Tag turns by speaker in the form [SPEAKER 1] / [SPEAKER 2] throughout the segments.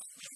[SPEAKER 1] Thank you.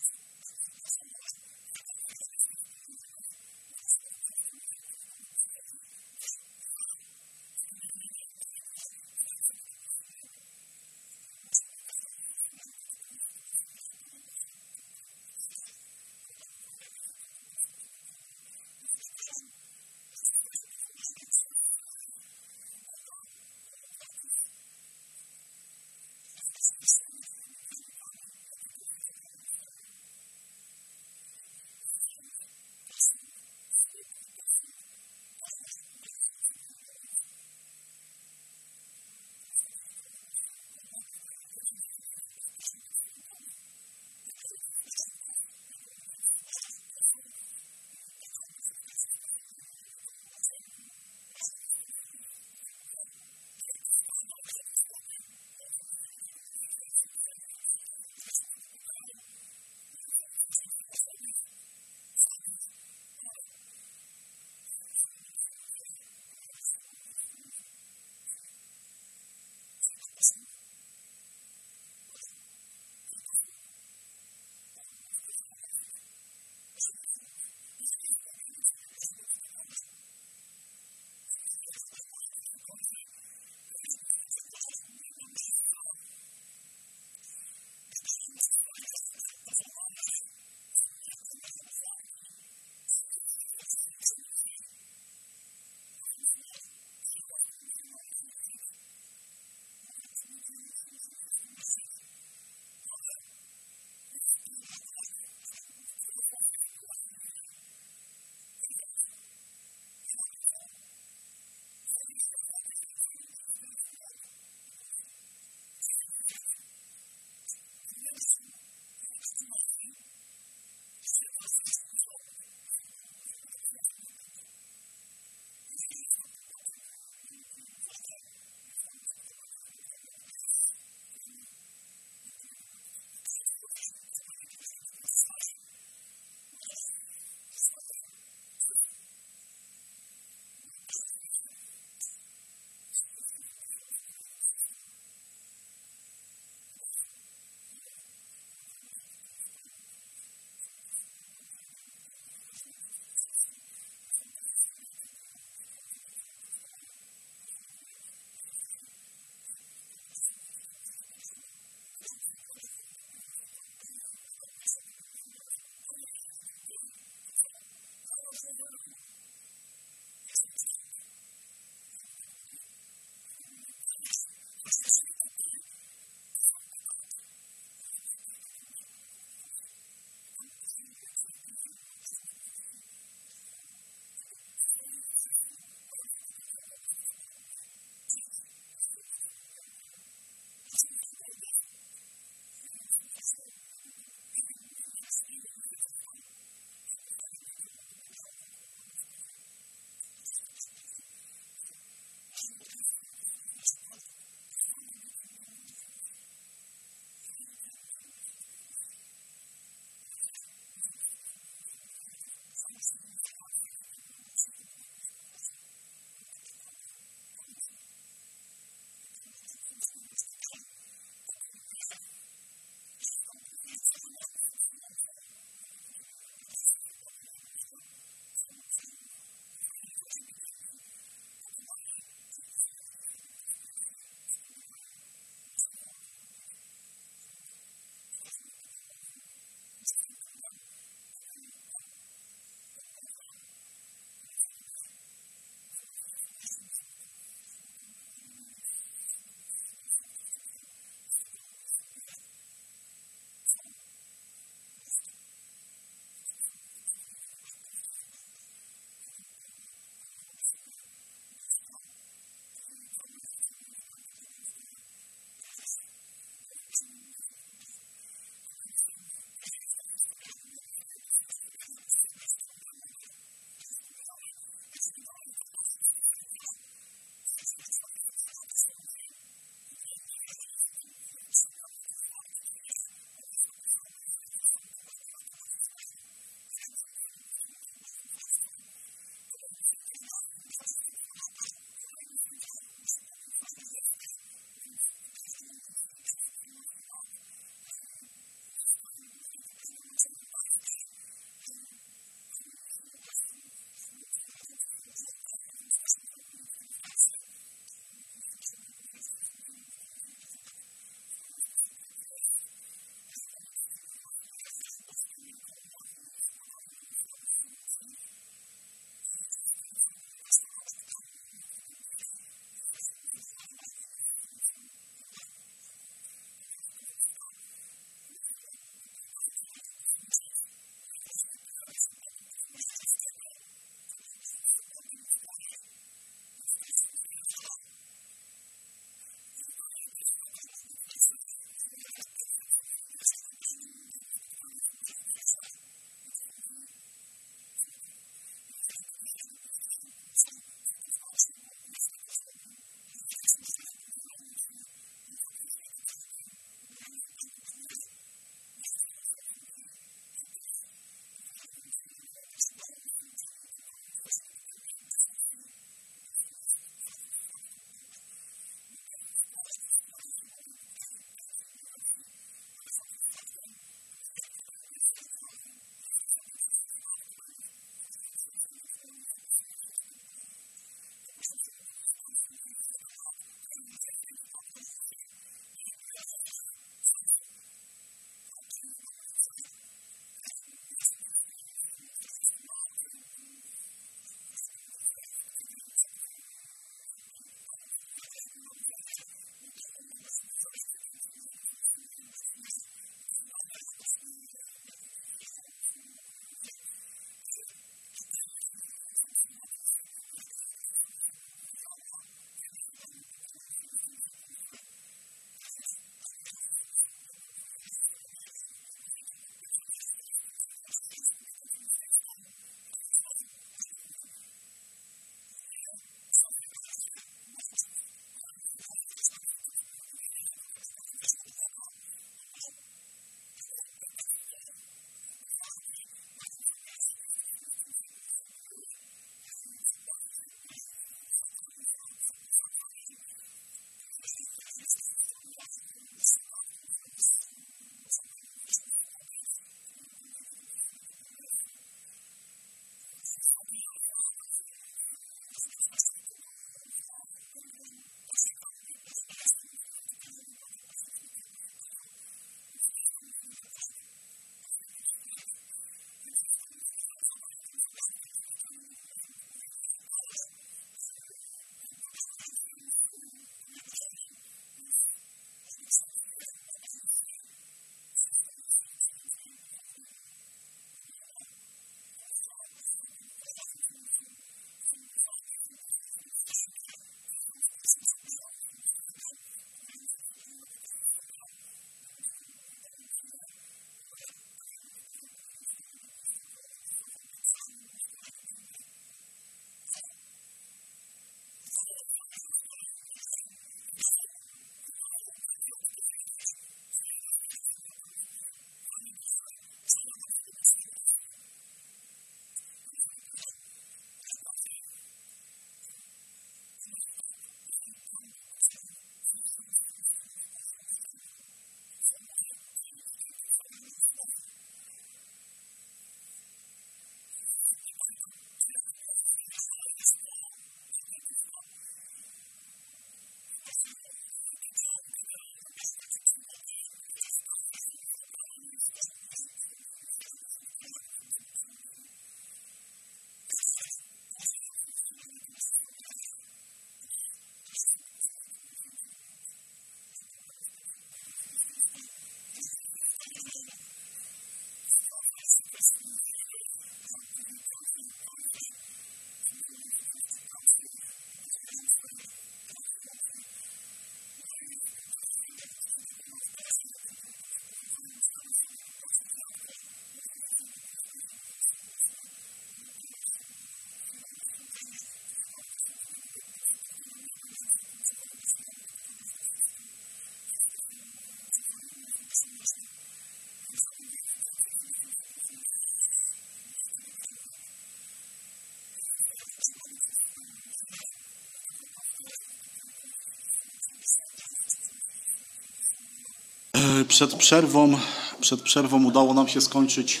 [SPEAKER 1] y, przed przerwą, przed przerwą udało nam się skończyć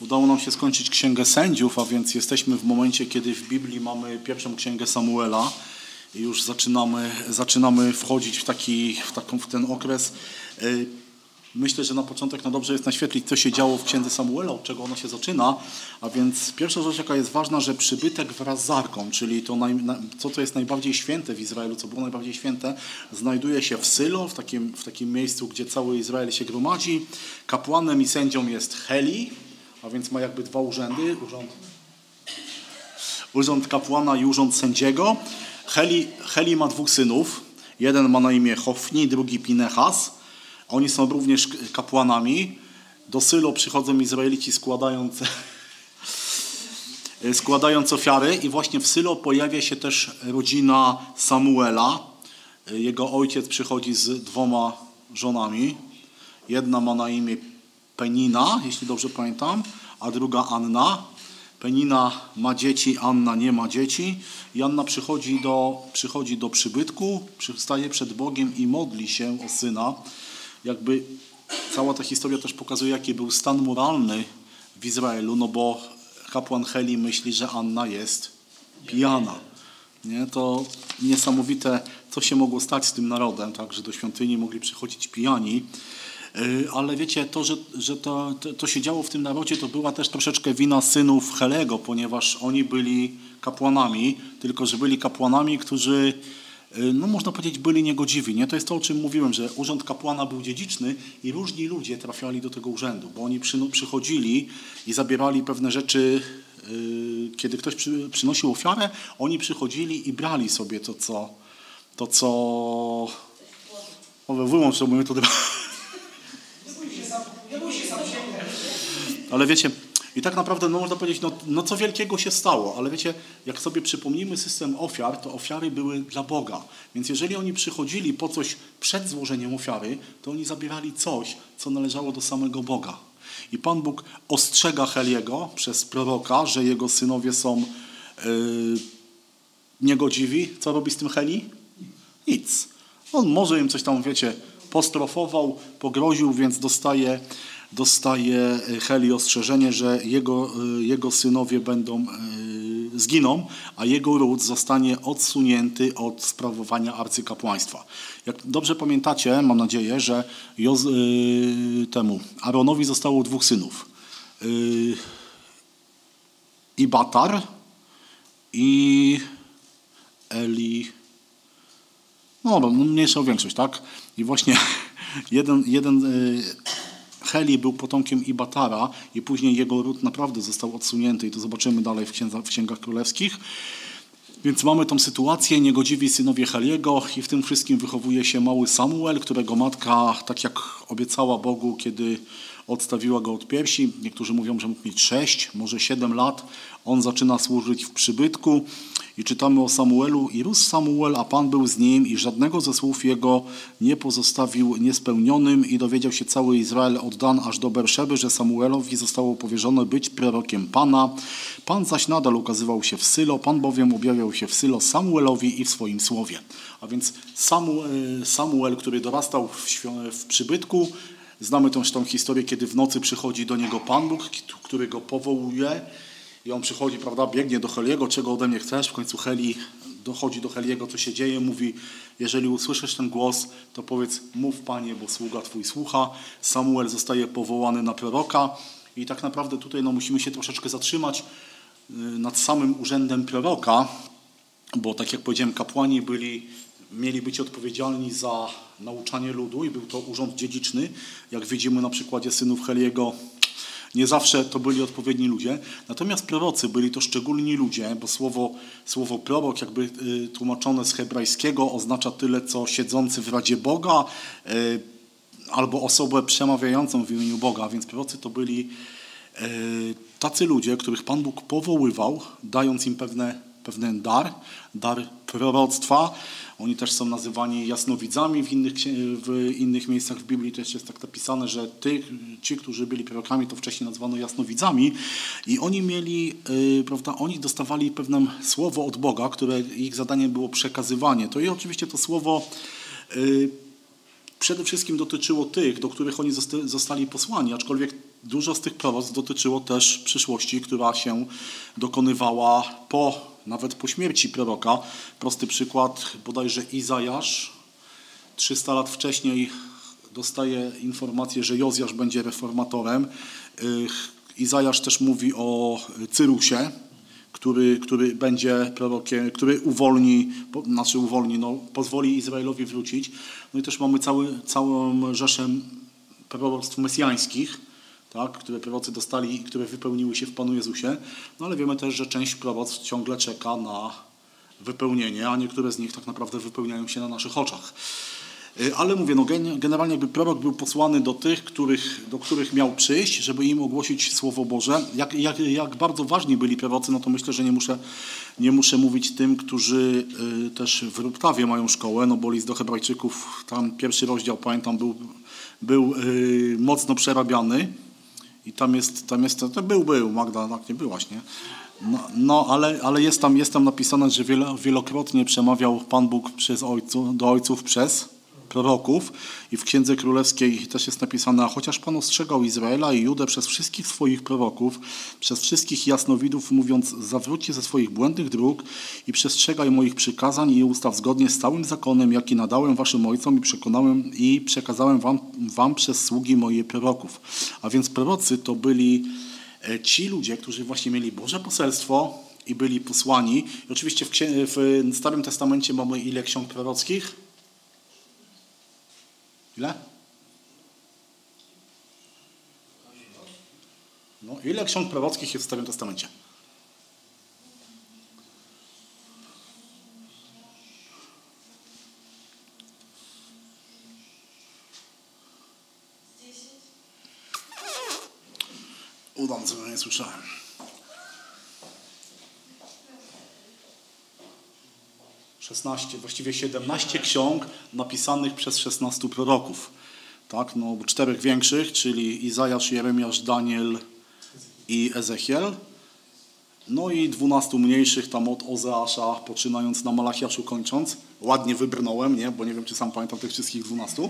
[SPEAKER 1] udało nam się skończyć Księgę Sędziów, a więc jesteśmy w momencie, kiedy w Biblii mamy pierwszą Księgę Samuela i już zaczynamy, zaczynamy wchodzić w, taki, w, taką, w ten okres. y, Myślę, że na początek no dobrze jest naświetlić, co się działo w Księdze Samuela, od czego ona się zaczyna. A więc pierwsza rzecz, jaka jest ważna, że przybytek wraz z Arką, czyli to, naj, na, co, co jest najbardziej święte w Izraelu, co było najbardziej święte, znajduje się w Sylo, w takim, w takim miejscu, gdzie cały Izrael się gromadzi. Kapłanem i sędzią jest Heli, a więc ma jakby dwa urzędy, urząd urząd kapłana i urząd sędziego. Heli, Heli ma dwóch synów. Jeden ma na imię Hofni, drugi Pinechas. Oni są również k- kapłanami. Do Sylo przychodzą Izraelici składając, składając ofiary i właśnie w Sylo pojawia się też rodzina Samuela. Jego ojciec przychodzi z dwoma żonami. Jedna ma na imię Penina, jeśli dobrze pamiętam, a druga Anna. Penina ma dzieci, Anna nie ma dzieci. I Anna przychodzi do, przychodzi do przybytku, przy- staje przed Bogiem i modli się o syna. Jakby cała ta historia też pokazuje, jaki był stan moralny w Izraelu, no bo kapłan Heli myśli, że Anna jest pijana. Nie? To niesamowite, co się mogło stać z tym narodem, tak? że do świątyni mogli przychodzić pijani. Yy, Ale wiecie, to, że, że to, to, to się działo w tym narodzie, to była też troszeczkę wina synów Helego, ponieważ oni byli kapłanami, tylko że byli kapłanami, którzy, yy, no można powiedzieć, byli niegodziwi. Nie? To jest to, o czym mówiłem, że urząd kapłana był dziedziczny i różni ludzie trafiali do tego urzędu, bo oni przyno- przychodzili i zabierali pewne rzeczy Yy, kiedy ktoś przy, przynosił ofiarę, oni przychodzili i brali sobie to, co. To, co. Owe, wyłącz to, mówię to. Ale wiecie, i tak naprawdę no, można powiedzieć, no, no co wielkiego się stało, ale wiecie, jak sobie przypomnimy system ofiar, to ofiary były dla Boga. Więc jeżeli oni przychodzili po coś przed złożeniem ofiary, to oni zabierali coś, co należało do samego Boga. I Pan Bóg ostrzega Heliego przez proroka, że jego synowie są yy, niegodziwi. Co robi z tym Heli? Nic. On może im coś tam, wiecie, postrofował, pogroził, więc dostaje, dostaje e, Heli ostrzeżenie, że jego, y, jego synowie będą y, zginą, a jego ród zostanie odsunięty od sprawowania arcykapłaństwa. Jak dobrze pamiętacie, mam nadzieję, że Joz, y, temu Aaronowi zostało dwóch synów. Y, I Batar i Eli. No dobra, no mniejsza o większość, tak? I właśnie jeden, jeden y, Heli był potomkiem Ibatara i później jego ród naprawdę został odsunięty i to zobaczymy dalej w, księdza, w Księgach Królewskich. Więc mamy tą sytuację, niegodziwi synowie Heliego i w tym wszystkim wychowuje się mały Samuel, którego matka, tak jak obiecała Bogu, kiedy odstawiła go od piersi, niektórzy mówią, że mógł mieć sześć, może siedem lat, on zaczyna służyć w przybytku i czytamy o Samuelu i rósł Samuel, a Pan był z nim i żadnego ze słów jego nie pozostawił niespełnionym i dowiedział się cały Izrael od Dan aż do Berszeby, że Samuelowi zostało powierzone być prorokiem Pana. Pan zaś nadal ukazywał się w Sylo, Pan bowiem objawiał się w Sylo Samuelowi i w swoim słowie. A więc Samu- e, Samuel, który dorastał w, świ- w przybytku, znamy tą, tą historię, kiedy w nocy przychodzi do niego Pan Bóg, k- który go powołuje i on przychodzi, prawda, biegnie do Heliego, czego ode mnie chcesz? W końcu Heli dochodzi do Heliego, co się dzieje, mówi, jeżeli usłyszysz ten głos, to powiedz, mów Panie, bo sługa Twój słucha. Samuel zostaje powołany na proroka i tak naprawdę tutaj no, musimy się troszeczkę zatrzymać y, nad samym urzędem proroka, bo tak jak powiedziałem, kapłani byli, mieli być odpowiedzialni za nauczanie ludu i był to urząd dziedziczny. Jak widzimy na przykładzie synów Heliego, nie zawsze to byli odpowiedni ludzie. Natomiast prorocy byli to szczególni ludzie, bo słowo, słowo prorok, jakby y, tłumaczone z hebrajskiego, oznacza tyle, co siedzący w Radzie Boga, y, albo osobę przemawiającą w imieniu Boga, więc prorocy to byli e, tacy ludzie, których Pan Bóg powoływał, dając im pewne, pewien dar, dar proroctwa. Oni też są nazywani jasnowidzami w innych, księ- w innych miejscach w Biblii. Też jest tak napisane, że tych, ci, którzy byli prorokami, to wcześniej nazwano jasnowidzami. I oni mieli, e, prawda, oni dostawali pewne słowo od Boga, które ich zadaniem było przekazywanie. To i oczywiście to słowo e, przede wszystkim dotyczyło tych, do których oni zosta- zostali posłani, aczkolwiek dużo z tych proroctw dotyczyło też przyszłości, która się dokonywała po, nawet po śmierci proroka. Prosty przykład, bodajże Izajasz, 300 lat wcześniej dostaje informację, że Jozjasz będzie reformatorem. Y, Izajasz też mówi o Cyrusie, który, który będzie prorokiem, który uwolni, po- znaczy uwolni, no, pozwoli Izraelowi wrócić. No i też mamy cały, całą rzeszę proroctw mesjańskich, tak, które prorocy dostali i które wypełniły się w Panu Jezusie. No ale wiemy też, że część proroctw ciągle czeka na wypełnienie, a niektóre z nich tak naprawdę wypełniają się na naszych oczach. Y, Ale mówię, no gen- generalnie jakby prorok był posłany do tych, których, do których miał przyjść, żeby im ogłosić Słowo Boże. Jak, jak, jak bardzo ważni byli prorocy, no to myślę, że nie muszę, nie muszę mówić tym, którzy y, też w Ruptawie mają szkołę, no bo list do hebrajczyków, tam pierwszy rozdział, pamiętam, był, był y, mocno przerabiany i tam jest, tam jest, to był, był, Magda, tak nie byłaś, nie? No, no ale, ale jest, tam, jest tam napisane, że wielo, wielokrotnie przemawiał Pan Bóg przez ojcu, do ojców przez proroków i w Księdze Królewskiej też jest napisane, a chociaż Pan ostrzegał Izraela i Judę przez wszystkich swoich proroków, przez wszystkich jasnowidów, mówiąc, zawróćcie ze swoich błędnych dróg i przestrzegaj moich przykazań i ustaw zgodnie z całym zakonem, jaki nadałem waszym ojcom i przekonałem i przekazałem wam, wam przez sługi moje proroków. A więc prorocy to byli e, ci ludzie, którzy właśnie mieli Boże poselstwo i byli posłani. I oczywiście w, księ- w Starym Testamencie mamy ile ksiąg prorockich? Ile? No, ile ksiąg prorockich jest w Starym Testamencie? Udam, co nie słyszałem. Szesnaście, właściwie 17 ksiąg napisanych przez 16 proroków. Tak, no, czterech większych, czyli Izajasz, Jeremiasz, Daniel i Ezechiel. No i 12 mniejszych, tam od Ozeasza, poczynając na Malachiaszu, kończąc. Ładnie wybrnąłem, nie? bo nie wiem, czy sam pamiętam tych wszystkich 12.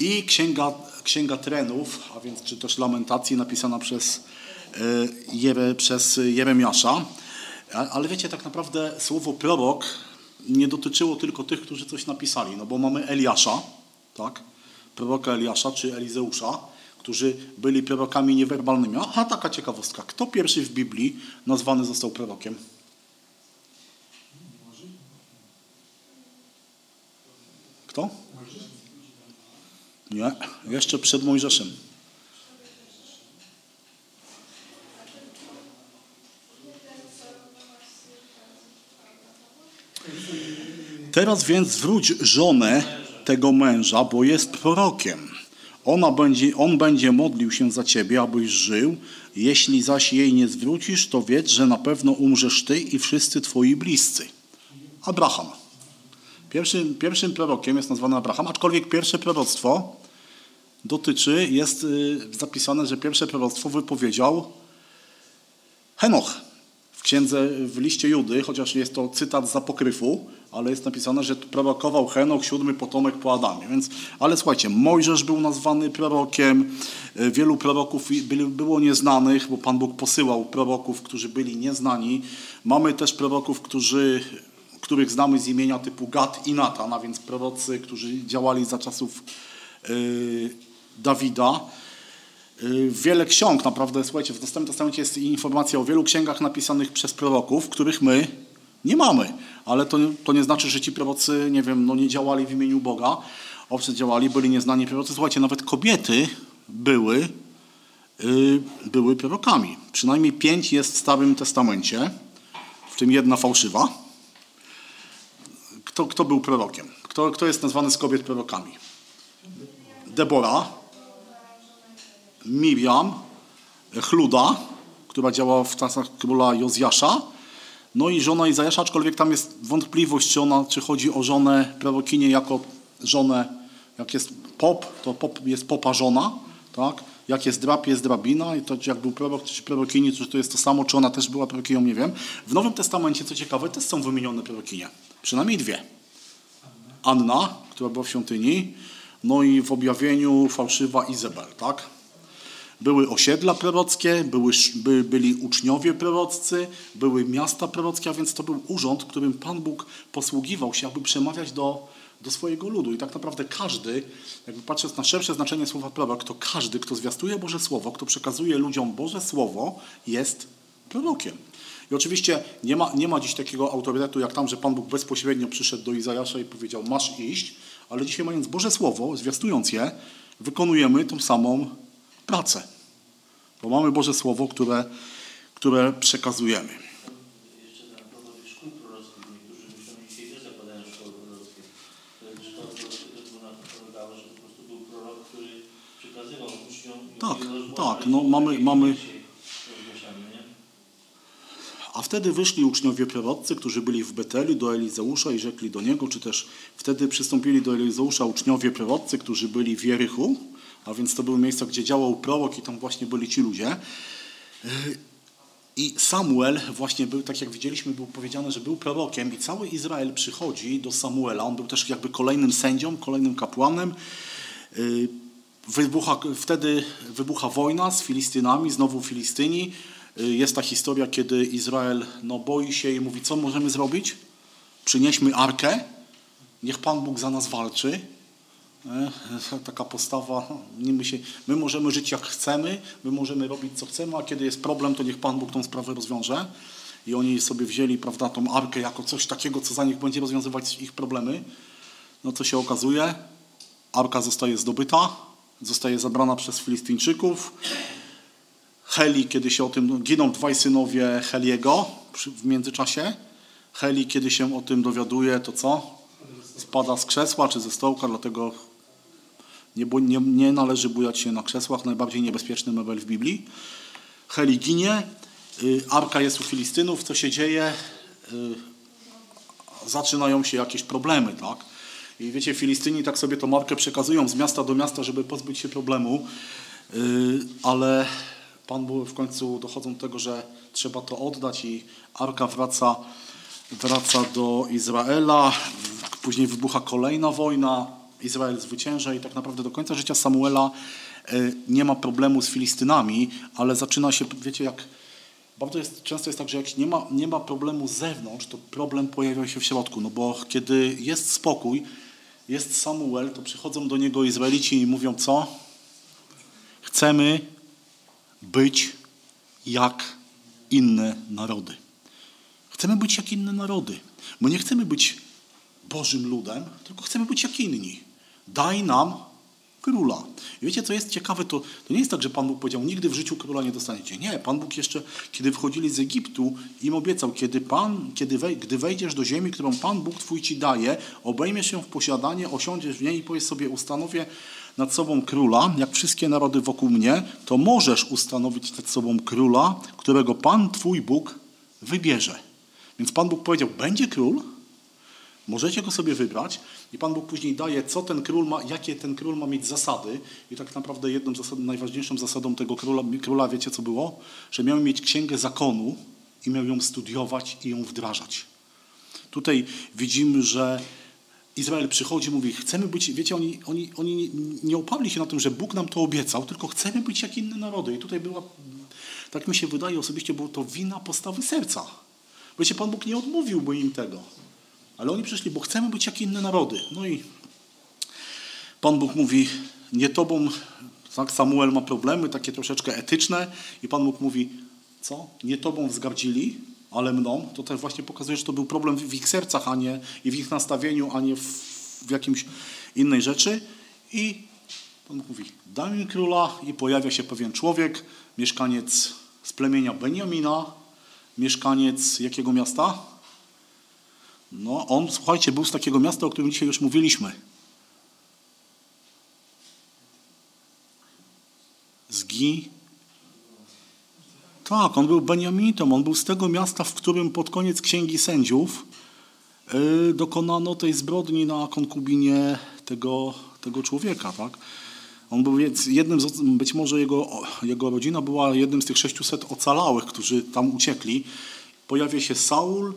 [SPEAKER 1] I Księga, Księga Trenów, a więc czy też Lamentacji, napisana przez, e, Jere, przez Jeremiasza. A- Ale wiecie, tak naprawdę słowo prorok nie dotyczyło tylko tych, którzy coś napisali, no bo mamy Eliasza, tak? proroka Eliasza czy Elizeusza, którzy byli prorokami niewerbalnymi. Aha, taka ciekawostka. Kto pierwszy w Biblii nazwany został prorokiem? Kto? Nie, jeszcze przed Mojżeszem. Teraz więc zwróć żonę tego męża, bo jest prorokiem. Ona będzie, on będzie modlił się za ciebie, abyś żył. Jeśli zaś jej nie zwrócisz, to wiedz, że na pewno umrzesz ty i wszyscy twoi bliscy. Abraham. Pierwszym, pierwszym prorokiem jest nazwany Abraham, aczkolwiek pierwsze proroctwo dotyczy, jest y, zapisane, że pierwsze proroctwo wypowiedział Henoch w księdze, w liście Judy, chociaż jest to cytat z apokryfu, ale jest napisane, że prorokował Henoch, siódmy potomek po Adamie. Więc, ale słuchajcie, Mojżesz był nazwany prorokiem, y, wielu proroków i- byli- było nieznanych, bo Pan Bóg posyłał proroków, którzy byli nieznani. Mamy też proroków, którzy których znamy z imienia typu Gad i Natan, a więc prorocy, którzy działali za czasów y, Dawida. Y, wiele ksiąg, naprawdę, słuchajcie, w Nowym Testamencie jest informacja o wielu księgach napisanych przez proroków, których my nie mamy. Ale to, nie- to nie znaczy, że ci prorocy, nie wiem, no nie działali w imieniu Boga. Owszem, działali, byli nieznani prorocy. Słuchajcie, nawet kobiety były, y, były prorokami. Przynajmniej pięć jest w Starym Testamencie, w tym jedna fałszywa. Kto, kto był prorokiem? Kto, kto jest nazwany z kobiet prorokami? Debora, Miriam, Chluda, która działa w czasach króla Jozjasza, no i żona Izajasza, aczkolwiek tam jest wątpliwość, czy, ona, czy chodzi o żonę prorokinię jako żonę, jak jest pop, to pop jest popa żona, tak? Jak jest drab, jest drabina i to czy jak był prorok, czy prorokini, to, czy to jest to samo, czy ona też była prorokinią, nie wiem. W Nowym Testamencie, co ciekawe, też są wymienione prorokinie, przynajmniej dwie. Anna, która była w świątyni, No i w objawieniu fałszywa Izabel, tak? Były osiedla prorockie, były, sz- by, byli uczniowie proroccy, były miasta prorockie, a więc to był urząd, którym Pan Bóg posługiwał się, aby przemawiać do, do swojego ludu. I tak naprawdę każdy, jakby patrząc na szersze znaczenie słowa prorok, to każdy, kto zwiastuje Boże Słowo, kto przekazuje ludziom Boże Słowo, jest prorokiem. I oczywiście nie ma, nie ma dziś takiego autorytetu jak tam, że Pan Bóg bezpośrednio przyszedł do Izajasza i powiedział masz iść, ale dzisiaj mając Boże Słowo, zwiastując je, wykonujemy tą samą pracę. Bo mamy Boże Słowo, które, które przekazujemy.
[SPEAKER 2] Jeszcze na podobie szkół prorockich, niektórzy myślą dzisiaj też zakładają szkoły prorockie. Że to też było na to polegało, że po prostu był prorok, który przekazywał uczniom i
[SPEAKER 1] Tak,
[SPEAKER 2] oni rozgłaszali
[SPEAKER 1] tak, no
[SPEAKER 2] to,
[SPEAKER 1] mamy-
[SPEAKER 2] jak
[SPEAKER 1] mamy-
[SPEAKER 2] dzisiaj rozgłaszamy, nie?
[SPEAKER 1] A wtedy wyszli uczniowie proroccy, którzy byli w Betelu do Elizeusza i rzekli do niego, czy też wtedy przystąpili do Elizeusza uczniowie proroccy, którzy byli w Jerychu, a więc to były miejsca, gdzie działał prorok i tam właśnie byli ci ludzie. Yy, I Samuel właśnie był, tak jak widzieliśmy, był powiedziane, że był prorokiem i cały Izrael przychodzi do Samuela. On był też jakby kolejnym sędzią, kolejnym kapłanem. Yy, Wybucha, wtedy wybucha wojna z Filistynami, znowu Filistyni. Yy, Jest ta historia, kiedy Izrael no, boi się i mówi, co możemy zrobić? Przynieśmy arkę, niech Pan Bóg za nas walczy. E, Taka postawa, niby się, my możemy żyć jak chcemy, my możemy robić co chcemy, a kiedy jest problem, to niech Pan Bóg tą sprawę rozwiąże. I oni sobie wzięli prawda, tą arkę jako coś takiego, co za nich będzie rozwiązywać ich problemy. No co się okazuje? Arka zostaje zdobyta, zostaje zabrana przez Filistyńczyków. Heli, kiedy się o tym, no, giną dwaj synowie Heliego przy- w międzyczasie. Heli, kiedy się o tym dowiaduje, to co? Spada z krzesła czy ze stołka, dlatego nie, bu- nie, nie należy bujać się na krzesłach, najbardziej niebezpieczny mebel w Biblii. Heli ginie, y, Arka jest u Filistynów, co się dzieje? Y, zaczynają się jakieś problemy, tak? I wiecie, Filistyni tak sobie tą markę przekazują z miasta do miasta, żeby pozbyć się problemu, yy, ale Pan Bóg w końcu dochodzą do tego, że trzeba to oddać i Arka wraca, wraca do Izraela, później wybucha kolejna wojna, Izrael zwycięża i tak naprawdę do końca życia Samuela yy, nie ma problemu z Filistynami, ale zaczyna się, wiecie, jak bardzo jest, często jest tak, że jak nie ma, nie ma problemu z zewnątrz, to problem pojawia się w środku, no bo kiedy jest spokój, jest Samuel, to przychodzą do niego Izraelici i mówią co? Chcemy być jak inne narody. Chcemy być jak inne narody. My nie chcemy być Bożym ludem, tylko chcemy być jak inni. Daj nam króla. I wiecie, co jest ciekawe, to, to nie jest tak, że Pan Bóg powiedział, nigdy w życiu króla nie dostaniecie. Nie, Pan Bóg jeszcze, kiedy wychodzili z Egiptu, im obiecał, kiedy Pan, kiedy wej, gdy wejdziesz do ziemi, którą Pan Bóg Twój Ci daje, obejmiesz ją w posiadanie, osiądziesz w niej i powiesz sobie, ustanowię nad sobą króla, jak wszystkie narody wokół mnie, to możesz ustanowić nad sobą króla, którego Pan Twój Bóg wybierze. Więc Pan Bóg powiedział, będzie król, Możecie go sobie wybrać i Pan Bóg później daje, co ten król ma, jakie ten król ma mieć zasady. I tak naprawdę jedną zasadą, najważniejszą zasadą tego króla, króla, wiecie co było? Że miał mieć księgę zakonu i miał ją studiować i ją wdrażać. Tutaj widzimy, że Izrael przychodzi, mówi, chcemy być, wiecie, oni, oni, oni nie- nie oparli się na tym, że Bóg nam to obiecał, tylko chcemy być jak inne narody. I tutaj była, tak mi się wydaje osobiście, było to wina postawy serca. Wiecie, Pan Bóg nie odmówiłby im tego. Ale oni przyszli, bo chcemy być jak inne narody. No i Pan Bóg mówi, nie tobą, tak Samuel ma problemy takie troszeczkę etyczne i Pan Bóg mówi, co? Nie tobą wzgardzili, ale mną. To też właśnie pokazuje, że to był problem w ich sercach, a nie i w ich nastawieniu, a nie w, w jakimś innej rzeczy. I Pan Bóg mówi, daj mi króla i pojawia się pewien człowiek, mieszkaniec z plemienia Benjamina, mieszkaniec jakiego miasta? No, on, słuchajcie, był z takiego miasta, o którym dzisiaj już mówiliśmy. Zgi. Tak, on był Beniaminitą, on był z tego miasta, w którym pod koniec Księgi Sędziów y, dokonano tej zbrodni na konkubinie tego, tego człowieka, tak? On był więc jednym z, oc- być może jego, jego rodzina była jednym z tych 600 ocalałych, którzy tam uciekli. Pojawia się Saul,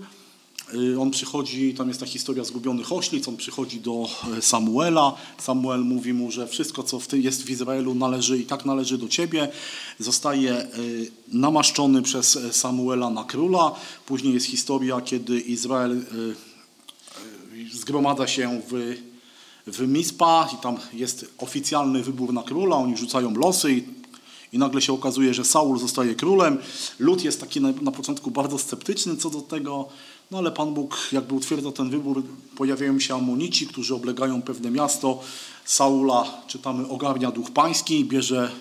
[SPEAKER 1] Y, On przychodzi, tam jest ta historia zgubionych oślic, on przychodzi do e, Samuela. Samuel mówi mu, że wszystko, co w ty jest w Izraelu, należy i tak należy do ciebie. Zostaje e, namaszczony przez e, Samuela na króla. Później jest historia, kiedy Izrael e, zgromadza się w, w Mispa i tam jest oficjalny wybór na króla, oni rzucają losy i, i nagle się okazuje, że Saul zostaje królem. Lud jest taki na, na początku bardzo sceptyczny co do tego, no ale Pan Bóg jakby utwierdza ten wybór, pojawiają się amonici, którzy oblegają pewne miasto. Saula, czytamy, ogarnia duch pański, bierze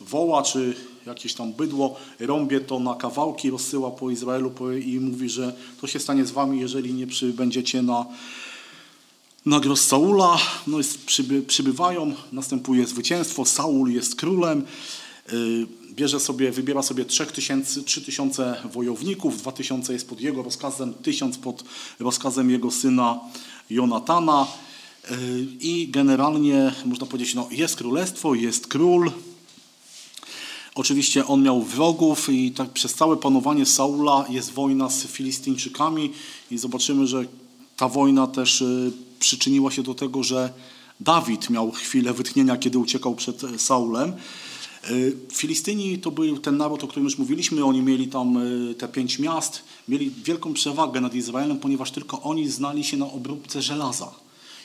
[SPEAKER 1] woła czy jakieś tam bydło, rąbie to na kawałki, rozsyła po Izraelu po- i mówi, że to się stanie z wami, jeżeli nie przybędziecie na, na gros Saula. No jest, przyby, przybywają, następuje zwycięstwo, Saul jest królem, y, bierze sobie, wybiera sobie 3000, 3000 wojowników, 2000 jest pod jego rozkazem, 1000 pod rozkazem jego syna Jonatana y, i generalnie można powiedzieć, no jest królestwo, jest król, Oczywiście on miał wrogów i tak przez całe panowanie Saula jest wojna z Filistyńczykami i zobaczymy, że ta wojna też y, przyczyniła się do tego, że Dawid miał chwilę wytchnienia, kiedy uciekał przed e, Saulem. Y, Filistyni to był ten naród, o którym już mówiliśmy. Oni mieli tam y, te pięć miast, mieli wielką przewagę nad Izraelem, ponieważ tylko oni znali się na obróbce żelaza.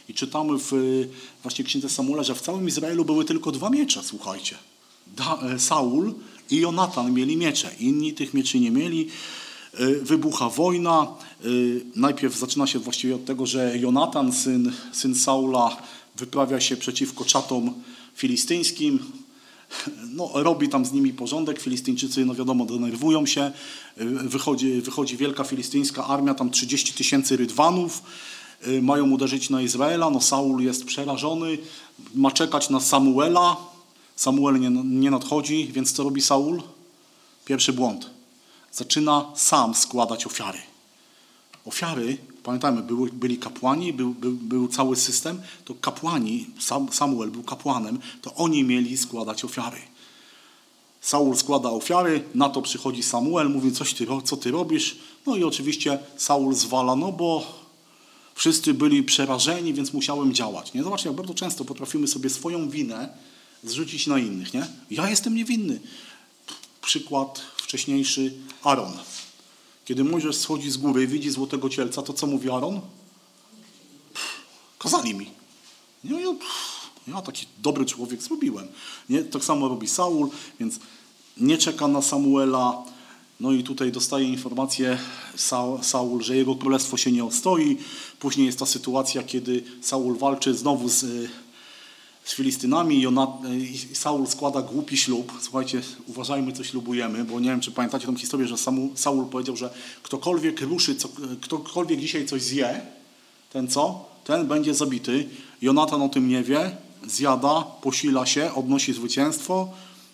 [SPEAKER 1] I czytamy w y, właśnie Księdze Samuela, że w całym Izraelu były tylko dwa miecze, słuchajcie. Da, e, Saul i Jonatan mieli miecze, inni tych mieczy nie mieli. Y, Wybucha wojna. Y, Najpierw zaczyna się właściwie od tego, że Jonatan, syn, syn Saula, wyprawia się przeciwko czatom filistyńskim. No, robi tam z nimi porządek. Filistyńczycy, no wiadomo, denerwują się. Y, Wychodzi, wychodzi wielka filistyńska armia, tam 30 tysięcy rydwanów. Y, Mają uderzyć na Izraela. No, Saul jest przerażony, ma czekać na Samuela. Samuel nie, nie nadchodzi, więc co robi Saul? Pierwszy błąd. Zaczyna sam składać ofiary. Ofiary, pamiętajmy, były, byli kapłani, był, był, był cały system, to kapłani, Sam, Samuel był kapłanem, to oni mieli składać ofiary. Saul składa ofiary, na to przychodzi Samuel, mówi, coś ty, ro- co ty robisz? No i oczywiście Saul zwala, no bo wszyscy byli przerażeni, więc musiałem działać. Nie? Zobaczcie, jak bardzo często potrafimy sobie swoją winę zrzucić na innych. Nie? Ja jestem niewinny. Przykład wcześniejszy Aaron. Kiedy Mojżesz schodzi z góry i widzi złotego cielca, to co mówi Aaron? Pff, Kazali mi. No ja, pff, ja taki dobry człowiek zrobiłem. Nie? Tak samo robi Saul, więc nie czeka na Samuela. No i tutaj dostaje informację Sa- Saul, że jego królestwo się nie ostoi. Później jest ta sytuacja, kiedy Saul walczy znowu z, y, z Filistynami. Jona- y, Saul składa głupi ślub. Słuchajcie, uważajmy, co ślubujemy, bo nie wiem, czy pamiętacie tą historię, że Samu- Saul powiedział, że ktokolwiek ruszy, co, ktokolwiek dzisiaj coś zje, ten co? Ten będzie zabity. Jonatan o tym nie wie, zjada, posila się, odnosi zwycięstwo.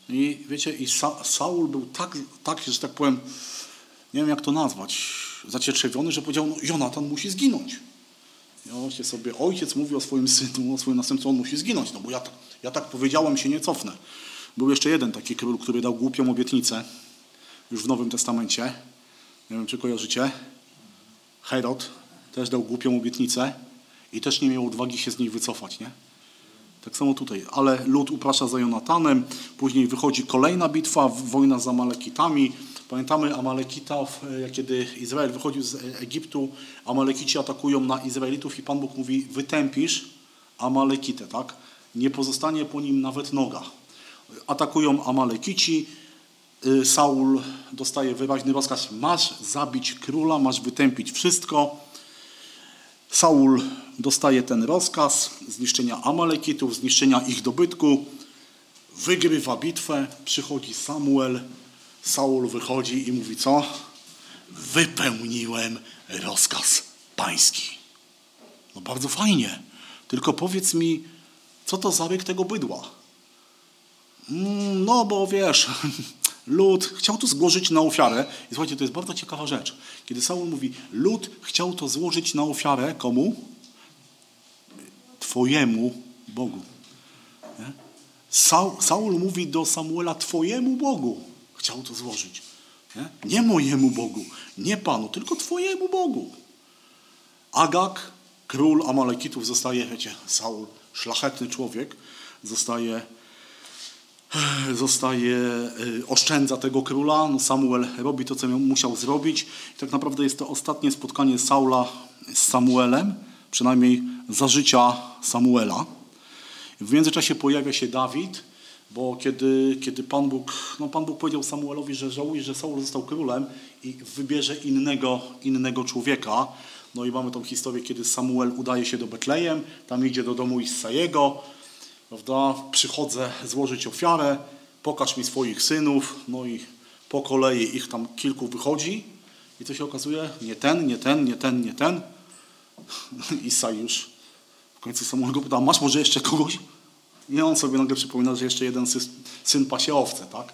[SPEAKER 1] I wiecie, i Sa- Saul był tak, tak, że tak powiem, nie wiem jak to nazwać, zacieczewiony, że powiedział, no Jonatan musi zginąć. I Właśnie sobie ojciec mówi o swoim synu, o swoim następcy, on musi zginąć, no bo ja, tak- ja tak powiedziałem, się nie cofnę. Był jeszcze jeden taki król, który dał głupią obietnicę, już w Nowym Testamencie, nie wiem czy kojarzycie, Herod też dał głupią obietnicę i też nie miał odwagi się z niej wycofać, nie? Tak samo tutaj, ale lud uprasza za Jonatanem, później wychodzi kolejna bitwa, w- wojna z Amalekitami. Pamiętamy Amalekitów, e, kiedy Izrael wychodził z e, Egiptu, Amalekici atakują na Izraelitów i Pan Bóg mówi, wytępisz Amalekitę, tak? Nie pozostanie po nim nawet noga. Atakują Amalekici, y, Saul dostaje wyraźny rozkaz, masz zabić króla, masz wytępić wszystko. Saul dostaje ten rozkaz zniszczenia Amalekitów, zniszczenia ich dobytku, wygrywa bitwę, przychodzi Samuel, Saul wychodzi i mówi co? Wypełniłem rozkaz pański. No bardzo fajnie, tylko powiedz mi, co to za ryk tego bydła? Mm, No bo wiesz, lud chciał to złożyć na ofiarę. I słuchajcie, to jest bardzo ciekawa rzecz. Kiedy Saul mówi, lud chciał to złożyć na ofiarę komu? Twojemu Bogu. Nie? Saul, Saul mówi do Samuela, twojemu Bogu chciał to złożyć. Nie? nie mojemu Bogu, nie Panu, tylko twojemu Bogu. Agag, król Amalekitów, zostaje, wiecie, Saul, szlachetny człowiek, zostaje zostaje, y, oszczędza tego króla. No Samuel robi to, co miał- musiał zrobić. I tak naprawdę jest to ostatnie spotkanie Saula z Samuelem, przynajmniej za życia Samuela. W międzyczasie pojawia się Dawid, bo kiedy, kiedy Pan, Bóg, no Pan Bóg powiedział Samuelowi, że żałuje, że Saul został królem i wybierze innego, innego człowieka. No i mamy tą historię, kiedy Samuel udaje się do Betlejem, tam idzie do domu Issajego, prawda? Przychodzę złożyć ofiarę, pokaż mi swoich synów, no i po kolei ich tam kilku wychodzi i co się okazuje? Nie ten, nie ten, nie ten, nie ten. Isaj już w końcu Samuel go pyta, masz może jeszcze kogoś? I on sobie nagle przypomina, że jeszcze jeden syn, syn pasie owce, tak?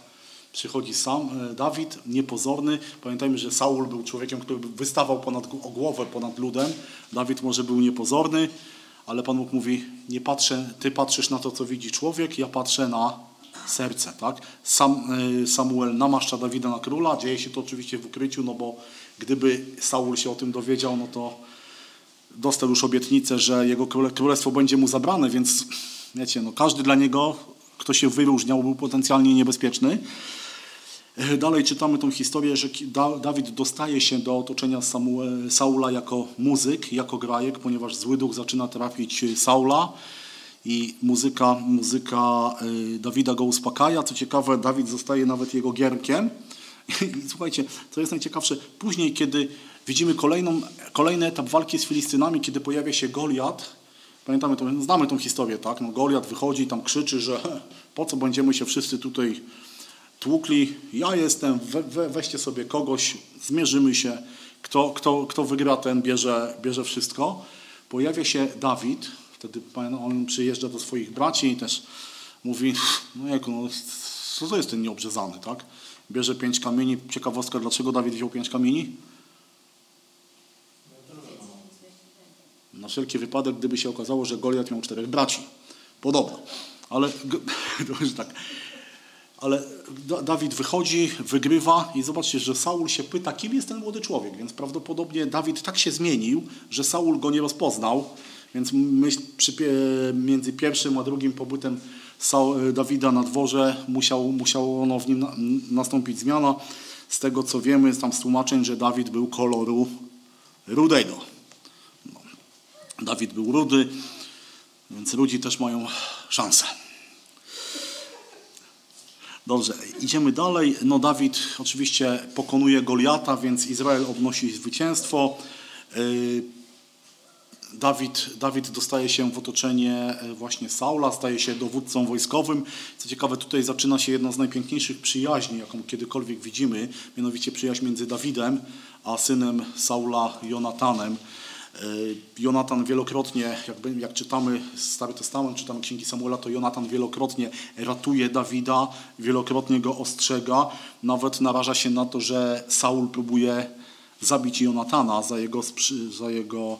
[SPEAKER 1] Przychodzi sam e, Dawid, niepozorny. Pamiętajmy, że Saul był człowiekiem, który wystawał ponad, gł- o głowę ponad ludem. Dawid może był niepozorny, ale Pan Bóg mówi, nie patrzę, ty patrzysz na to, co widzi człowiek, ja patrzę na serce, tak? Sam, e, Samuel namaszcza Dawida na króla, dzieje się to oczywiście w ukryciu, no bo gdyby Saul się o tym dowiedział, no to dostał już obietnicę, że jego króle, królestwo będzie mu zabrane, więc wiecie, no, każdy dla niego, kto się wyróżniał, był potencjalnie niebezpieczny. E, Dalej czytamy tą historię, że ki- Da- Dawid dostaje się do otoczenia Samue- Saula jako muzyk, jako grajek, ponieważ zły duch zaczyna trafić e, Saula i muzyka, muzyka e, Dawida go uspokaja. Co ciekawe, Dawid zostaje nawet jego gierkiem. I słuchajcie, co jest najciekawsze, później kiedy widzimy kolejną, kolejny etap walki z Filistynami, kiedy pojawia się Goliat, Pamiętamy, tą, znamy tą historię, tak? No, Goliat wychodzi i tam krzyczy, że po co będziemy się wszyscy tutaj tłukli, ja jestem, we, we, weźcie sobie kogoś, zmierzymy się, kto, kto, kto wygra, ten bierze, bierze wszystko. Pojawia się Dawid, wtedy pan- on przyjeżdża do swoich braci i też mówi, no jak, no, co to jest ten nieobrzezany, tak? Bierze pięć kamieni, ciekawostka, dlaczego Dawid wziął pięć kamieni? Na wszelki wypadek, gdyby się okazało, że Goliat miał czterech braci. Podobno. Ale, g- to już tak. Ale Da- Dawid wychodzi, wygrywa i zobaczcie, że Saul się pyta, kim jest ten młody człowiek, więc prawdopodobnie Dawid tak się zmienił, że Saul go nie rozpoznał, więc myśl, przy, pie- między pierwszym a drugim pobytem Saul, Dawida na dworze musiał, musiało no, w nim na, nastąpić zmiana. Z tego co wiemy, tam z tłumaczeń, że Dawid był koloru rudego. No. Dawid był rudy, więc rudzi też mają szansę. Dobrze, idziemy dalej. No Dawid oczywiście pokonuje Goliata, więc Izrael odnosi zwycięstwo. Yy, Dawid, Dawid dostaje się w otoczenie e, właśnie Saula, staje się dowódcą wojskowym. Co ciekawe, tutaj zaczyna się jedna z najpiękniejszych przyjaźni, jaką kiedykolwiek widzimy, mianowicie przyjaźń między Dawidem a synem Saula Jonatanem. E, Jonatan wielokrotnie, jakby, jak czytamy Stary Testament, czytamy Księgi Samuela, to Jonatan wielokrotnie ratuje Dawida, wielokrotnie go ostrzega, nawet naraża się na to, że Saul próbuje zabić Jonatana za jego, sprzy- za jego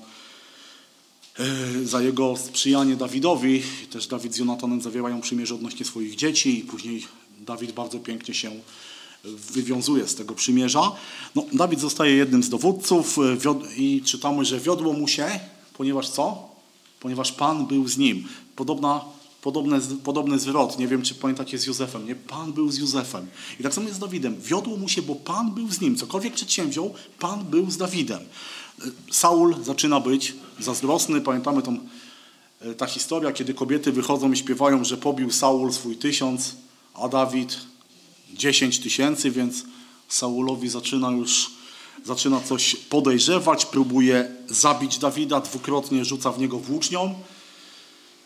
[SPEAKER 1] e, za jego sprzyjanie Dawidowi. Też Dawid z Jonatanem zawierają przymierze odnośnie swoich dzieci i później Dawid bardzo pięknie się wywiązuje z tego przymierza. No, Dawid zostaje jednym z dowódców e, wiod- i czytamy, że wiodło mu się, ponieważ co? Ponieważ Pan był z nim. Podobna, podobne, z- podobny zwrot, nie wiem czy pamiętacie z Józefem, nie? Pan był z Józefem. I tak samo jest z Dawidem. Wiodło mu się, bo Pan był z nim. Cokolwiek przedsięwziął, Pan był z Dawidem. Saul zaczyna być zazdrosny. Pamiętamy tą, e, ta historia, kiedy kobiety wychodzą i śpiewają, że pobił Saul swój tysiąc, a Dawid dziesięć tysięcy, więc Saulowi zaczyna już zaczyna coś podejrzewać, próbuje zabić Dawida, dwukrotnie rzuca w niego włócznią.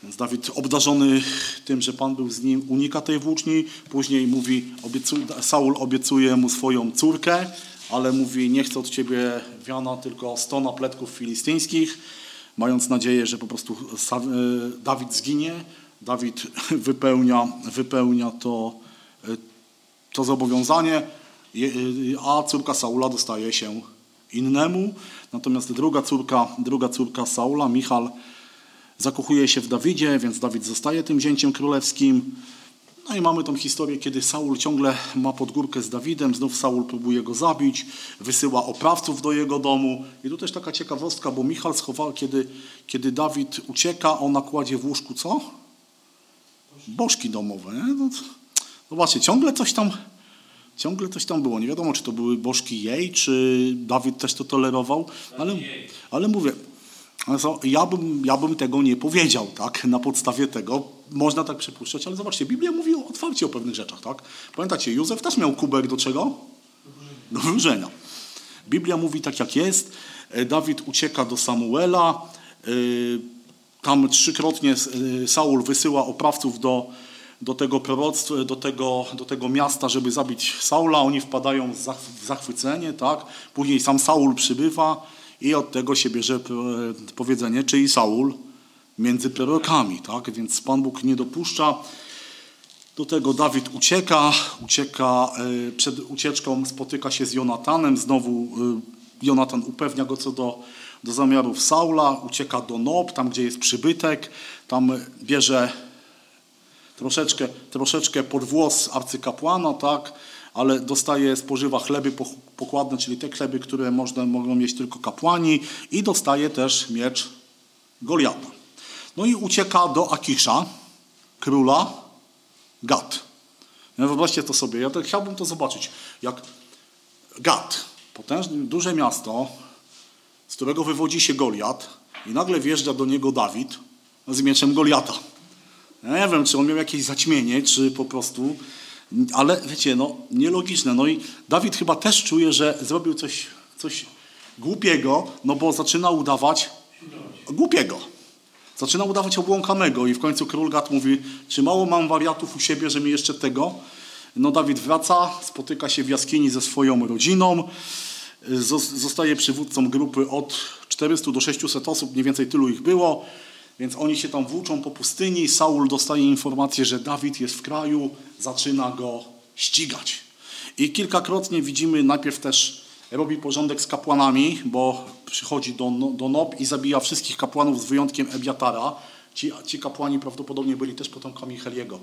[SPEAKER 1] Więc Dawid obdarzony tym, że Pan był z nim, unika tej włóczni. Później mówi, obiecu, Saul obiecuje mu swoją córkę, ale mówi, nie chcę od ciebie wiana, tylko 100 napletków filistyńskich, mając nadzieję, że po prostu Sa- y, Dawid zginie. Dawid wypełnia, wypełnia to, y, to zobowiązanie, je- y, a córka Saula dostaje się innemu. Natomiast druga córka, druga córka Saula, Michal, zakochuje się w Dawidzie, więc Dawid zostaje tym zięciem królewskim. No i mamy tą historię, kiedy Saul ciągle ma podgórkę z Dawidem, znów Saul próbuje go zabić, wysyła oprawców do jego domu. I tu też taka ciekawostka, bo Michal schował, kiedy, kiedy Dawid ucieka, ona kładzie w łóżku co? Bożki domowe. Nie? No, to- zobaczcie, ciągle coś tam, ciągle coś tam było. Nie wiadomo, czy to były bożki jej, czy Dawid też to tolerował, ale,
[SPEAKER 2] jej.
[SPEAKER 1] ale mówię, ale co, ja bym, ja bym tego nie powiedział, tak? Na podstawie tego można tak przypuszczać, ale zobaczcie, Biblia mówi o- otwarcie o pewnych rzeczach, tak? Pamiętacie, Józef też miał kubek do czego? Do wróżenia. Biblia mówi tak, jak jest. E, Dawid ucieka do Samuela. Y, Tam trzykrotnie s- y, Saul wysyła oprawców do, do tego proroctwa, do tego, do tego miasta, żeby zabić Saula. Oni wpadają w zach- w zachwycenie, tak? Później sam Saul przybywa i od tego się bierze p- powiedzenie, czyli Saul między prorokami, tak? Więc Pan Bóg nie dopuszcza do tego Dawid ucieka, ucieka y, przed ucieczką, spotyka się z Jonatanem, znowu y, Jonatan upewnia go co do, do zamiarów Saula, ucieka do Nob, tam gdzie jest przybytek, tam bierze troszeczkę, troszeczkę pod włos arcykapłana, tak, ale dostaje, spożywa chleby poch- pokładne, czyli te chleby, które można, mogą mieć tylko kapłani i dostaje też miecz Goliata. No i ucieka do Akisza, króla Gad. No wyobraźcie to sobie, ja tak chciałbym to zobaczyć, jak Gad, potężne, duże miasto, z którego wywodzi się Goliat i nagle wjeżdża do niego Dawid z mieczem Goliata. Ja nie wiem, czy on miał jakieś zaćmienie, czy po prostu, ale wiecie, no nielogiczne. No i Dawid chyba też czuje, że zrobił coś, coś głupiego, no bo zaczyna udawać głupiego. Zaczyna udawać obłąkanego i w końcu król Gad mówi, czy mało mam wariatów u siebie, że mi jeszcze tego? No Dawid wraca, spotyka się w jaskini ze swoją rodziną, Zos- zostaje przywódcą grupy od 400 do 600 osób, mniej więcej tylu ich było, więc oni się tam włóczą po pustyni, Saul dostaje informację, że Dawid jest w kraju, zaczyna go ścigać. I kilkakrotnie widzimy, najpierw też robi porządek z kapłanami, bo przychodzi do, No- do Nob i zabija wszystkich kapłanów z wyjątkiem Ebiatara. Ci, ci kapłani prawdopodobnie byli też potomkami Heliego.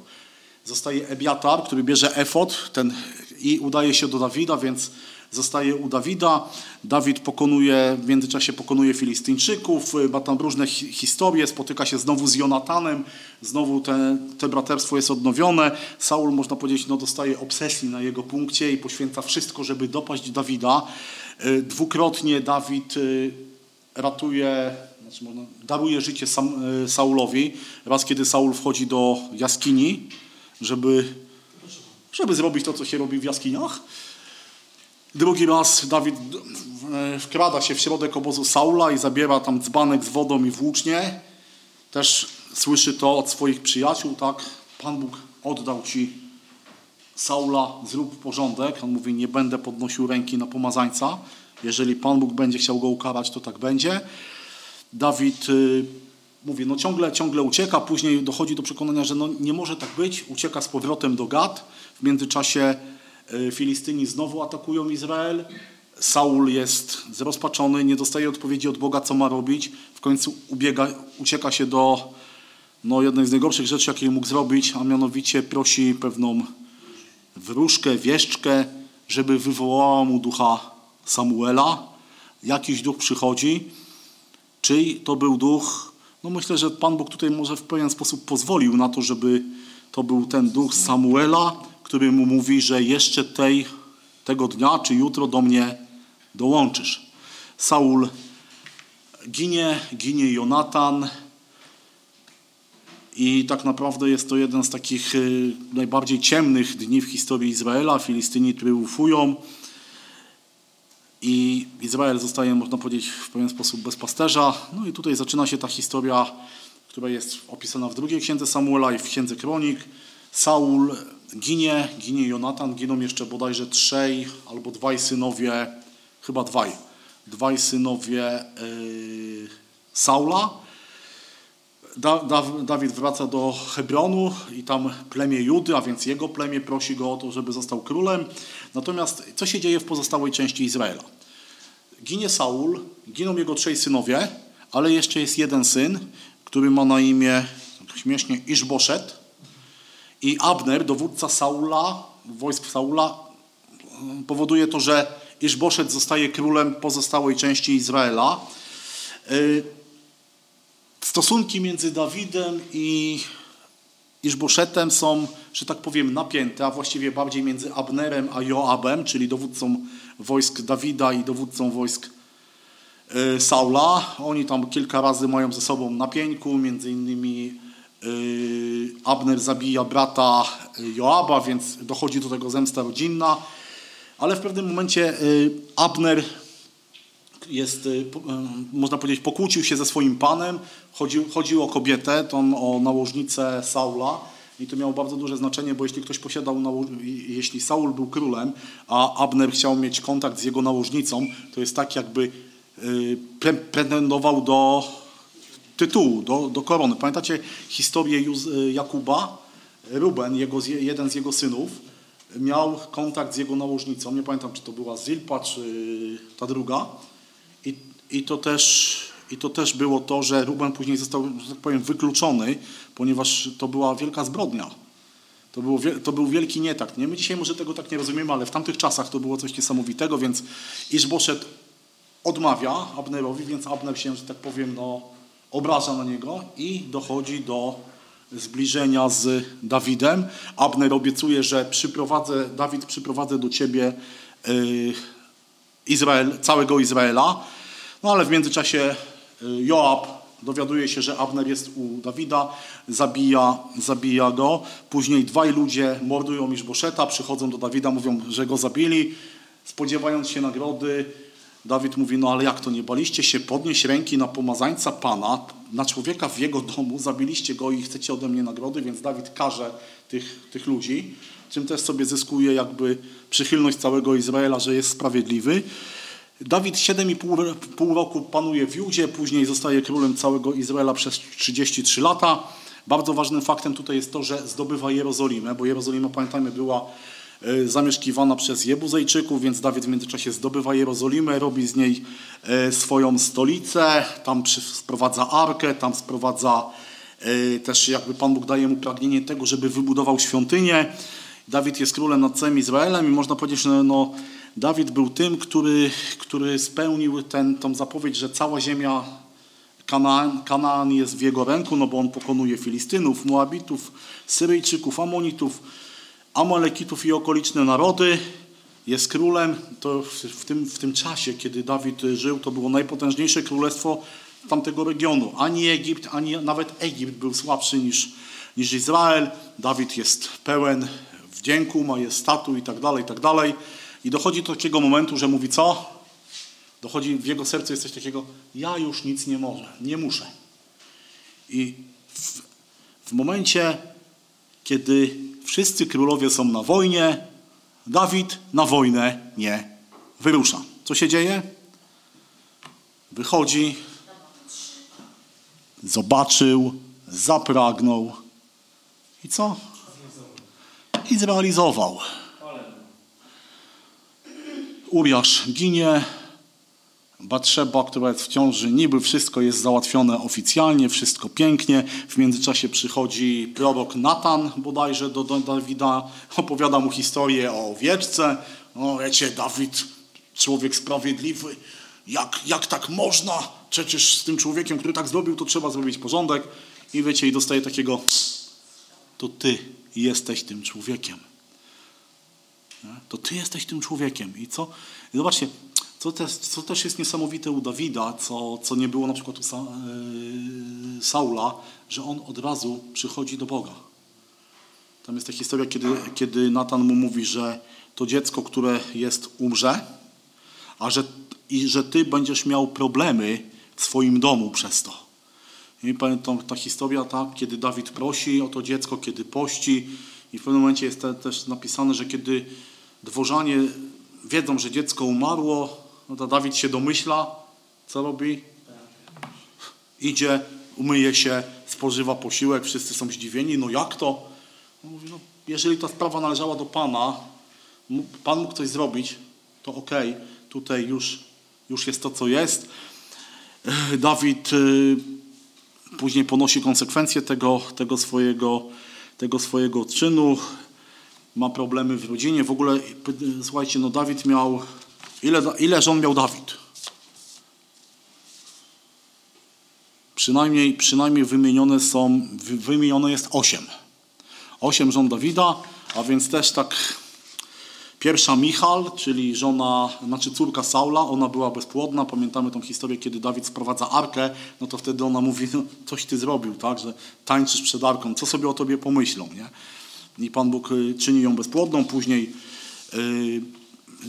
[SPEAKER 1] Zostaje Ebiatar, który bierze efot ten, i udaje się do Dawida, więc zostaje u Dawida. Dawid pokonuje, w międzyczasie pokonuje Filistyńczyków, y, ma tam różne hi- historie, spotyka się znowu z Jonatanem, znowu te, te braterstwo jest odnowione. Saul, można powiedzieć, no, dostaje obsesji na jego punkcie i poświęca wszystko, żeby dopaść Dawida. Y, Dwukrotnie Dawid y, ratuje, znaczy można, daruje życie Sam, y, Saulowi. Raz, kiedy Saul wchodzi do jaskini, żeby, żeby zrobić to, co się robi w jaskiniach. Drugi raz Dawid d- y, wkrada się w środek obozu Saula i zabiera tam dzbanek z wodą i włócznie. Też słyszy to od swoich przyjaciół, tak? Pan Bóg oddał ci Saula, zrób porządek. On mówi, nie będę podnosił ręki na pomazańca. Jeżeli Pan Bóg będzie chciał go ukarać, to tak będzie. Dawid y, mówi, no ciągle, ciągle ucieka, później dochodzi do przekonania, że no nie może tak być, ucieka z powrotem do Gad. W międzyczasie y, Filistyni znowu atakują Izrael. Saul jest zrozpaczony, nie dostaje odpowiedzi od Boga, co ma robić. W końcu ubiega, ucieka się do no, jednej z najgorszych rzeczy, jakiej mógł zrobić, a mianowicie prosi pewną wróżkę, wieszczkę, żeby wywołała mu ducha Samuela. Jakiś duch przychodzi. Czyj to był duch? No myślę, że Pan Bóg tutaj może w pewien sposób pozwolił na to, żeby to był ten duch Samuela, który mu mówi, że jeszcze tej, tego dnia czy jutro do mnie dołączysz. Saul ginie, ginie Jonatan. I tak naprawdę jest to jeden z takich y, najbardziej ciemnych dni w historii Izraela. Filistyni triumfują i Izrael zostaje, można powiedzieć, w pewien sposób bez pasterza. No i tutaj zaczyna się ta historia, która jest opisana w drugiej księdze Samuela i w księdze Kronik. Saul ginie, ginie Jonatan, giną jeszcze bodajże trzej albo dwaj synowie, chyba dwaj, dwaj synowie y, Saula. Da, da, Dawid wraca do Hebronu i tam plemię Judy, a więc jego plemię prosi go o to, żeby został królem. Natomiast co się dzieje w pozostałej części Izraela? Ginie Saul, giną jego trzej synowie, ale jeszcze jest jeden syn, który ma na imię tak śmiesznie Iszboszet. I Abner, dowódca Saula, wojsk Saula, y, powoduje to, że Iszboszet zostaje królem pozostałej części Izraela. Y, Stosunki między Dawidem i Iszboszetem są, że tak powiem, napięte, a właściwie bardziej między Abnerem a Joabem, czyli dowódcą wojsk Dawida i dowódcą wojsk y, Saula. Oni tam kilka razy mają ze sobą napięku, między innymi y, Abner zabija brata y, Joaba, więc dochodzi do tego zemsta rodzinna. Ale w pewnym momencie y, Abner jest, y, po- y, można powiedzieć, pokłócił się ze swoim panem. Chodził, chodził o kobietę, tą, o nałożnicę Saula. I to miało bardzo duże znaczenie, bo jeśli ktoś posiadał, nało- i- jeśli Saul był królem, a Abner chciał mieć kontakt z jego nałożnicą, to jest tak jakby y, pre- pretendował do tytułu, do, do korony. Pamiętacie historię Juz- y, Jakuba? Ruben, jego, z- jeden z jego synów, miał kontakt z jego nałożnicą. Nie pamiętam, czy to była Zilpa, czy ta druga. I, i, to też, I to też było to, że Ruben później został, że tak powiem, wykluczony, ponieważ to była wielka zbrodnia. To, było, wie- to był wielki nietak. Nie? My dzisiaj może tego tak nie rozumiemy, ale w tamtych czasach to było coś niesamowitego, więc Iszboszet odmawia Abnerowi, więc Abner się, że tak powiem, no, obraża na niego i dochodzi do zbliżenia z Dawidem. Abner obiecuje, że przyprowadzę, Dawid przyprowadzę do ciebie y, Izrael, całego Izraela. No ale w międzyczasie y, Joab dowiaduje się, że Abner jest u Dawida, zabija, zabija go. Później dwaj ludzie mordują Iszboszeta, przychodzą do Dawida, mówią, że go zabili. Spodziewając się nagrody, Dawid mówi, no ale jak to, nie baliście się podnieść ręki na pomazańca Pana, na człowieka w jego domu, zabiliście go i chcecie ode mnie nagrody, więc Dawid karze tych, tych ludzi, czym też sobie zyskuje jakby przychylność całego Izraela, że jest sprawiedliwy. Dawid 7,5 r- pół roku panuje w Judzie, później zostaje królem całego Izraela przez 33 lata. Bardzo ważnym faktem tutaj jest to, że zdobywa Jerozolimę, bo Jerozolima, pamiętajmy, była e, zamieszkiwana przez Jebuzejczyków, więc Dawid w międzyczasie zdobywa Jerozolimę, robi z niej e, swoją stolicę, tam przy- sprowadza arkę, tam sprowadza e, też jakby Pan Bóg daje mu pragnienie tego, żeby wybudował świątynię. Dawid jest królem nad całym Izraelem i można powiedzieć, że no, Dawid był tym, który, który spełnił ten, tą zapowiedź, że cała ziemia Kanaan, Kanaan jest w jego ręku, no bo on pokonuje Filistynów, Moabitów, Syryjczyków, Amonitów, Amalekitów i okoliczne narody. Jest królem. To w, w, tym, w tym czasie, kiedy Dawid żył, to było najpotężniejsze królestwo tamtego regionu. Ani Egipt, ani nawet Egipt był słabszy niż, niż Izrael. Dawid jest pełen wdzięku, majestatu i tak dalej, i tak dalej. I dochodzi do takiego momentu, że mówi co? Dochodzi w jego sercu jest coś takiego, ja już nic nie mogę, nie muszę. I w, w momencie, kiedy wszyscy królowie są na wojnie, Dawid na wojnę nie wyrusza. Co się dzieje? Wychodzi, zobaczył, zapragnął i co? I zrealizował.
[SPEAKER 2] Ale
[SPEAKER 1] Uriasz ginie, Batrzeba, która jest w ciąży, niby wszystko jest załatwione oficjalnie, wszystko pięknie. W międzyczasie przychodzi prorok Natan bodajże do, do Dawida, opowiada mu historię o wieczce. No wiecie, Dawid, człowiek sprawiedliwy, jak, jak tak można? Przecież z tym człowiekiem, który tak zrobił, to trzeba zrobić porządek. I wiecie, i dostaje takiego, to ty jesteś tym człowiekiem. Nie? To ty jesteś tym człowiekiem. I co? I zobaczcie, co też, co też jest niesamowite u Dawida, co, co nie było na przykład u Sa- yy, Saula, że on od razu przychodzi do Boga. Tam jest ta historia, kiedy, kiedy Natan mu mówi, że to dziecko, które jest, umrze, a że, i że ty będziesz miał problemy w swoim domu przez to. I pamiętam ta historia, ta, kiedy Dawid prosi o to dziecko, kiedy pości. I w pewnym momencie jest te, też napisane, że kiedy dworzanie wiedzą, że dziecko umarło, no to Dawid się domyśla, co robi. Idzie, umyje się, spożywa posiłek, wszyscy są zdziwieni, no jak to? On mówi, no, jeżeli ta sprawa należała do Pana, mógł, Pan mógł coś zrobić, to okej, tutaj już, już jest to, co jest. Dawid y, później ponosi konsekwencje tego, tego swojego, tego swojego czynu, ma problemy w rodzinie. W ogóle, p- słuchajcie, no Dawid miał, ile, ile żon miał Dawid? Przynajmniej, przynajmniej wymienione są, wy- wymienione jest osiem. Osiem żon Dawida, a więc też tak Pierwsza Michal, czyli żona, znaczy córka Saula, ona była bezpłodna. Pamiętamy tą historię, kiedy Dawid sprowadza arkę, no to wtedy ona mówi, no coś ty zrobił, tak, że tańczysz przed arką, co sobie o tobie pomyślą, nie? I Pan Bóg y, czyni ją bezpłodną, później y,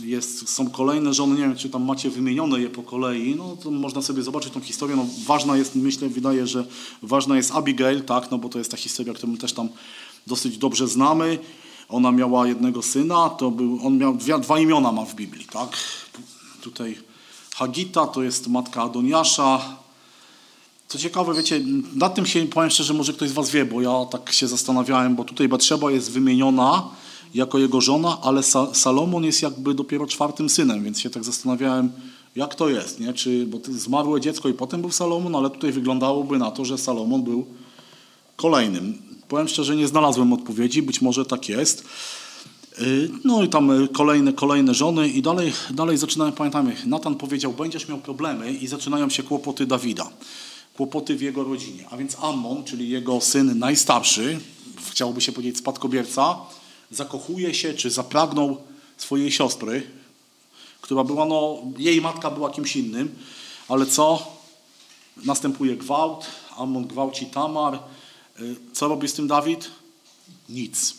[SPEAKER 1] jest, są kolejne żony, nie wiem, czy tam macie wymienione je po kolei, no to można sobie zobaczyć tą historię, no ważna jest, myślę, wydaje, że ważna jest Abigail, tak, no bo to jest ta historia, którą też tam dosyć dobrze znamy. Ona miała jednego syna, to był, on miał dwie, dwa imiona ma w Biblii, tak? Tutaj Hagita to jest matka Adoniasza. Co ciekawe, wiecie, nad tym się powiem szczerze, może ktoś z was wie, bo ja tak się zastanawiałem, bo tutaj Batrzeba jest wymieniona jako jego żona, ale Sa- Salomon jest jakby dopiero czwartym synem, więc się tak zastanawiałem, jak to jest, nie? Czy, bo to zmarłe dziecko i potem był Salomon, ale tutaj wyglądałoby na to, że Salomon był kolejnym. Powiem szczerze, nie znalazłem odpowiedzi, być może tak jest. Yy, No i tam y, kolejne, kolejne żony i dalej, dalej zaczynają, pamiętamy, Natan powiedział, będziesz miał problemy i zaczynają się kłopoty Dawida. Kłopoty w jego rodzinie. A więc Ammon, czyli jego syn najstarszy, chciałoby się powiedzieć spadkobierca, zakochuje się czy zapragnął swojej siostry, która była, no, jej matka była kimś innym, ale co? Następuje gwałt, Ammon gwałci Tamar. Y, Co robi z tym Dawid? Nic.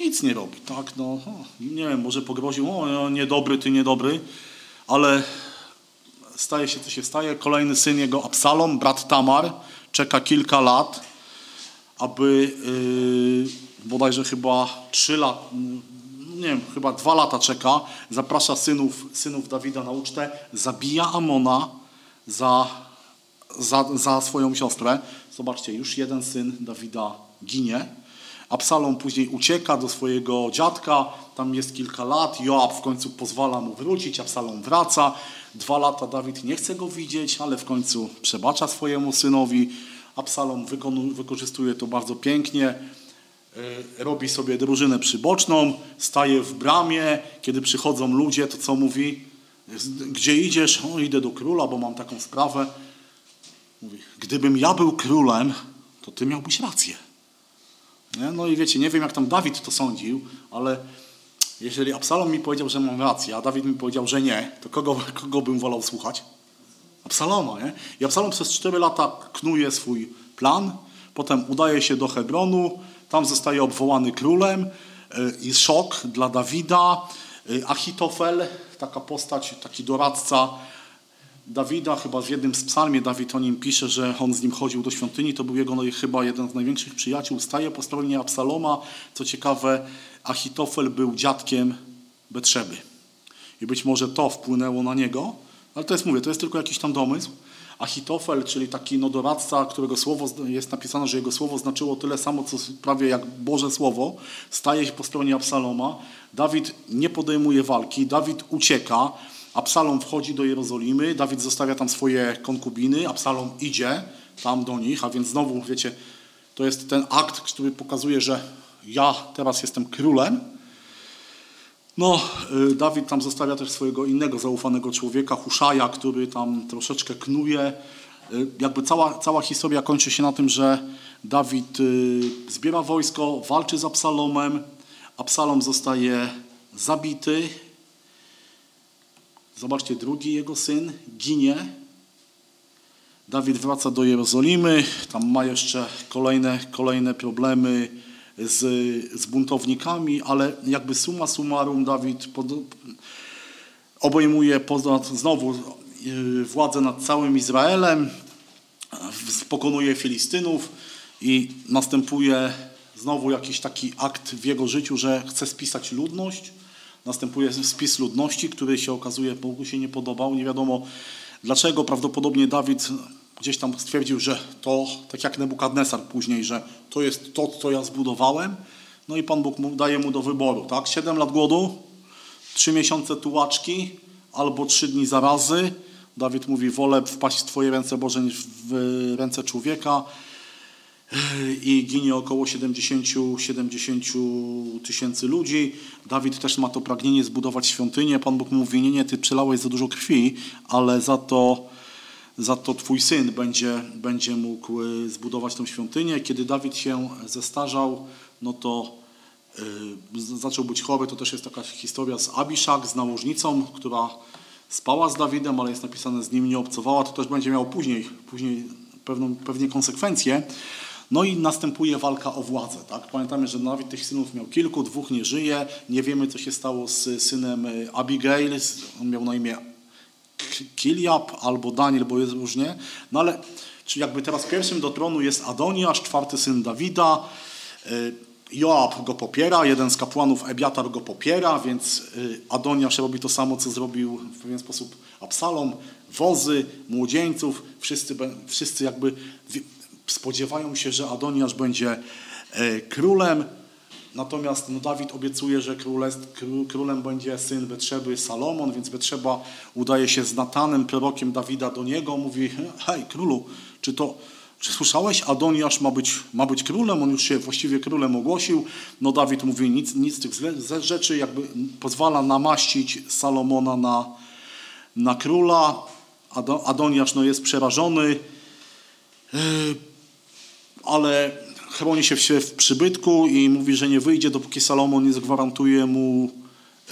[SPEAKER 1] Nic nie robi, tak? No, o, nie wiem, może pogroził, o, o, niedobry, ty niedobry, ale staje się, co się staje. Kolejny syn jego, Absalom, brat Tamar, czeka kilka lat, aby yy, bodajże chyba trzy lata, nie wiem, chyba dwa lata czeka, zaprasza synów, synów Dawida na ucztę, zabija Amona za, za, za swoją siostrę. Zobaczcie, już jeden syn Dawida ginie. Absalom później ucieka do swojego dziadka, tam jest kilka lat, Joab w końcu pozwala mu wrócić, Absalom wraca. Dwa lata Dawid nie chce go widzieć, ale w końcu przebacza swojemu synowi. Absalom wykonu- wykorzystuje to bardzo pięknie y, robi sobie drużynę przyboczną, staje w bramie, kiedy przychodzą ludzie, to co mówi? Gdzie idziesz? O, idę do króla, bo mam taką sprawę. Mówi, gdybym ja był królem, to ty miałbyś rację. Nie? No i wiecie, nie wiem jak tam Dawid to sądził, ale jeżeli Absalom mi powiedział, że mam rację, a Dawid mi powiedział, że nie, to kogo, kogo bym wolał słuchać? Absaloma, nie? I Absalom przez 4 lata knuje swój plan, potem udaje się do Hebronu, tam zostaje obwołany królem y, i szok dla Dawida. Y, Achitofel, taka postać, taki doradca Dawida, chyba w jednym z psalmie Dawid o nim pisze, że on z nim chodził do świątyni, to był jego no, i chyba jeden z największych przyjaciół, staje po stronie Absaloma. Co ciekawe, Achitofel był dziadkiem Betrzeby. I być może to wpłynęło na niego, No ale to jest, mówię, to jest tylko jakiś tam domysł. Achitofel, czyli taki no, doradca, którego słowo zna- jest napisane, że jego słowo znaczyło tyle samo, co s- prawie jak Boże Słowo, staje się po stronie Absaloma. Dawid nie podejmuje walki, Dawid ucieka. Absalom wchodzi do Jerozolimy, Dawid zostawia tam swoje konkubiny, Absalom idzie tam do nich, a więc znowu, wiecie, to jest ten akt, który pokazuje, że ja teraz jestem królem, no, y, Dawid tam zostawia też swojego innego zaufanego człowieka, Huszaja, który tam troszeczkę knuje. Y, Jakby cała, cała historia kończy się na tym, że Dawid y, zbiera wojsko, walczy z Absalomem. Absalom zostaje zabity. Zobaczcie, drugi jego syn ginie. Dawid wraca do Jerozolimy, tam ma jeszcze kolejne, kolejne problemy z, z buntownikami, ale jakby summa summarum Dawid pod, obejmuje poza, znowu yy, władzę nad całym Izraelem, w- pokonuje Filistynów i następuje znowu jakiś taki akt w jego życiu, że chce spisać ludność. Następuje spis ludności, który się okazuje Bogu się nie podobał. Nie wiadomo dlaczego. Prawdopodobnie Dawid gdzieś tam stwierdził, że to, tak jak Nebukadnesar później, że to jest to, co ja zbudowałem. No i Pan Bóg mu, daje mu do wyboru, tak? Siedem lat głodu, trzy miesiące tułaczki albo trzy dni zarazy. Dawid mówi, wolę wpaść w Twoje ręce Boże niż w ręce człowieka. i ginie około 70-70 tysięcy ludzi. Dawid też ma to pragnienie zbudować świątynię. Pan Bóg mu mówi, nie, nie, ty przelałeś za dużo krwi, ale za to, za to twój syn będzie, będzie mógł y, zbudować tą świątynię. Kiedy Dawid się zestarzał, no to y, z- zaczął być chory. To też jest taka historia z Abiszak, z nałożnicą, która spała z Dawidem, ale jest napisane z nim nie obcowała. To też będzie miało później, później pewną, pewnie konsekwencje. No i następuje walka o władzę. Tak? Pamiętamy, że Dawid tych synów miał kilku, dwóch nie żyje. Nie wiemy, co się stało z synem y, Abigail. Z- On miał na imię K- Kiliab albo Daniel, bo jest różnie. No ale czy jakby teraz pierwszym do tronu jest Adoniasz, czwarty syn Dawida. Y, Joab go popiera, jeden z kapłanów Ebiatar go popiera, więc y, Adoniasz robi to samo, co zrobił w pewien sposób Absalom. Wozy, młodzieńców, wszyscy, be- wszyscy jakby wi- spodziewają się, że Adoniasz będzie y, królem. Natomiast no, Dawid obiecuje, że królest, kró- królem będzie syn Betrzeby Salomon, więc Betrzeba udaje się z Natanem, prorokiem Dawida do niego, mówi, hej królu, czy to, czy słyszałeś, Adoniasz ma być, ma być królem, on już się właściwie królem ogłosił. No Dawid mówi, nic, nic z tych zle- ze- rzeczy jakby pozwala namaścić Salomona na, na króla. Ado- Adoniasz no, jest przerażony, ale chroni się w, w przybytku i mówi, że nie wyjdzie, dopóki Salomon nie zgwarantuje mu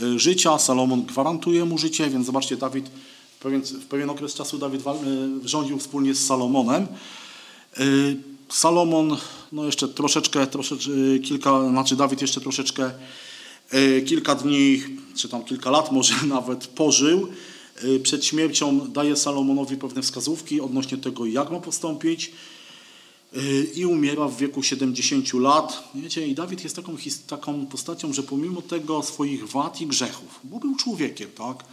[SPEAKER 1] y, życia. Salomon gwarantuje mu życie, więc zobaczcie, Dawid w pewien, w pewien okres czasu Dawid wal- y, rządził wspólnie z Salomonem. Y, Salomon, no jeszcze troszeczkę, troszeczkę y, kilka, znaczy Dawid jeszcze troszeczkę y, kilka dni, czy tam kilka lat może nawet pożył. Y, Przed śmiercią daje Salomonowi pewne wskazówki odnośnie tego, jak ma postąpić Y, i umiera w wieku 70 lat. Wiecie, i Dawid jest taką, his- taką postacią, że pomimo tego swoich wad i grzechów, bo był człowiekiem, tak?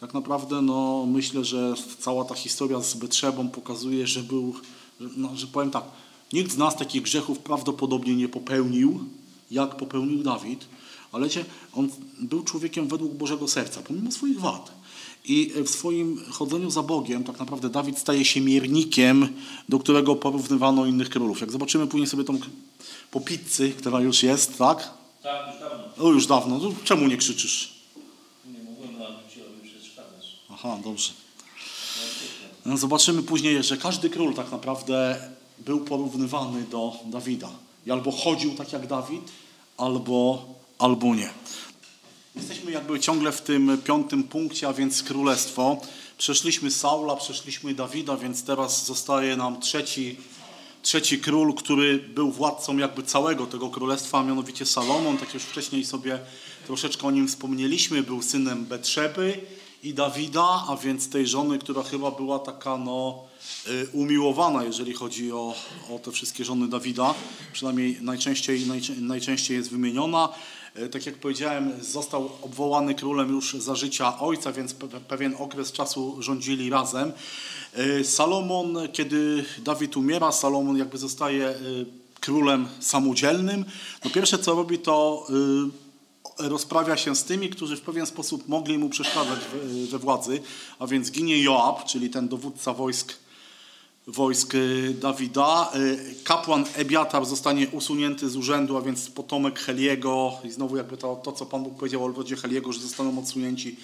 [SPEAKER 1] Tak naprawdę no, myślę, że cała ta historia z Betrzebą pokazuje, że był, że, no, że powiem tak, nikt z nas takich grzechów prawdopodobnie nie popełnił, jak popełnił Dawid, ale wiecie, on był człowiekiem według Bożego serca, pomimo swoich wad. I w swoim chodzeniu za Bogiem tak naprawdę Dawid staje się miernikiem, do którego porównywano innych królów. Jak zobaczymy później sobie tą k- po pizzy, która już jest, tak?
[SPEAKER 2] Tak, już dawno.
[SPEAKER 1] O, już dawno. No, Czemu nie krzyczysz?
[SPEAKER 2] Nie mogłem nauczyć się, aby przeszkadzać.
[SPEAKER 1] Aha, dobrze. No, Zobaczymy później, że każdy król tak naprawdę był porównywany do Dawida. I albo chodził tak jak Dawid, albo, albo nie. Jesteśmy jakby ciągle w tym piątym punkcie, a więc królestwo. Przeszliśmy Saula, przeszliśmy Dawida, więc teraz zostaje nam trzeci, trzeci król, który był władcą jakby całego tego królestwa, a mianowicie Salomon. Tak już wcześniej sobie troszeczkę o nim wspomnieliśmy. Był synem Betrzeby i Dawida, a więc tej żony, która chyba była taka no y, umiłowana, jeżeli chodzi o, o te wszystkie żony Dawida. Przynajmniej najczęściej, najczę- najczęściej jest wymieniona. E, Tak jak powiedziałem, został obwołany królem już za życia ojca, więc pe- pewien okres czasu rządzili razem. E, Salomon, kiedy Dawid umiera, Salomon jakby zostaje e, królem samodzielnym. No pierwsze co robi to e, rozprawia się z tymi, którzy w pewien sposób mogli mu przeszkadzać w- e, we władzy, a więc ginie Joab, czyli ten dowódca wojsk wojsk y, Dawida. Y, Kapłan Ebiatar zostanie usunięty z urzędu, a więc potomek Heliego i znowu jakby to, to co Pan Bóg powiedział o rodzie Heliego, że zostaną odsunięci,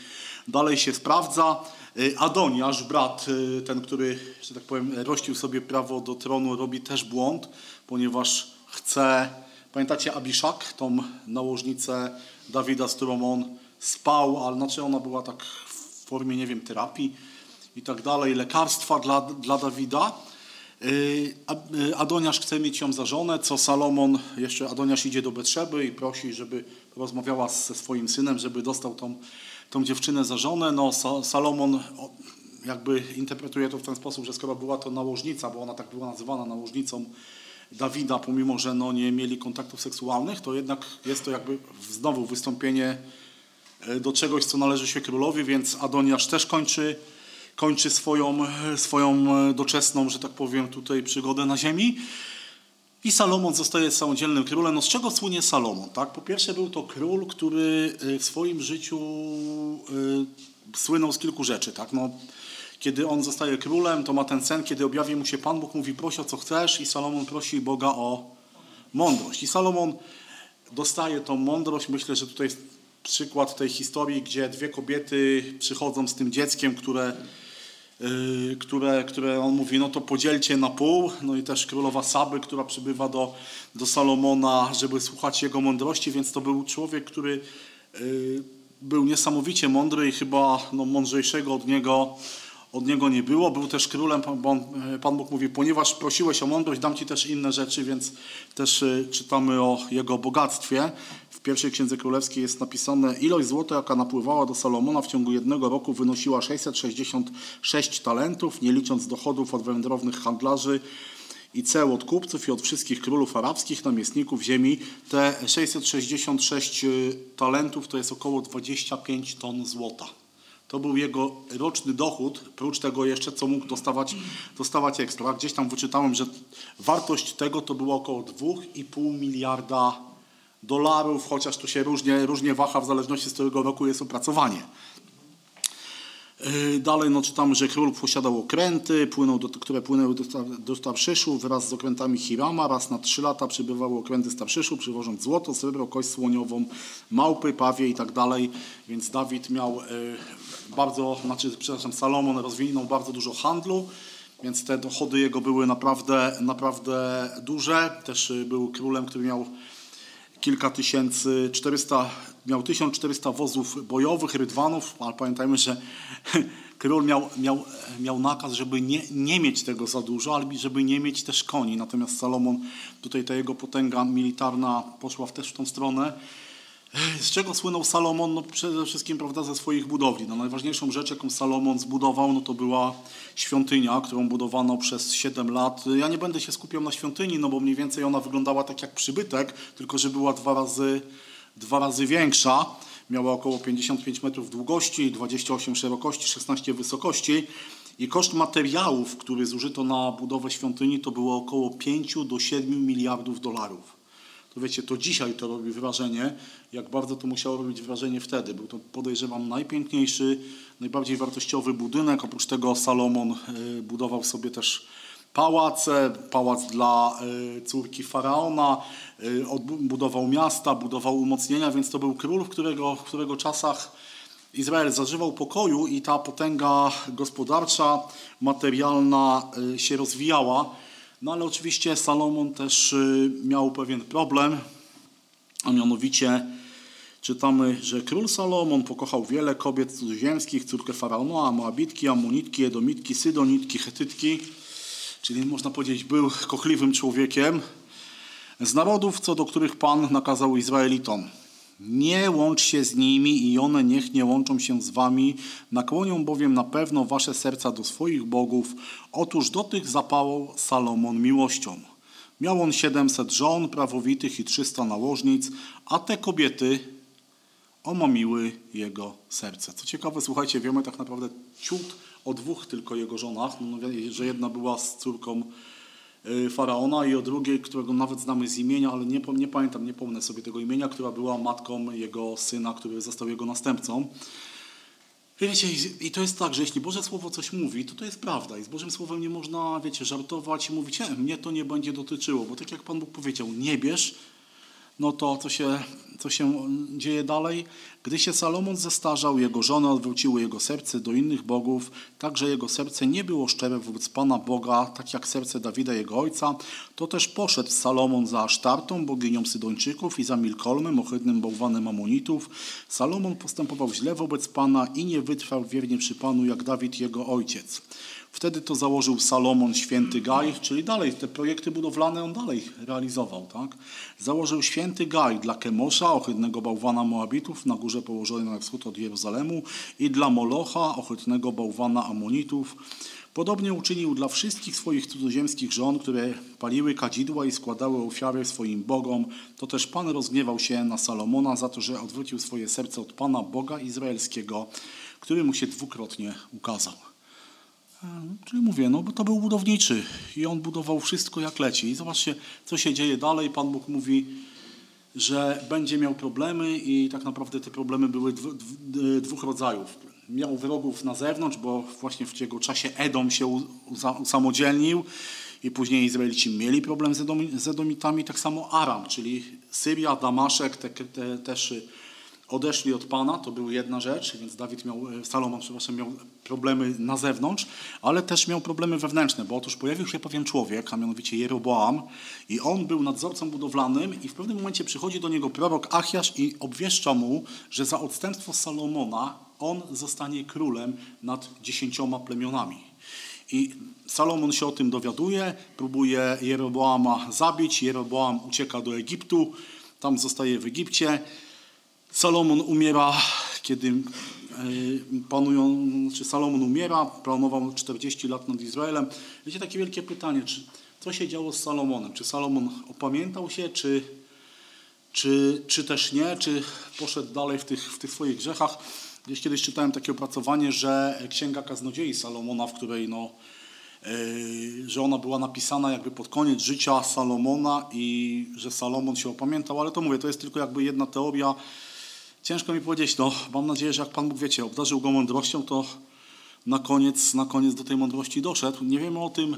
[SPEAKER 1] dalej się sprawdza. Y, Adoniasz, brat, y, ten, który, że tak powiem, rościł sobie prawo do tronu, robi też błąd, ponieważ chce, pamiętacie Abiszak, tą nałożnicę Dawida, z którą on spał, ale znaczy ona była tak w formie, nie wiem, terapii, i tak dalej, lekarstwa dla, dla Dawida. Yy, A- yy, Adoniasz chce mieć ją za żonę, co Salomon, jeszcze Adoniasz idzie do Betrzeby i prosi, żeby rozmawiała ze swoim synem, żeby dostał tą, tą dziewczynę za żonę. No, Sa- Salomon o, jakby interpretuje to w ten sposób, że skoro była to nałożnica, bo ona tak była nazywana nałożnicą Dawida, pomimo że no, nie mieli kontaktów seksualnych, to jednak jest to jakby znowu wystąpienie e, do czegoś, co należy się królowi, więc Adoniasz też kończy, kończy swoją, swoją e, doczesną, że tak powiem, tutaj przygodę na ziemi. I Salomon zostaje samodzielnym królem. No z czego słynie Salomon? Tak? Po pierwsze był to król, który e, w swoim życiu e, słynął z kilku rzeczy. Tak? No, Kiedy on zostaje królem, to ma ten sen, kiedy objawi mu się Pan Bóg, mówi prosi o co chcesz i Salomon prosi Boga o mądrość. I Salomon dostaje tą mądrość. Myślę, że tutaj jest przykład tej historii, gdzie dwie kobiety przychodzą z tym dzieckiem, które, yy, które, które on mówi, no to podzielcie na pół. No i też królowa Saby, która przybywa do, do Salomona, żeby słuchać jego mądrości, więc to był człowiek, który yy, był niesamowicie mądry i chyba no, mądrzejszego od niego od niego nie było. Był też królem, Pan- Pan, Pan Bóg mówi, ponieważ prosiłeś o mądrość, dam Ci też inne rzeczy, więc też y, czytamy o jego bogactwie. W pierwszej Księdze Królewskiej jest napisane, ilość złota, jaka napływała do Salomona w ciągu jednego roku wynosiła 666 talentów, nie licząc dochodów od wędrownych handlarzy i ceł od kupców i od wszystkich królów arabskich, namiestników ziemi. Te 666 y, talentów to jest około 25 ton złota. To był jego roczny dochód, prócz tego jeszcze, co mógł dostawać, dostawać ekstra. Gdzieś tam wyczytałem, że wartość tego to było około 2,5 miliarda dolarów, chociaż tu się różnie, różnie waha w zależności z którego roku jest opracowanie. Yy, Dalej no, czytamy, że król posiadał okręty, płynął do, które płynęły do, Tar- do Tarszyszu wraz z okrętami Hirama. Raz na trzy lata przybywały okręty z Tarszyszu, przywożąc złoto, srebro, kość słoniową, małpy, pawie i tak dalej. Więc Dawid miał yy, bardzo, znaczy, przepraszam, Salomon rozwinął bardzo dużo handlu. Więc te dochody jego były naprawdę, naprawdę duże. Też yy, był królem, który miał kilka tysięcy, 400, miał 1400 wozów bojowych, rydwanów, ale pamiętajmy, że król miał, miał, miał nakaz, żeby nie, nie mieć tego za dużo, ale żeby nie mieć też koni. Natomiast Salomon, tutaj ta jego potęga militarna poszła w też w tą stronę. Z czego słynął Salomon? No przede wszystkim prawda, ze swoich budowli. No, najważniejszą rzecz, jaką Salomon zbudował, no, to była świątynia, którą budowano przez 7 lat. Ja nie będę się skupiał na świątyni, no bo mniej więcej ona wyglądała tak jak przybytek, tylko że była dwa razy, dwa razy większa. Miała około 55 metrów długości, 28 szerokości, 16 wysokości. I koszt materiałów, który zużyto na budowę świątyni, to było około 5 do 7 miliardów dolarów. To wiecie, to dzisiaj to robi wrażenie, jak bardzo to musiało robić wrażenie wtedy. Był to, podejrzewam, najpiękniejszy, najbardziej wartościowy budynek. Oprócz tego Salomon y, budował sobie też pałace, pałac dla y, córki faraona, y, odbu- budował miasta, budował umocnienia, więc to był król, w którego, w którego czasach Izrael zażywał pokoju i ta potęga gospodarcza, materialna y, się rozwijała. No ale oczywiście Salomon też y, miał pewien problem, a mianowicie czytamy, że król Salomon pokochał wiele kobiet cudzoziemskich, córkę faraona, Moabitki, Amonitki, Edomitki, Sydonitki, Chetytki, czyli można powiedzieć był kochliwym człowiekiem z narodów, co do których Pan nakazał Izraelitom. Nie łącz się z nimi i one niech nie łączą się z wami, nakłonią bowiem na pewno wasze serca do swoich bogów. Otóż do tych zapałał Salomon miłością. Miał on 700 żon prawowitych i 300 nałożnic, a te kobiety omamiły jego serce. Co ciekawe, słuchajcie, wiemy tak naprawdę ciut o dwóch tylko jego żonach, no, że jedna była z córką y, faraona i o drugiej, którego nawet znamy z imienia, ale nie, pom- nie pamiętam, nie pomnę sobie tego imienia, która była matką jego syna, który został jego następcą. I wiecie, i- i to jest tak, że jeśli Boże Słowo coś mówi, to to jest prawda. I z Bożym Słowem nie można, wiecie, żartować i mówić, nie, mnie to nie będzie dotyczyło. Bo tak jak Pan Bóg powiedział, nie bierz, no to co się, co się dzieje dalej? Gdy się Salomon zestarzał, jego żony odwróciły jego serce do innych bogów, także jego serce nie było szczere wobec Pana Boga, tak jak serce Dawida, jego ojca. To też poszedł Salomon za Asztartą, boginią Sydończyków i za Milkolmem, ohydnym bałwanem Amonitów. Salomon postępował źle wobec Pana i nie wytrwał wiernie przy Panu, jak Dawid, jego ojciec. Wtedy to założył Salomon Święty Gaj, czyli dalej te projekty budowlane on dalej realizował. Tak? Założył Święty Gaj dla Kemosza, ohydnego bałwana Moabitów, na górze położonej na wschód od Jerozolemu i dla Molocha, ohydnego bałwana Amonitów. Podobnie uczynił dla wszystkich swoich cudzoziemskich żon, które paliły kadzidła i składały ofiary swoim bogom. To też Pan rozgniewał się na Salomona za to, że odwrócił swoje serce od Pana Boga Izraelskiego, który mu się dwukrotnie ukazał. Czyli mówię, no bo to był budowniczy i on budował wszystko jak leci. I zobaczcie, co się dzieje dalej. Pan Bóg mówi, że będzie miał problemy i tak naprawdę te problemy były dwu, dwu, e, dwóch rodzajów. miał wrogów na zewnątrz, bo właśnie w jego czasie Edom się u- uza- usamodzielnił i później Izraelici mieli problem z, Edom, z Edomitami, tak samo Aram, czyli Syria, Damaszek, te, te, też y, odeszli od Pana, to była jedna rzecz, więc Dawid miał, y, Salomon, przepraszam, miał problemy na zewnątrz, ale też miał problemy wewnętrzne, bo otóż pojawił się pewien człowiek, a mianowicie Jeroboam i on był nadzorcą budowlanym i w pewnym momencie przychodzi do niego prorok Achiasz i obwieszcza mu, że za odstępstwo Salomona on zostanie królem nad dziesięcioma plemionami. I Salomon się o tym dowiaduje, próbuje Jeroboama zabić, Jeroboam ucieka do Egiptu, tam zostaje w Egipcie. Salomon umiera, kiedy y, panują, czy Salomon umiera, planował 40 lat nad Izraelem. Wiecie, takie wielkie pytanie, czy, co się działo z Salomonem? Czy Salomon opamiętał się, czy, czy, czy też nie, czy poszedł dalej w tych, w tych swoich grzechach. Gdzieś kiedyś czytałem takie opracowanie, że Księga Kaznodziei Salomona, w której no, yy, że ona była napisana jakby pod koniec życia Salomona i że Salomon się opamiętał, ale to mówię, to jest tylko jakby jedna teoria. Ciężko mi powiedzieć, no mam nadzieję, że jak Pan Bóg, wiecie, obdarzył go mądrością, to na koniec, na koniec do tej mądrości doszedł. Nie wiemy o tym,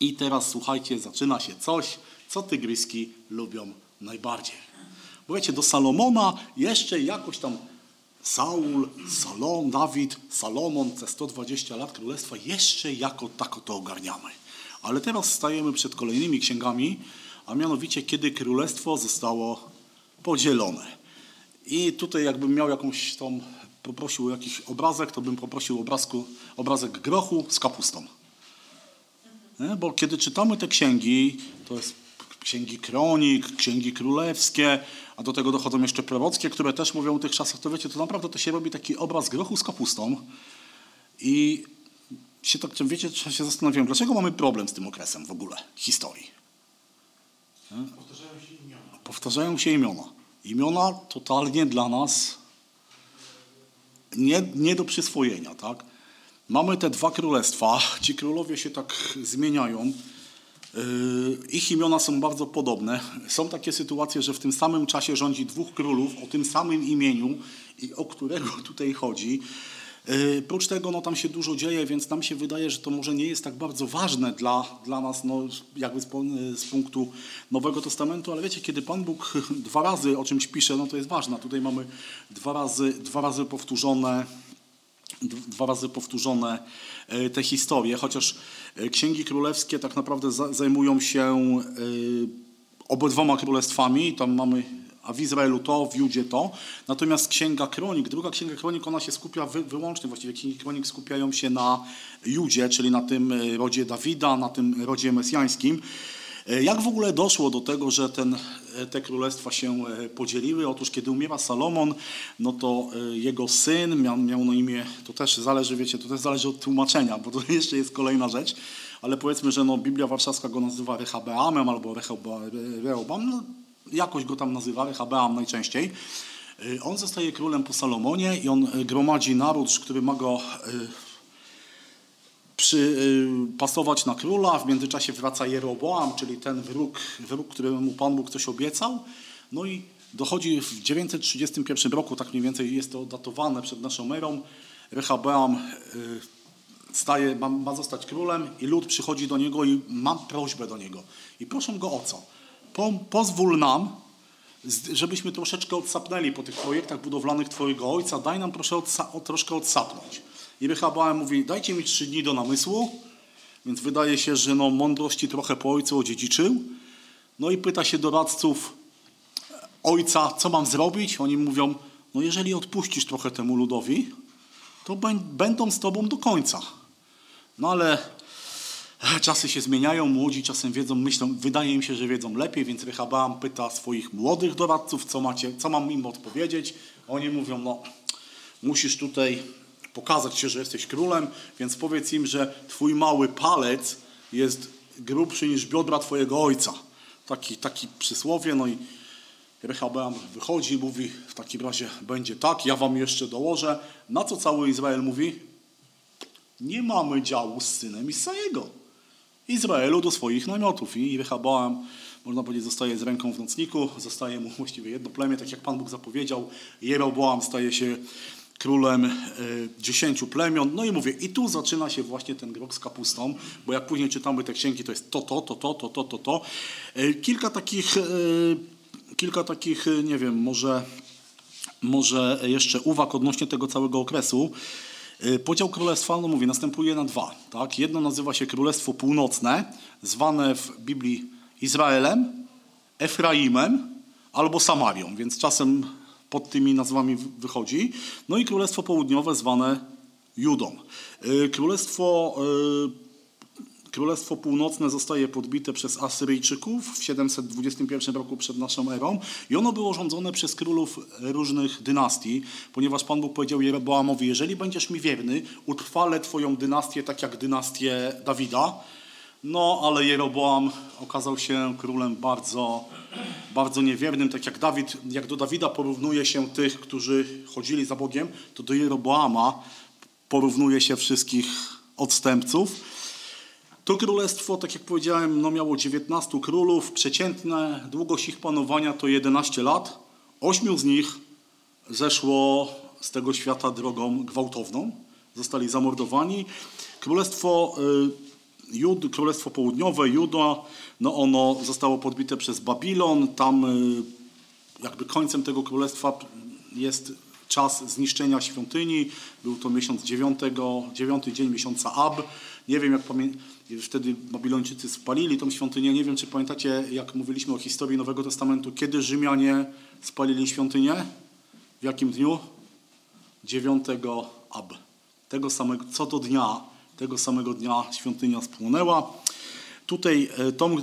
[SPEAKER 1] i teraz słuchajcie, zaczyna się coś, co tygryski lubią najbardziej. Bo wiecie, do Salomona jeszcze jakoś tam Saul, Salom, Dawid, Salomon, te 120 lat królestwa, jeszcze jako tako to ogarniamy. Ale teraz stajemy przed kolejnymi księgami, a mianowicie kiedy królestwo zostało podzielone. I tutaj jakbym miał jakąś tam, poprosił o jakiś obrazek, to bym poprosił obrazku, obrazek grochu z kapustą. Nie? Bo kiedy czytamy te księgi, to jest księgi kronik, księgi królewskie, a do tego dochodzą jeszcze prorockie, które też mówią o tych czasach, to wiecie, to naprawdę to się robi taki obraz grochu z kapustą i się tak, wiecie, się zastanawiam, dlaczego mamy problem z tym okresem w ogóle historii.
[SPEAKER 3] Powtarzają się imiona.
[SPEAKER 1] Powtarzają się imiona. Imiona totalnie dla nas nie, nie do przyswojenia, tak? Mamy te dwa królestwa, ci królowie się tak zmieniają. Yy, Ich imiona są bardzo podobne. Są takie sytuacje, że w tym samym czasie rządzi dwóch królów o tym samym imieniu i o którego tutaj chodzi. Yy, Prócz tego no, tam się dużo dzieje, więc nam się wydaje, że to może nie jest tak bardzo ważne dla, dla nas, no, jakby z, po- yy, z punktu Nowego Testamentu, ale wiecie, kiedy Pan Bóg dwa razy o czymś pisze, no to jest ważne. Tutaj mamy dwa razy, dwa razy powtórzone d- dwa razy powtórzone e, te historie, chociaż e, księgi królewskie tak naprawdę za- zajmują się e, obydwoma królestwami, tam mamy a w Izraelu to, w Judzie to. Natomiast Księga Kronik, druga Księga Kronik, ona się skupia wy, wyłącznie, właściwie Księgi Kronik skupiają się na Judzie, czyli na tym e, rodzie Dawida, na tym rodzie mesjańskim. E, Jak w ogóle doszło do tego, że ten, e, te królestwa się e, podzieliły? Otóż kiedy umiera Salomon, no to e, jego syn miał, miał na imię, to też zależy, wiecie, to też zależy od tłumaczenia, bo to jeszcze jest kolejna rzecz, ale powiedzmy, że no, Biblia Warszawska go nazywa Rehabeamem albo Rehoba- Re- Rehoboam, no, jakoś go tam nazywa, Rehabeam najczęściej. E, On zostaje królem po Salomonie i on e, gromadzi naród, który ma go e, przy, y, pasować na króla, w międzyczasie wraca Jeroboam, czyli ten wróg, wróg, któremu Pan Bóg coś obiecał. No i dochodzi w 931 roku, tak mniej więcej jest to datowane przed naszą erą, Rehabeam y, staje, ma, ma zostać królem i lud przychodzi do niego i mam prośbę do niego. I proszę go o co? Po, pozwól nam, z- żebyśmy troszeczkę odsapnęli po tych projektach budowlanych Twojego Ojca, daj nam proszę odsa- o, troszkę odsapnąć. I Rehabeam mówi, dajcie mi trzy dni do namysłu, więc wydaje się, że no, mądrości trochę po ojcu odziedziczył. No i pyta się doradców e, ojca, co mam zrobić? Oni mówią, no jeżeli odpuścisz trochę temu ludowi, to bę- będą z tobą do końca. No ale Czasy się zmieniają, młodzi czasem wiedzą, myślą, wydaje im się, że wiedzą lepiej, więc Rehabeam pyta swoich młodych doradców, co, macie, co mam im odpowiedzieć. Oni mówią, no musisz tutaj pokazać się, że jesteś królem, więc powiedz im, że twój mały palec jest grubszy niż biodra twojego ojca. Taki, taki przysłowie, no i Rehabeam wychodzi i mówi, w takim razie będzie tak, ja wam jeszcze dołożę. Na co cały Izrael mówi? Nie mamy działu z synem Isajego. Izraelu do swoich namiotów. I Rehaboam, można powiedzieć, zostaje z ręką w nocniku, zostaje mu właściwie jedno plemię, tak jak Pan Bóg zapowiedział. Jeroboam staje się królem y, dziesięciu plemion. No i mówię, i tu zaczyna się właśnie ten grog z kapustą, bo jak później czytamy te księgi, to jest to, to, to, to, to, to, to, to. Y, Kilka takich, y, kilka takich, y, nie wiem, może może jeszcze uwag odnośnie tego całego okresu. Y, Podział królestwa, no mówię, następuje na dwa. Tak? Jedno nazywa się Królestwo Północne, zwane w Biblii Izraelem, Efraimem albo Samarią, więc czasem pod tymi nazwami w- wychodzi. No i Królestwo Południowe zwane Judą. Y, Królestwo y, Królestwo Północne zostaje podbite przez Asyryjczyków w 721 roku przed naszą erą i ono było rządzone przez królów różnych dynastii, ponieważ Pan Bóg powiedział Jeroboamowi, jeżeli będziesz mi wierny, utrwalę twoją dynastię tak jak dynastię Dawida. No, ale Jeroboam okazał się królem bardzo, bardzo niewiernym, tak jak Dawid, jak do Dawida porównuje się tych, którzy chodzili za Bogiem, to do Jeroboama porównuje się wszystkich odstępców. To królestwo, tak jak powiedziałem, no miało 19 królów. Przeciętne długość ich panowania to 11 lat. Ośmiu z nich zeszło z tego świata drogą gwałtowną. Zostali zamordowani. Królestwo, y, Jud, królestwo południowe, Juda, no ono zostało podbite przez Babilon. Tam y, jakby końcem tego królestwa jest czas zniszczenia świątyni. Był to miesiąc dziewiątego, dziewiąty dzień miesiąca Ab. Nie wiem, jak pamię... wtedy Babilończycy spalili tą świątynię. Nie wiem, czy pamiętacie, jak mówiliśmy o historii Nowego Testamentu, kiedy Rzymianie spalili świątynię? W jakim dniu? Dziewiątego Ab. Tego samego, co do dnia, tego samego dnia świątynia spłonęła. Tutaj e, tą, e,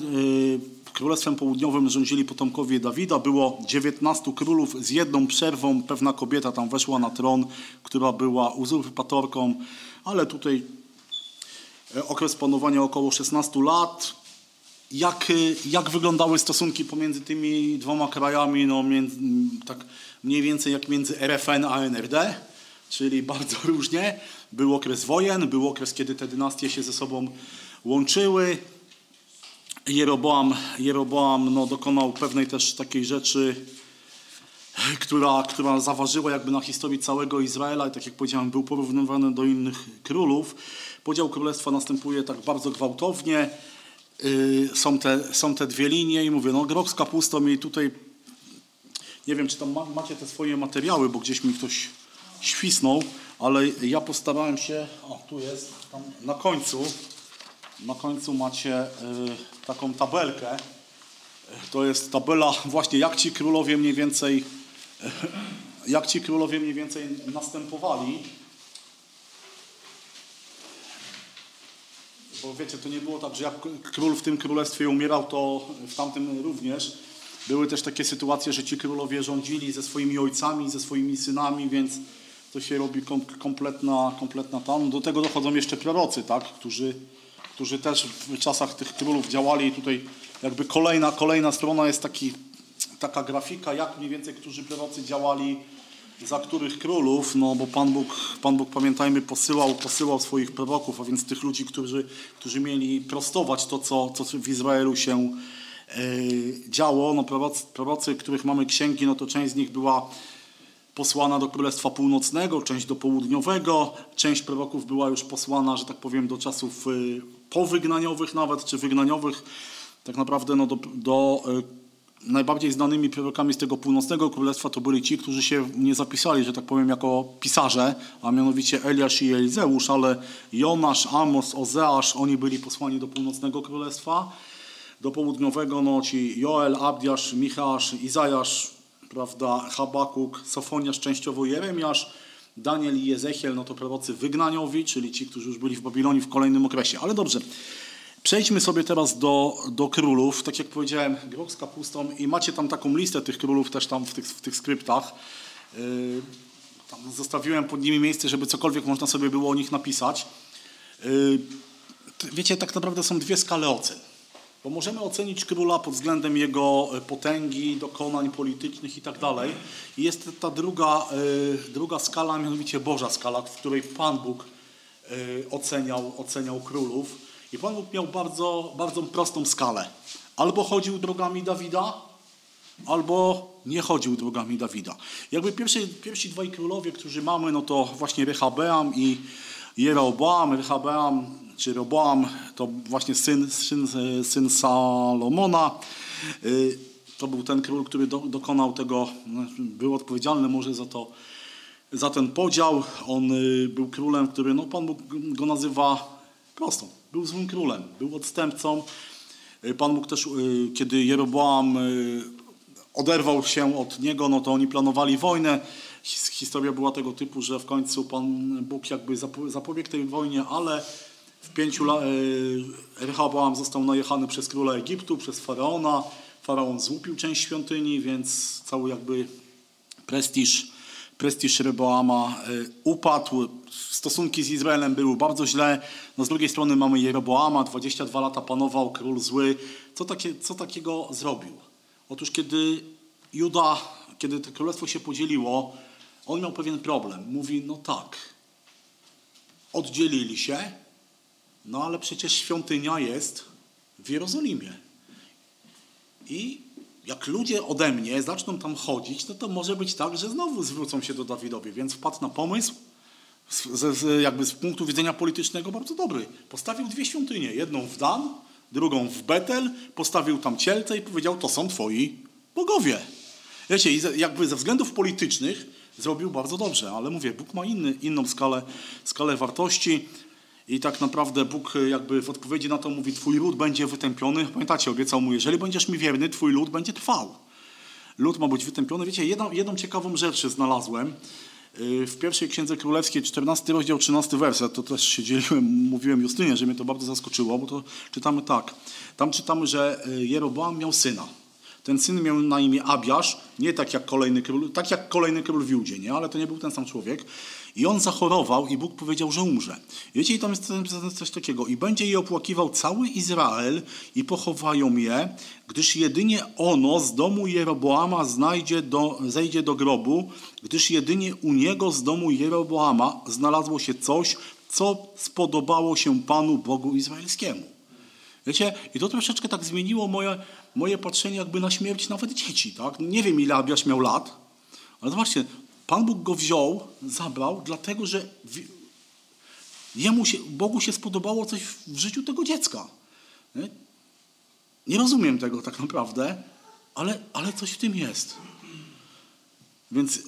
[SPEAKER 1] Królestwem Południowym rządzili potomkowie Dawida. Było 19 królów z jedną przerwą. Pewna kobieta tam weszła na tron, która była uzurpatorką, ale tutaj e, okres panowania około 16 lat. Jak, y, jak wyglądały stosunki pomiędzy tymi dwoma krajami, no, między, m, tak mniej więcej jak między RFN a NRD, czyli bardzo różnie. Był okres wojen, był okres, kiedy te dynastie się ze sobą łączyły. Jeroboam, Jeroboam no, dokonał pewnej też takiej rzeczy, która, która zaważyła jakby na historii całego Izraela i tak jak powiedziałem, był porównywany do innych królów. Podział królestwa następuje tak bardzo gwałtownie. Yy, są, te, są te dwie linie i mówię, no grok z kapustą i tutaj nie wiem, czy tam ma, macie te swoje materiały, bo gdzieś mi ktoś świsnął, ale ja postarałem się, o tu jest, tam na końcu, na końcu macie y, taką tabelkę. To jest tabela właśnie jak ci królowie mniej więcej jak ci królowie mniej więcej następowali. Bo wiecie, to nie było tak, że jak król w tym królestwie umierał, to w tamtym również. Były też takie sytuacje, że ci królowie rządzili ze swoimi ojcami, ze swoimi synami, więc to się robi kom- kompletna, kompletna tam. Do tego dochodzą jeszcze prorocy, tak, którzy, którzy też w czasach tych królów działali. I tutaj jakby kolejna, kolejna strona jest taki, taka grafika, jak mniej więcej którzy prorocy działali za których królów, no bo Pan Bóg, Pan Bóg pamiętajmy, posyłał, posyłał swoich proroków, a więc tych ludzi, którzy, którzy mieli prostować to, co, co w Izraelu się e, działo. No prorocy, prorocy, których mamy księgi, no to część z nich była posłana do Królestwa Północnego, część do Południowego, część proroków była już posłana, że tak powiem, do czasów y, powygnaniowych nawet, czy wygnaniowych. Tak naprawdę no, do, do y, najbardziej znanymi prorokami z tego Północnego Królestwa to byli ci, którzy się nie zapisali, że tak powiem, jako pisarze, a mianowicie Eliasz i Elizeusz, ale Jonasz, Amos, Ozeasz, oni byli posłani do Północnego Królestwa. Do południowego no ci Joel, Abdiasz, Michasz, Izajasz, prawda, Habakuk, Sofoniasz, częściowo Jeremiasz, Daniel i Jezechiel, no to prorocy wygnaniowi, czyli ci, którzy już byli w Babilonii w kolejnym okresie. Ale dobrze, przejdźmy sobie teraz do, do królów. Tak jak powiedziałem, groch z kapustą i macie tam taką listę tych królów też tam w tych, w tych skryptach. Yy, tam zostawiłem pod nimi miejsce, żeby cokolwiek można sobie było o nich napisać. Yy, t- wiecie, tak naprawdę są dwie skale ocen. Bo możemy ocenić króla pod względem jego e, potęgi, dokonań politycznych i tak dalej. I jest ta druga, e, druga skala, mianowicie Boża skala, w której Pan Bóg e, oceniał, oceniał królów. I Pan Bóg miał bardzo, bardzo prostą skalę. Albo chodził drogami Dawida, albo nie chodził drogami Dawida. Jakby pierwsi, pierwsi dwaj królowie, którzy mamy, no to właśnie Rehabeam i Jeroboam. Rehabeam czy Roboam to właśnie syn, syn, syn Salomona. Y, To był ten król, który do, dokonał tego, znaczy, był odpowiedzialny może za to, za ten podział. On y, był królem, który, no Pan Bóg go nazywa prostą. Był złym królem, był odstępcą. Y, Pan Bóg też, y, kiedy Jeroboam y, oderwał się od niego, no to oni planowali wojnę. His- Historia była tego typu, że w końcu Pan Bóg jakby zapo- zapobiegł tej wojnie, ale w pięciu latach Rehoboam został najechany przez króla Egiptu, przez faraona. Faraon złupił część świątyni, więc cały jakby prestiż, prestiż Jeroboama y, upadł. Stosunki z Izraelem były bardzo źle. No z drugiej strony mamy Jeroboama, 22 lata panował, król zły. Co, takie, co takiego zrobił? Otóż kiedy Juda, kiedy to królestwo się podzieliło, on miał pewien problem. Mówi, no tak, oddzielili się, no ale przecież świątynia jest w Jerozolimie. I jak ludzie ode mnie zaczną tam chodzić, no to może być tak, że znowu zwrócą się do Dawidowi. Więc wpadł na pomysł, z, z, z, jakby z punktu widzenia politycznego bardzo dobry. Postawił dwie świątynie, jedną w Dan, drugą w Betel, postawił tam cielce i powiedział, to są twoi bogowie. Wiecie, i ze- jakby ze względów politycznych zrobił bardzo dobrze, ale mówię, Bóg ma inny, inną skalę, skalę wartości. I tak naprawdę Bóg y, jakby w odpowiedzi na to mówi, twój lud będzie wytępiony. Pamiętacie, obiecał mu, jeżeli będziesz mi wierny, twój lud będzie trwał. Lud ma być wytępiony. Wiecie, jedną, jedną ciekawą rzecz znalazłem y, w pierwszej Księdze Królewskiej, 14 rozdział, 13 werset. To też się dzieliłem, mówiłem Justynie, że mnie to bardzo zaskoczyło, bo to czytamy tak. Tam czytamy, że y, Jeroboam miał syna. Ten syn miał na imię Abiasz, nie tak jak kolejny król, tak jak kolejny król w Judzie, nie? ale to nie był ten sam człowiek. I on zachorował i Bóg powiedział, że umrze. Wiecie, i tam jest napisane coś takiego. I będzie je opłakiwał cały Izrael i pochowają je, gdyż jedynie ono z domu Jeroboama znajdzie do, zejdzie do grobu, gdyż jedynie u niego z domu Jeroboama znalazło się coś, co spodobało się Panu Bogu Izraelskiemu. Wiecie, i to troszeczkę tak zmieniło moje, moje patrzenie jakby na śmierć nawet dzieci, tak? Nie wiem, ile Abiasz miał lat, ale zobaczcie, Pan Bóg go wziął, zabrał, dlatego że wi- jemu się, Bogu się spodobało coś w w życiu tego dziecka. Nie, nie rozumiem tego tak naprawdę, ale, ale coś w tym jest. Więc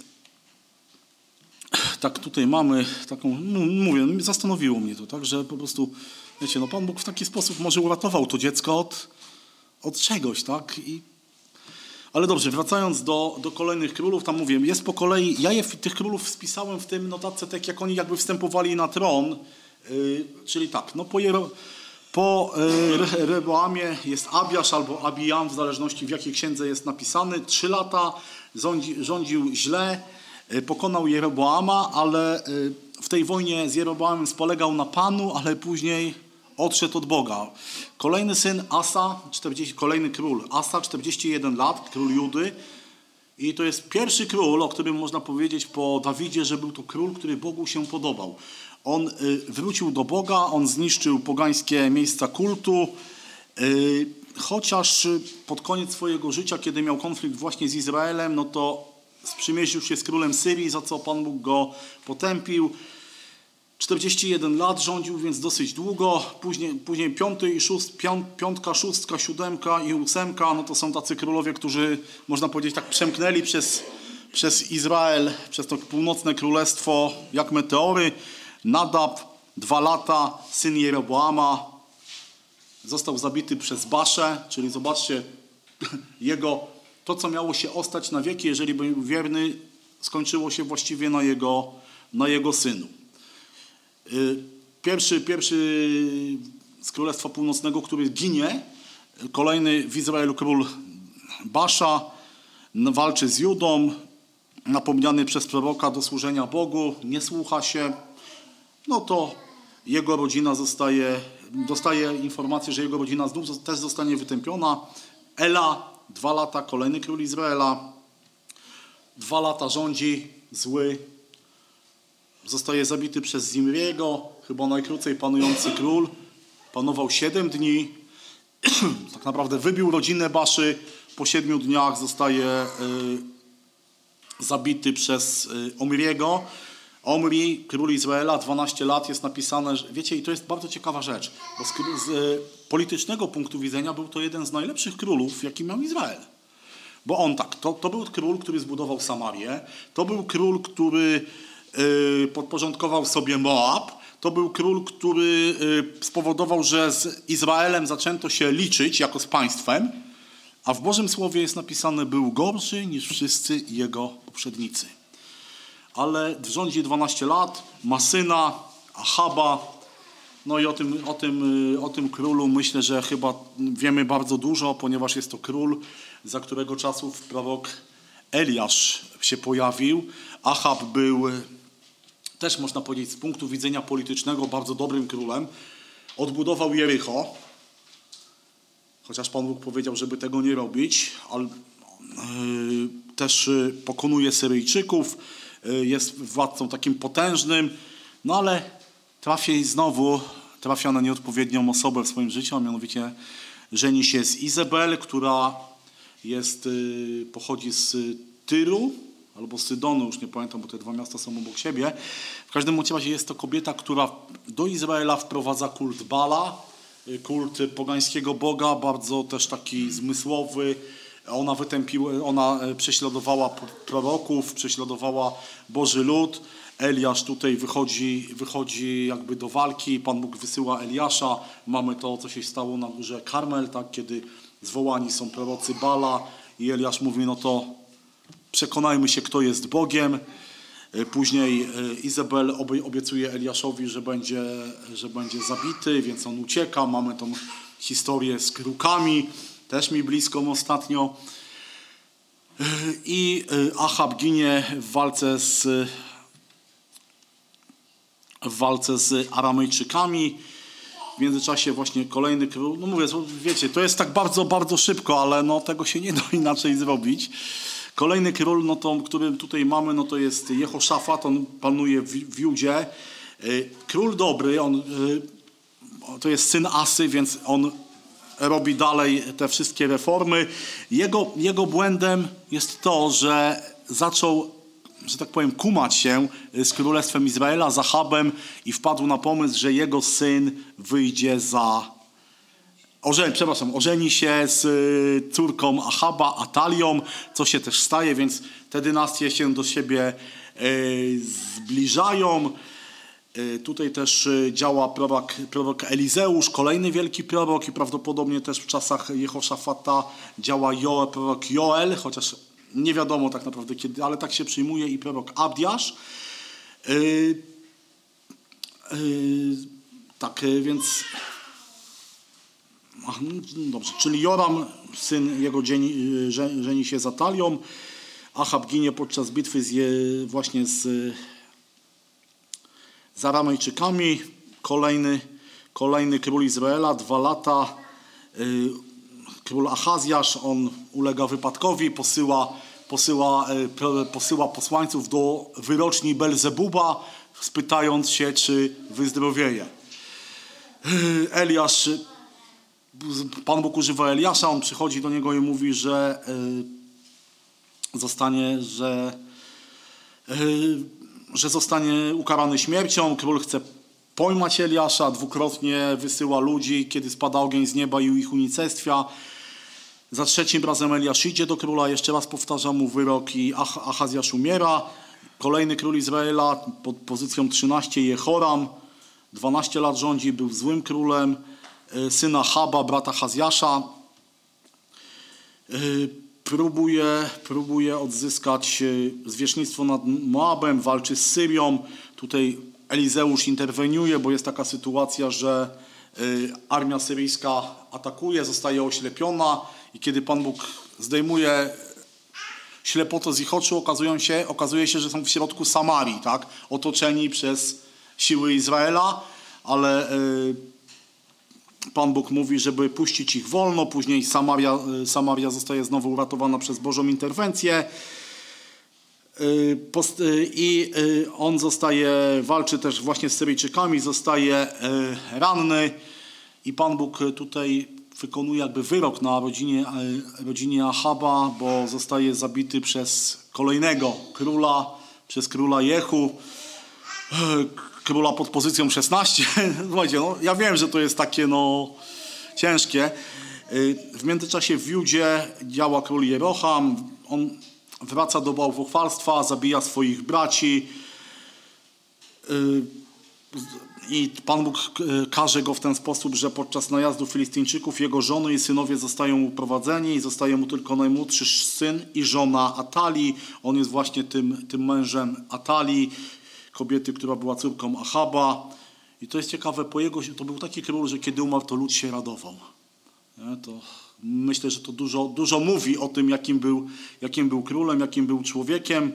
[SPEAKER 1] tak tutaj mamy taką, no, mówię, no, zastanowiło mnie to, tak, że po prostu, wiecie, no Pan Bóg w taki sposób może uratował to dziecko od, od czegoś, tak, i ale dobrze, wracając do, do kolejnych królów, tam mówię, jest po kolei, ja je, tych królów spisałem w tym notatce, tak jak oni jakby wstępowali na tron, yy, czyli tak, no po, Jero, po yy, Re- Reboamie jest Abiasz albo Abijam, w zależności w jakiej księdze jest napisany, trzy lata rządzi, rządził źle, yy, pokonał Jeroboama, ale yy, w tej wojnie z Jeroboamem spolegał na Panu, ale później odszedł od Boga. Kolejny syn Asa, 40, kolejny król Asa, 41 lat, król Judy. I to jest pierwszy król, o którym można powiedzieć po Dawidzie, że był to król, który Bogu się podobał. On y, wrócił do Boga, on zniszczył pogańskie miejsca kultu. Y, chociaż y, pod koniec swojego życia, kiedy miał konflikt właśnie z Izraelem, no to sprzymierzył się z królem Syrii, za co Pan Bóg go potępił. 41 lat rządził, więc dosyć długo. Później, później piąty i szóst, pią, piątka, szóstka, siódemka i ósemka, no to są tacy królowie, którzy można powiedzieć tak przemknęli przez, przez Izrael, przez to północne królestwo jak meteory. Nadab, dwa lata, syn Jeroboama, został zabity przez Baszę, czyli zobaczcie, jego, to co miało się ostać na wieki, jeżeli był wierny, skończyło się właściwie na jego, na jego synu. Y, Pierwszy, pierwszy z Królestwa Północnego, który ginie, kolejny w Izraelu król Basza, n- walczy z Judą, napomniany przez proroka do służenia Bogu, nie słucha się, no to jego rodzina zostaje, dostaje informację, że jego rodzina znów zos- też zostanie wytępiona. Ela, dwa lata, kolejny król Izraela, dwa lata rządzi, zły, zostaje zabity przez Zimriego, chyba najkrócej panujący król. Panował 7 dni. tak naprawdę wybił rodzinę Baszy, Po siedmiu dniach zostaje y, zabity przez y, Omriego. Omri, król Izraela, 12 lat jest napisane, że, wiecie, i to jest bardzo ciekawa rzecz, bo z, kró- z y, politycznego punktu widzenia był to jeden z najlepszych królów, jaki miał Izrael. Bo on tak, to, to był król, który zbudował Samarię, to był król, który y, podporządkował sobie Moab, to był król, który y, spowodował, że z Izraelem zaczęto się liczyć jako z państwem, a w Bożym Słowie jest napisane, był gorszy niż wszyscy jego poprzednicy. Ale rządzi 12 lat, ma syna, Ahaba, no i o tym, o, tym, y, o tym królu myślę, że chyba wiemy bardzo dużo, ponieważ jest to król, za którego czasów prorok Eliasz się pojawił. Ahab był y, też, można powiedzieć, z punktu widzenia politycznego bardzo dobrym królem. Odbudował Jericho, chociaż Pan Bóg powiedział, żeby tego nie robić, ale yy, też yy, pokonuje Syryjczyków, yy, jest władcą takim potężnym, no ale trafi znowu, trafia na nieodpowiednią osobę w swoim życiu, a mianowicie żeni się z Izabel, która jest, yy, pochodzi z Tyru albo Sydonu, już nie pamiętam, bo te dwa miasta są obok siebie. W każdym bądź razie jest to kobieta, która do Izraela wprowadza kult Bala, y, kult pogańskiego boga, bardzo też taki zmysłowy. Ona wytępiła, ona e, prześladowała p- proroków, prześladowała Boży lud. Eliasz tutaj wychodzi, wychodzi jakby do walki, Pan Bóg wysyła Eliasza. Mamy to, co się stało na górze Karmel, tak, kiedy zwołani są prorocy Bala i Eliasz mówi, no to przekonajmy się, kto jest Bogiem. Y, Później y, Izabel obie- obiecuje Eliaszowi, że będzie, że będzie zabity, więc on ucieka. Mamy tą historię z krukami, też mi bliską ostatnio. Y, I y, Ahab ginie w walce z, w walce z Aramejczykami. W międzyczasie właśnie kolejny król. No mówię, wiecie, to jest tak bardzo, bardzo szybko, ale no tego się nie da inaczej zrobić. Kolejny król, no to, który tutaj mamy, no to jest Jehoszafat, on panuje w, w Judzie. Y, Król dobry, on y, to jest syn Asy, więc on robi dalej te wszystkie reformy. Jego, jego błędem jest to, że zaczął że tak powiem, kumać się z królestwem Izraela, z Ahabem i wpadł na pomysł, że jego syn wyjdzie za... Ożeni, przepraszam, ożeni się z y, córką Ahaba, Atalią, co się też staje, więc te dynastie się do siebie y, zbliżają. Y, Tutaj też y, działa prorok, prorok Elizeusz, kolejny wielki prorok i prawdopodobnie też w czasach Jehoszafata działa jo, prorok Joel, chociaż nie wiadomo tak naprawdę kiedy, ale tak się przyjmuje i prorok Abdiasz. Y, y, tak, y, więc Ach, no, Dobrze, czyli Joram, syn jego dzień, że, żeni się z Atalią. Achab ginie podczas bitwy z, je, właśnie z, y, z Aramejczykami. Kolejny, kolejny król Izraela, dwa lata. y, Król Achazjasz, on ulega wypadkowi, posyła, posyła, y, pro- posyła posłańców do wyroczni Belzebuba, spytając się, czy wyzdrowieje. Y, Eliasz y, Pan Bóg używa Eliasza, on przychodzi do niego i mówi, że y, zostanie, że, y, że zostanie ukarany śmiercią. Król chce pojmać Eliasza, dwukrotnie wysyła ludzi, kiedy spada ogień z nieba i ich unicestwia. Za trzecim razem Eliasz idzie do króla, jeszcze raz powtarza mu wyrok i Ach- Achazjasz umiera. Kolejny król Izraela pod pozycją 13 Jehoram. 12 lat rządzi, był złym królem. Y, Syna Haba, brata Hazjasza. Y, Próbuje, próbuje odzyskać y, zwierzchnictwo nad Moabem, walczy z Syrią. Tutaj Elizeusz interweniuje, bo jest taka sytuacja, że y, armia syryjska atakuje, zostaje oślepiona i kiedy Pan Bóg zdejmuje ślepotę z ich oczu, okazują się, okazuje się, że są w środku Samarii, tak? otoczeni przez siły Izraela, ale y, Pan Bóg mówi, żeby puścić ich wolno, później Samaria, y, Samaria zostaje znowu uratowana przez Bożą interwencję. Y, post- y, I y, on zostaje, walczy też właśnie z Syryjczykami, zostaje y, ranny i Pan Bóg tutaj wykonuje jakby wyrok na rodzinie, e, rodzinie Ahaba, bo zostaje zabity przez kolejnego króla, przez króla Jehu, e, króla pod pozycją 16. Słuchajcie, no, ja wiem, że to jest takie no, ciężkie. E, W międzyczasie w Judzie działa król Jeroham, on wraca do bałwochwalstwa, zabija swoich braci, Y, i Pan Bóg y, karze go w ten sposób, że podczas najazdu Filistyńczyków jego żony i synowie zostają uprowadzeni i zostaje mu tylko najmłodszy syn i żona Atali. On jest właśnie tym, tym mężem Atali, kobiety, która była córką Achaba. I to jest ciekawe, po jego, to był taki król, że kiedy umarł, to lud się radował. Nie? To myślę, że to dużo, dużo mówi o tym, jakim był, jakim był królem, jakim był człowiekiem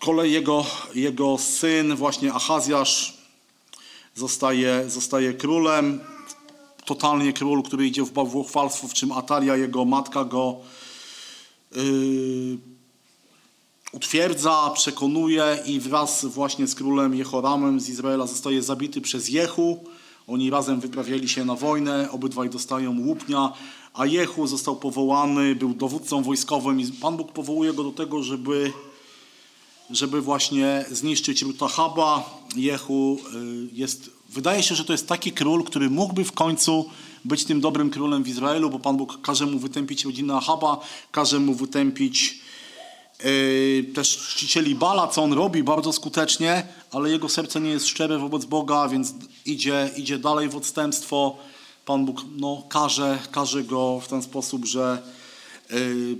[SPEAKER 1] kolej jego, jego syn, właśnie Achazjasz, zostaje, zostaje królem. Totalnie król, który idzie w bałwochwalstwo, w czym Atalia, jego matka, go yy, utwierdza, przekonuje i wraz właśnie z królem Jehoramem z Izraela zostaje zabity przez Jehu. Oni razem wyprawiali się na wojnę, obydwaj dostają łupnia, a Jehu został powołany, był dowódcą wojskowym i Pan Bóg powołuje go do tego, żeby żeby właśnie zniszczyć Rutahaba. Jehu y, jest, wydaje się, że to jest taki król, który mógłby w końcu być tym dobrym królem w Izraelu, bo Pan Bóg każe mu wytępić rodzinę Ahaba, każe mu wytępić y, też czcicieli Bala, co on robi bardzo skutecznie, ale jego serce nie jest szczere wobec Boga, więc idzie, idzie dalej w odstępstwo. Pan Bóg no, karze, karze go w ten sposób, że y,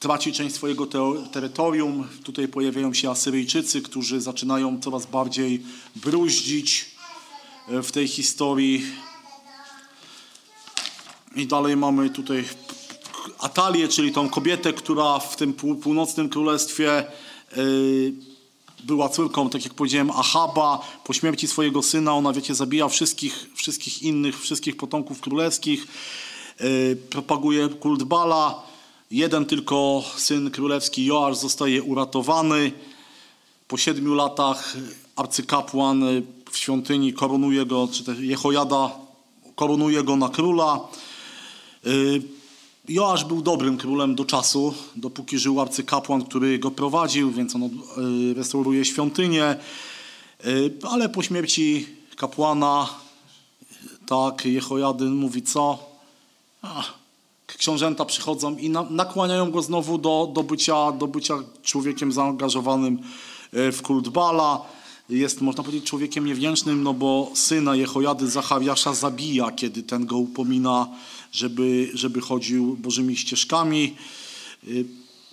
[SPEAKER 1] traci część swojego teo- terytorium. Tutaj pojawiają się Asyryjczycy, którzy zaczynają coraz bardziej bruździć e, w tej historii. I dalej mamy tutaj Atalię, czyli tą kobietę, która w tym pół- północnym królestwie y, była córką, tak jak powiedziałem, Ahaba. Po śmierci swojego syna ona, wiecie, zabija wszystkich, wszystkich innych, wszystkich potomków królewskich. Y, propaguje kult Bala. Jeden tylko syn królewski, Joasz, zostaje uratowany. Po siedmiu latach arcykapłan y, w świątyni koronuje go, czy też Jehojada koronuje go na króla. Y, Joasz był dobrym królem do czasu, dopóki żył arcykapłan, który go prowadził, więc on y, restauruje świątynię. Y, Ale po śmierci kapłana, tak, Jehojadyn mówi co? Ach, książęta przychodzą i na, nakłaniają go znowu do, do, bycia, do bycia człowiekiem zaangażowanym e, w kult Bala. Jest, można powiedzieć, człowiekiem niewdzięcznym, no bo syna Jehojady Zachariasza zabija, kiedy ten go upomina, żeby, żeby chodził Bożymi ścieżkami. Y,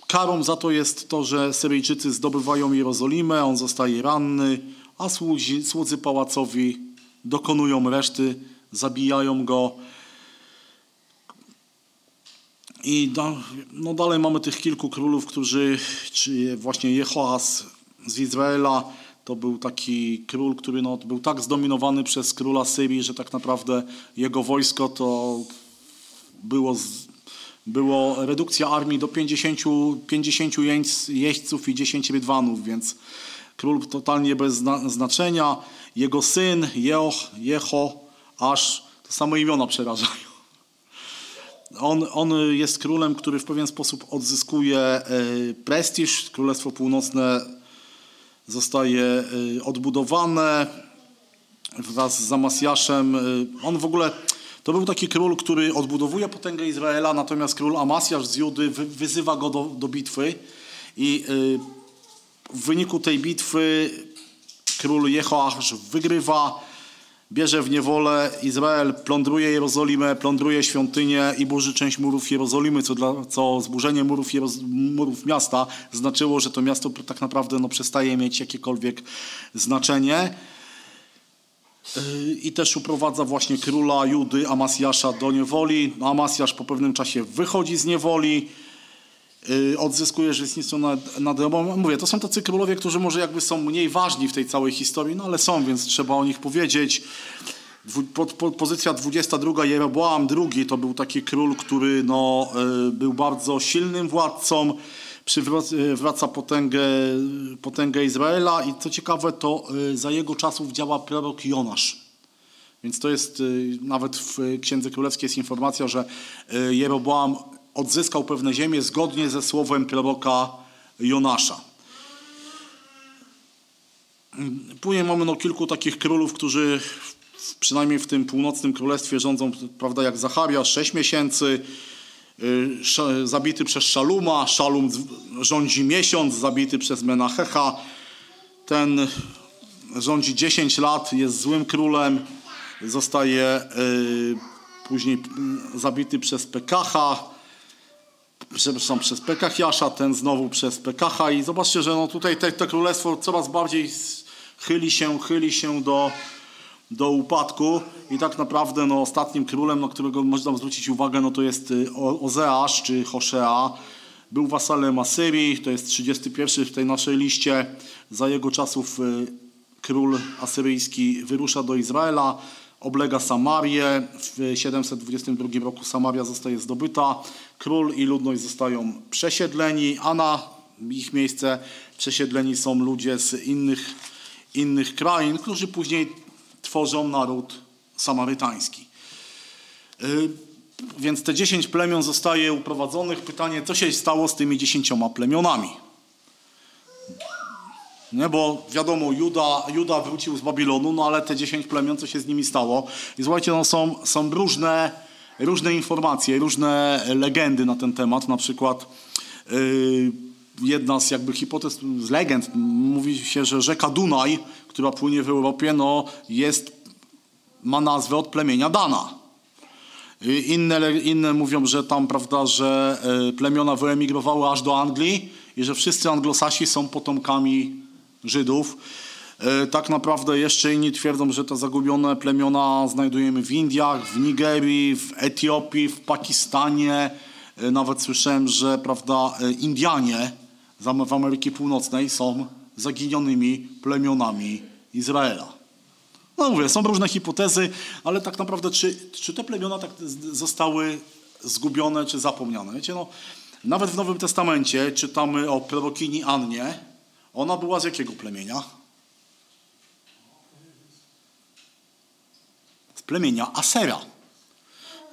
[SPEAKER 1] Karą za to jest to, że Syryjczycy zdobywają Jerozolimę, on zostaje ranny, a słudzi, słudzy pałacowi dokonują reszty, zabijają go. I da, no dalej mamy tych kilku królów, którzy, czy właśnie Jehoas z Izraela, to był taki król, który no, był tak zdominowany przez króla Syrii, że tak naprawdę jego wojsko to było, z, było redukcja armii do 50, 50 jeźdźc- jeźdźców i 10 rydwanów, więc król totalnie bez zna, znaczenia. Jego syn, Jeoch, Jeho, aż to same imiona przerażają. On, on jest królem, który w pewien sposób odzyskuje e, prestiż. Królestwo Północne zostaje e, odbudowane wraz z Amasjaszem. E, On w ogóle to był taki król, który odbudowuje potęgę Izraela, natomiast król Amasjasz z Judy wy, wyzywa go do, do bitwy i e, w wyniku tej bitwy król Jehoasz wygrywa, bierze w niewolę Izrael, plądruje Jerozolimę, plądruje świątynię i burzy część murów Jerozolimy, co, dla, co zburzenie murów, Jeroz- murów miasta znaczyło, że to miasto tak naprawdę no, przestaje mieć jakiekolwiek znaczenie. Yy, I też uprowadza właśnie króla Judy Amasjasza do niewoli. Amasjasz po pewnym czasie wychodzi z niewoli, yy, odzyskuje rzecznictwo nad, nad Romą. Mówię, to są tacy królowie, którzy może jakby są mniej ważni w tej całej historii, no ale są, więc trzeba o nich powiedzieć. Dwu, po, po, pozycja 22 Jeroboam II to był taki król, który no, y, był bardzo silnym władcą, przywraca potęgę, y, potęgę Izraela i co ciekawe to y, za jego czasów działa prorok Jonasz. Więc to jest, y, nawet w y, Księdze Królewskiej jest informacja, że y, Jeroboam odzyskał pewne ziemie zgodnie ze słowem proroka Jonasza. Później mamy no, kilku takich królów, którzy w- przynajmniej w tym północnym królestwie rządzą, prawda, jak Zacharia, 6 miesięcy, y, sz- zabity przez Szaluma, Szalum z- rządzi miesiąc, zabity przez Menachecha, ten rządzi 10 lat, jest złym królem, zostaje y, później mm, zabity przez Pekacha, przepraszam, przez Pekachiasza, ten znowu przez Pekacha i zobaczcie, że no tutaj te, to królestwo coraz bardziej s- chyli się, chyli się do, do upadku i tak naprawdę no, ostatnim królem, na którego można zwrócić uwagę, no to jest y, O- Ozeasz czy Hoszea. Był wasalem Asyrii, to jest 31 w tej naszej liście. Za jego czasów y, król asyryjski wyrusza do Izraela, oblega Samarię. W 722 roku Samaria zostaje zdobyta. Król i ludność zostają przesiedleni, a na ich miejsce przesiedleni są ludzie z innych, innych krain, którzy później tworzą naród samarytański. Y, Więc te 10 plemion zostaje uprowadzonych. Pytanie, co się stało z tymi 10 plemionami? Nie, bo wiadomo, Juda, Juda wrócił z Babilonu, no ale te 10 plemion, co się z nimi stało? I słuchajcie, no są, są różne, różne informacje, różne legendy na ten temat. Na przykład yy, jedna z jakby hipotez, z legend, mówi się, że rzeka Dunaj, która płynie w Europie, no jest, ma nazwę od plemienia Dana. Y, Inne, le- inne mówią, że tam, prawda, że y, plemiona wyemigrowały aż do Anglii i że wszyscy anglosasi są potomkami Żydów. Y, Tak naprawdę jeszcze inni twierdzą, że te zagubione plemiona znajdujemy w Indiach, w Nigerii, w Etiopii, w Pakistanie. Y, Nawet słyszałem, że prawda, y, Indianie z Am- w Ameryki Północnej są zaginionymi plemionami Izraela. No mówię, są różne hipotezy, ale tak naprawdę czy, czy te plemiona tak z- zostały zgubione czy zapomniane? Wiecie, no, nawet w Nowym Testamencie czytamy o prorokini Annie. Ona była z jakiego plemienia? Z plemienia Asera.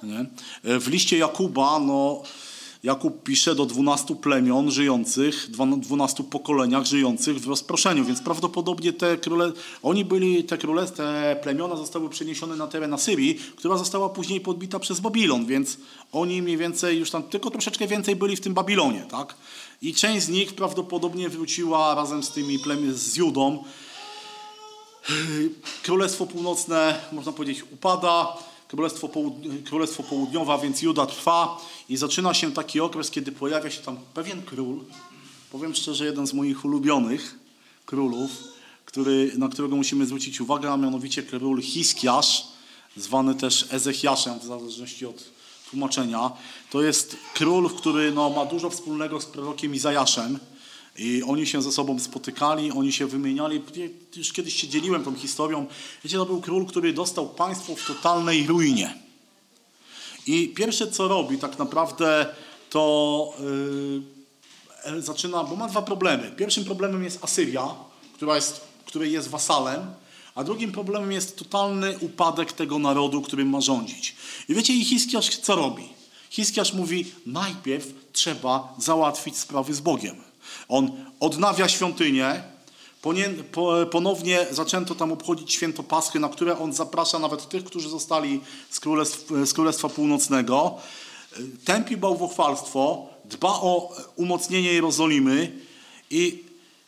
[SPEAKER 1] Nie? E, W liście Jakuba, no, Jakub pisze do 12 plemion żyjących, dwa- 12 pokoleniach żyjących w rozproszeniu, więc prawdopodobnie te króle, oni byli, te króle, te plemiona zostały przeniesione na teren Asyrii, która została później podbita przez Babilon, więc oni mniej więcej już tam, tylko troszeczkę więcej byli w tym Babilonie, tak? I część z nich prawdopodobnie wróciła razem z tymi plemi- z Judą, Królestwo Północne, można powiedzieć, upada. Królestwo, Połud- Królestwo Południowe, a więc Juda trwa i zaczyna się taki okres, kiedy pojawia się tam pewien król, powiem szczerze, jeden z moich ulubionych królów, który, na którego musimy zwrócić uwagę, a mianowicie król Hiskiasz, zwany też Ezechiaszem, w zależności od tłumaczenia. To jest król, który no, ma dużo wspólnego z prorokiem Izajaszem. I oni się ze sobą spotykali, oni się wymieniali. Już kiedyś się dzieliłem tą historią. Wiecie, to był król, który dostał państwo w totalnej ruinie. I pierwsze, co robi tak naprawdę, to yy, e, zaczyna, bo ma dwa problemy. Pierwszym problemem jest Asyria, która jest, której jest wasalem, a drugim problemem jest totalny upadek tego narodu, którym ma rządzić. I wiecie, i Hiskiasz co robi? Hiskiasz mówi, najpierw trzeba załatwić sprawy z Bogiem. On odnawia świątynię, Ponie- po- Ponownie zaczęto tam obchodzić święto Paschy, na które on zaprasza nawet tych, którzy zostali z, Królestw, z Królestwa Północnego. Y, Tępi bałwochwalstwo, dba o e, umocnienie Jerozolimy i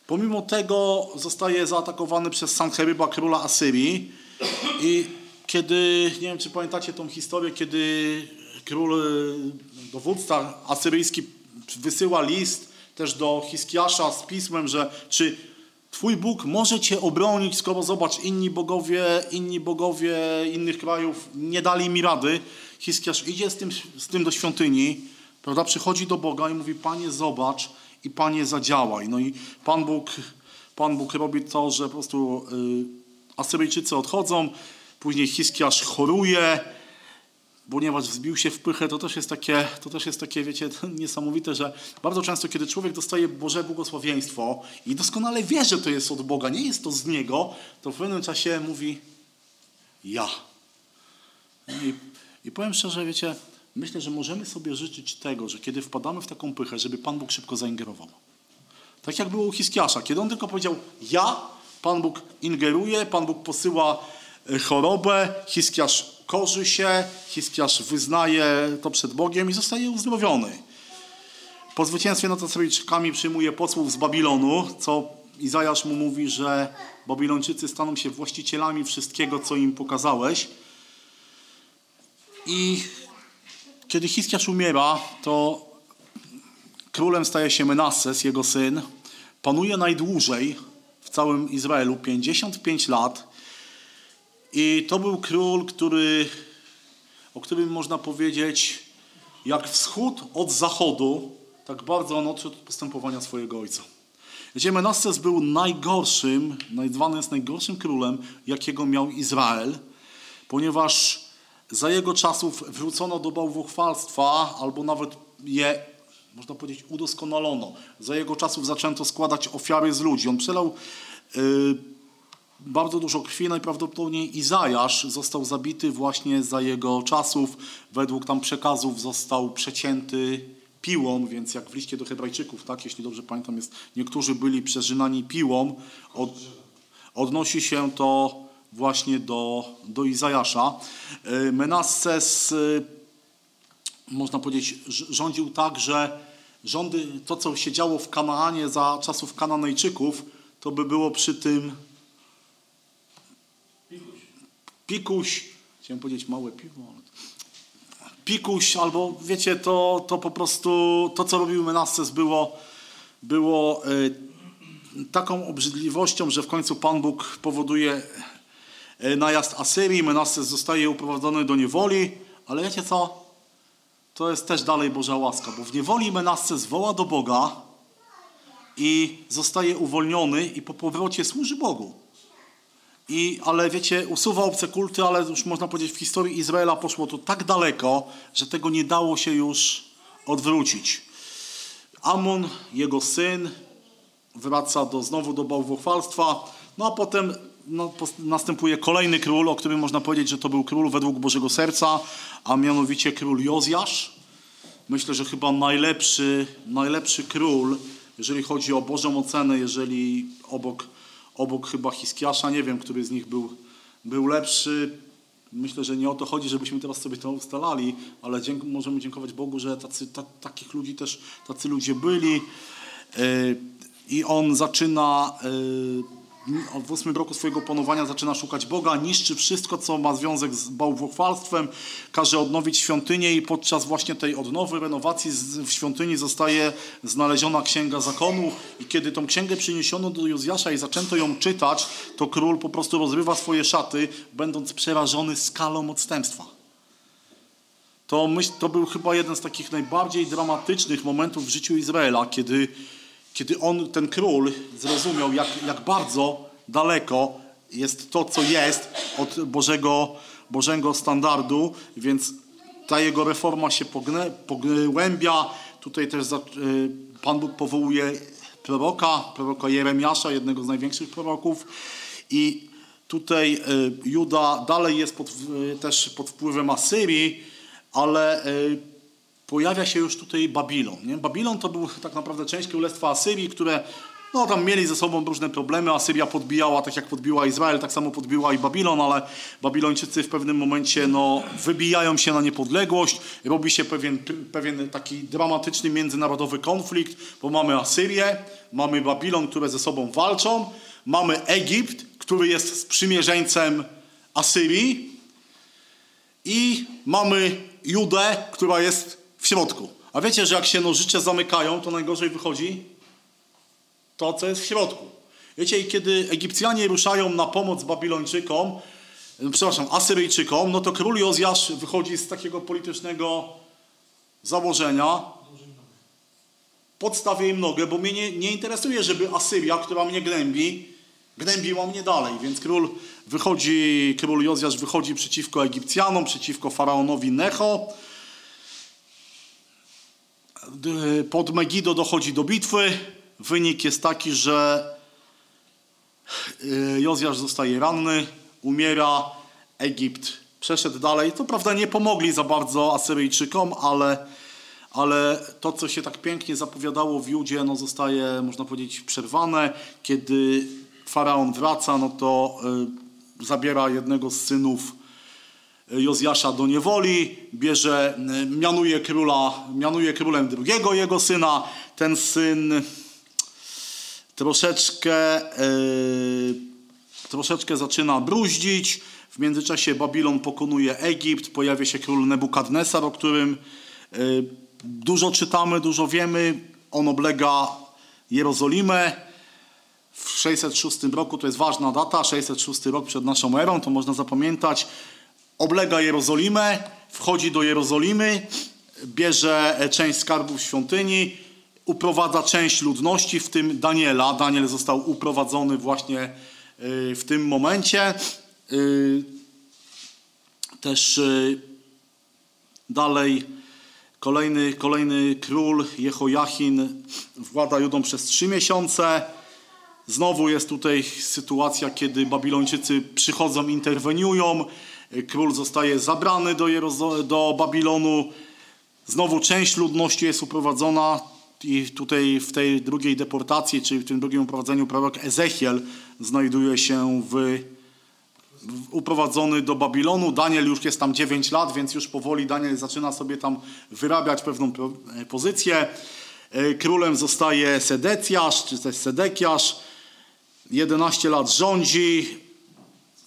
[SPEAKER 1] pomimo tego zostaje zaatakowany przez Sancheryba, króla Asyrii. I kiedy, nie wiem czy pamiętacie tą historię, kiedy król, y, dowódca asyryjski wysyła list też do Hiskiasza z pismem, że czy twój Bóg może cię obronić, skoro zobacz, inni bogowie, inni bogowie innych krajów nie dali mi rady. Hiskiasz idzie z tym, z tym do świątyni, prawda, przychodzi do Boga i mówi, panie zobacz i panie zadziałaj. No i Pan Bóg, Pan Bóg robi to, że po prostu... y, Asyryjczycy odchodzą, później Hiskiasz choruje, ponieważ wzbił się w pychę, to też jest takie, to też jest takie wiecie, niesamowite, że bardzo często, kiedy człowiek dostaje Boże błogosławieństwo i doskonale wie, że to jest od Boga, nie jest to z Niego, to w pewnym czasie mówi ja No i, I powiem szczerze, wiecie, myślę, że możemy sobie życzyć tego, że kiedy wpadamy w taką pychę, żeby Pan Bóg szybko zaingerował. Tak jak było u Hiskiasza, kiedy on tylko powiedział ja, Pan Bóg ingeruje, Pan Bóg posyła e, chorobę, Hiskiasz korzy się, Hiskiasz wyznaje to przed Bogiem i zostaje uzdrowiony. Po zwycięstwie nad Asyryjczykami przyjmuje posłów z Babilonu, co Izajasz mu mówi, że Babilończycy staną się właścicielami wszystkiego, co im pokazałeś. I kiedy Hiskiasz umiera, to królem staje się Menases, jego syn. Panuje najdłużej w całym Izraelu, 55 lat. I to był król, który, o którym można powiedzieć, jak wschód od zachodu, tak bardzo on odszedł od postępowania swojego ojca. Wiecie, Menases był najgorszym, nazwany jest najgorszym królem, jakiego miał Izrael, ponieważ za jego czasów wrócono do bałwochwalstwa, albo nawet je, można powiedzieć, udoskonalono. Za jego czasów zaczęto składać ofiary z ludzi. On przelał y, bardzo dużo krwi. Najprawdopodobniej Izajasz został zabity właśnie za jego czasów. Według tam przekazów został przecięty piłą, więc jak w liście do hebrajczyków, tak, jeśli dobrze pamiętam, jest niektórzy byli przeżynani piłą. Od, odnosi się to właśnie do, do Izajasza. Y, Menasses y, można powiedzieć, ż- rządził tak, że rządy, to co się działo w Kanaanie za czasów Kananejczyków, to by było przy tym
[SPEAKER 2] Pikuś.
[SPEAKER 1] pikuś, chciałem powiedzieć małe piwo, ale... Pikuś albo wiecie, to, to po prostu to, co robił Menases było, było y, taką obrzydliwością, że w końcu Pan Bóg powoduje y, najazd Asyrii, Menases zostaje uprowadzony do niewoli, ale wiecie co? To jest też dalej Boża łaska, bo w niewoli Menases woła do Boga i zostaje uwolniony i po powrocie służy Bogu. I, ale wiecie, usuwa obce kulty, ale już można powiedzieć, w historii Izraela poszło to tak daleko, że tego nie dało się już odwrócić. Amon, jego syn, wraca do, znowu do bałwochwalstwa, no a potem no, pos- następuje kolejny król, o którym można powiedzieć, że to był król według Bożego Serca, a mianowicie król Jozjasz. Myślę, że chyba najlepszy, najlepszy król, jeżeli chodzi o Bożą ocenę, jeżeli obok, obok chyba Hiskiasza, nie wiem, który z nich był, był lepszy. Myślę, że nie o to chodzi, żebyśmy teraz sobie to ustalali, ale dzięk, możemy dziękować Bogu, że tacy, ta, takich ludzi też, tacy ludzie byli. Yy, I on zaczyna yy, w ósmym roku swojego panowania zaczyna szukać Boga, niszczy wszystko, co ma związek z bałwochwalstwem, każe odnowić świątynię i podczas właśnie tej odnowy, renowacji z- w świątyni zostaje znaleziona Księga Zakonu i kiedy tą księgę przyniesiono do Jozjasza i zaczęto ją czytać, to król po prostu rozrywa swoje szaty, będąc przerażony skalą odstępstwa. To, myśl, to był chyba jeden z takich najbardziej dramatycznych momentów w życiu Izraela, kiedy, kiedy on, ten król, zrozumiał, jak, jak bardzo daleko jest to, co jest od Bożego, Bożego standardu, więc ta jego reforma się pognę, pogłębia. Tutaj też za, y, Pan Bóg powołuje proroka, proroka Jeremiasza, jednego z największych proroków i Tutaj y, Juda dalej jest pod, y, też pod wpływem Asyrii, ale y, pojawia się już tutaj Babilon. Nie? Babilon to był tak naprawdę część Królestwa Asyrii, które no, tam mieli ze sobą różne problemy. Asyria podbijała, tak jak podbiła Izrael, tak samo podbiła i Babilon, ale Babilończycy w pewnym momencie no, wybijają się na niepodległość. Robi się pewien, pewien taki dramatyczny międzynarodowy konflikt, bo mamy Asyrię, mamy Babilon, które ze sobą walczą, mamy Egipt, który jest sprzymierzeńcem Asyrii, i mamy Judę, która jest w środku. A wiecie, że jak się nożycze zamykają, to najgorzej wychodzi to, co jest w środku. Wiecie, i kiedy Egipcjanie ruszają na pomoc Babilończykom, e, przepraszam, Asyryjczykom, no to król Jozjasz wychodzi z takiego politycznego założenia, podstawię im nogę, bo mnie nie, nie interesuje, żeby Asyria, która mnie gnębi, gnębiła mnie dalej. Więc król wychodzi, król Jozjasz wychodzi przeciwko Egipcjanom, przeciwko faraonowi Necho. D- Pod Megido dochodzi do bitwy. Wynik jest taki, że y, Jozjasz zostaje ranny, umiera, Egipt Przeszedł dalej. To prawda nie pomogli za bardzo Asyryjczykom, ale, ale to, co się tak pięknie zapowiadało w Judzie, no zostaje, można powiedzieć, przerwane. Kiedy faraon wraca, no to y, zabiera jednego z synów y, Jozjasza do niewoli, bierze, y, mianuje króla, mianuje królem drugiego jego syna. Ten syn troszeczkę, y, troszeczkę zaczyna bruździć. W międzyczasie Babilon pokonuje Egipt, pojawia się król Nebukadnesar, o którym y, dużo czytamy, dużo wiemy. On oblega Jerozolimę. W 606 roku, to jest ważna data, 606 rok przed naszą erą, to można zapamiętać, oblega Jerozolimę, wchodzi do Jerozolimy, bierze e, część skarbów świątyni, uprowadza część ludności, w tym Daniela. Daniel został uprowadzony właśnie y, w tym momencie. E, Y, Też y, dalej kolejny, kolejny król, Jehoiachin, włada Judą przez trzy miesiące. Znowu jest tutaj sytuacja, kiedy Babilończycy przychodzą, interweniują. Król zostaje zabrany do, Jerozo- do Babilonu. Znowu część ludności jest uprowadzona i tutaj w tej drugiej deportacji, czyli w tym drugim uprowadzeniu prorok Ezechiel znajduje się w, w, uprowadzony do Babilonu. Daniel już jest tam 9 lat, więc już powoli Daniel zaczyna sobie tam wyrabiać pewną pro, e, pozycję. E, Królem zostaje Sedecjasz, czy też Sedekiasz. 11 lat rządzi.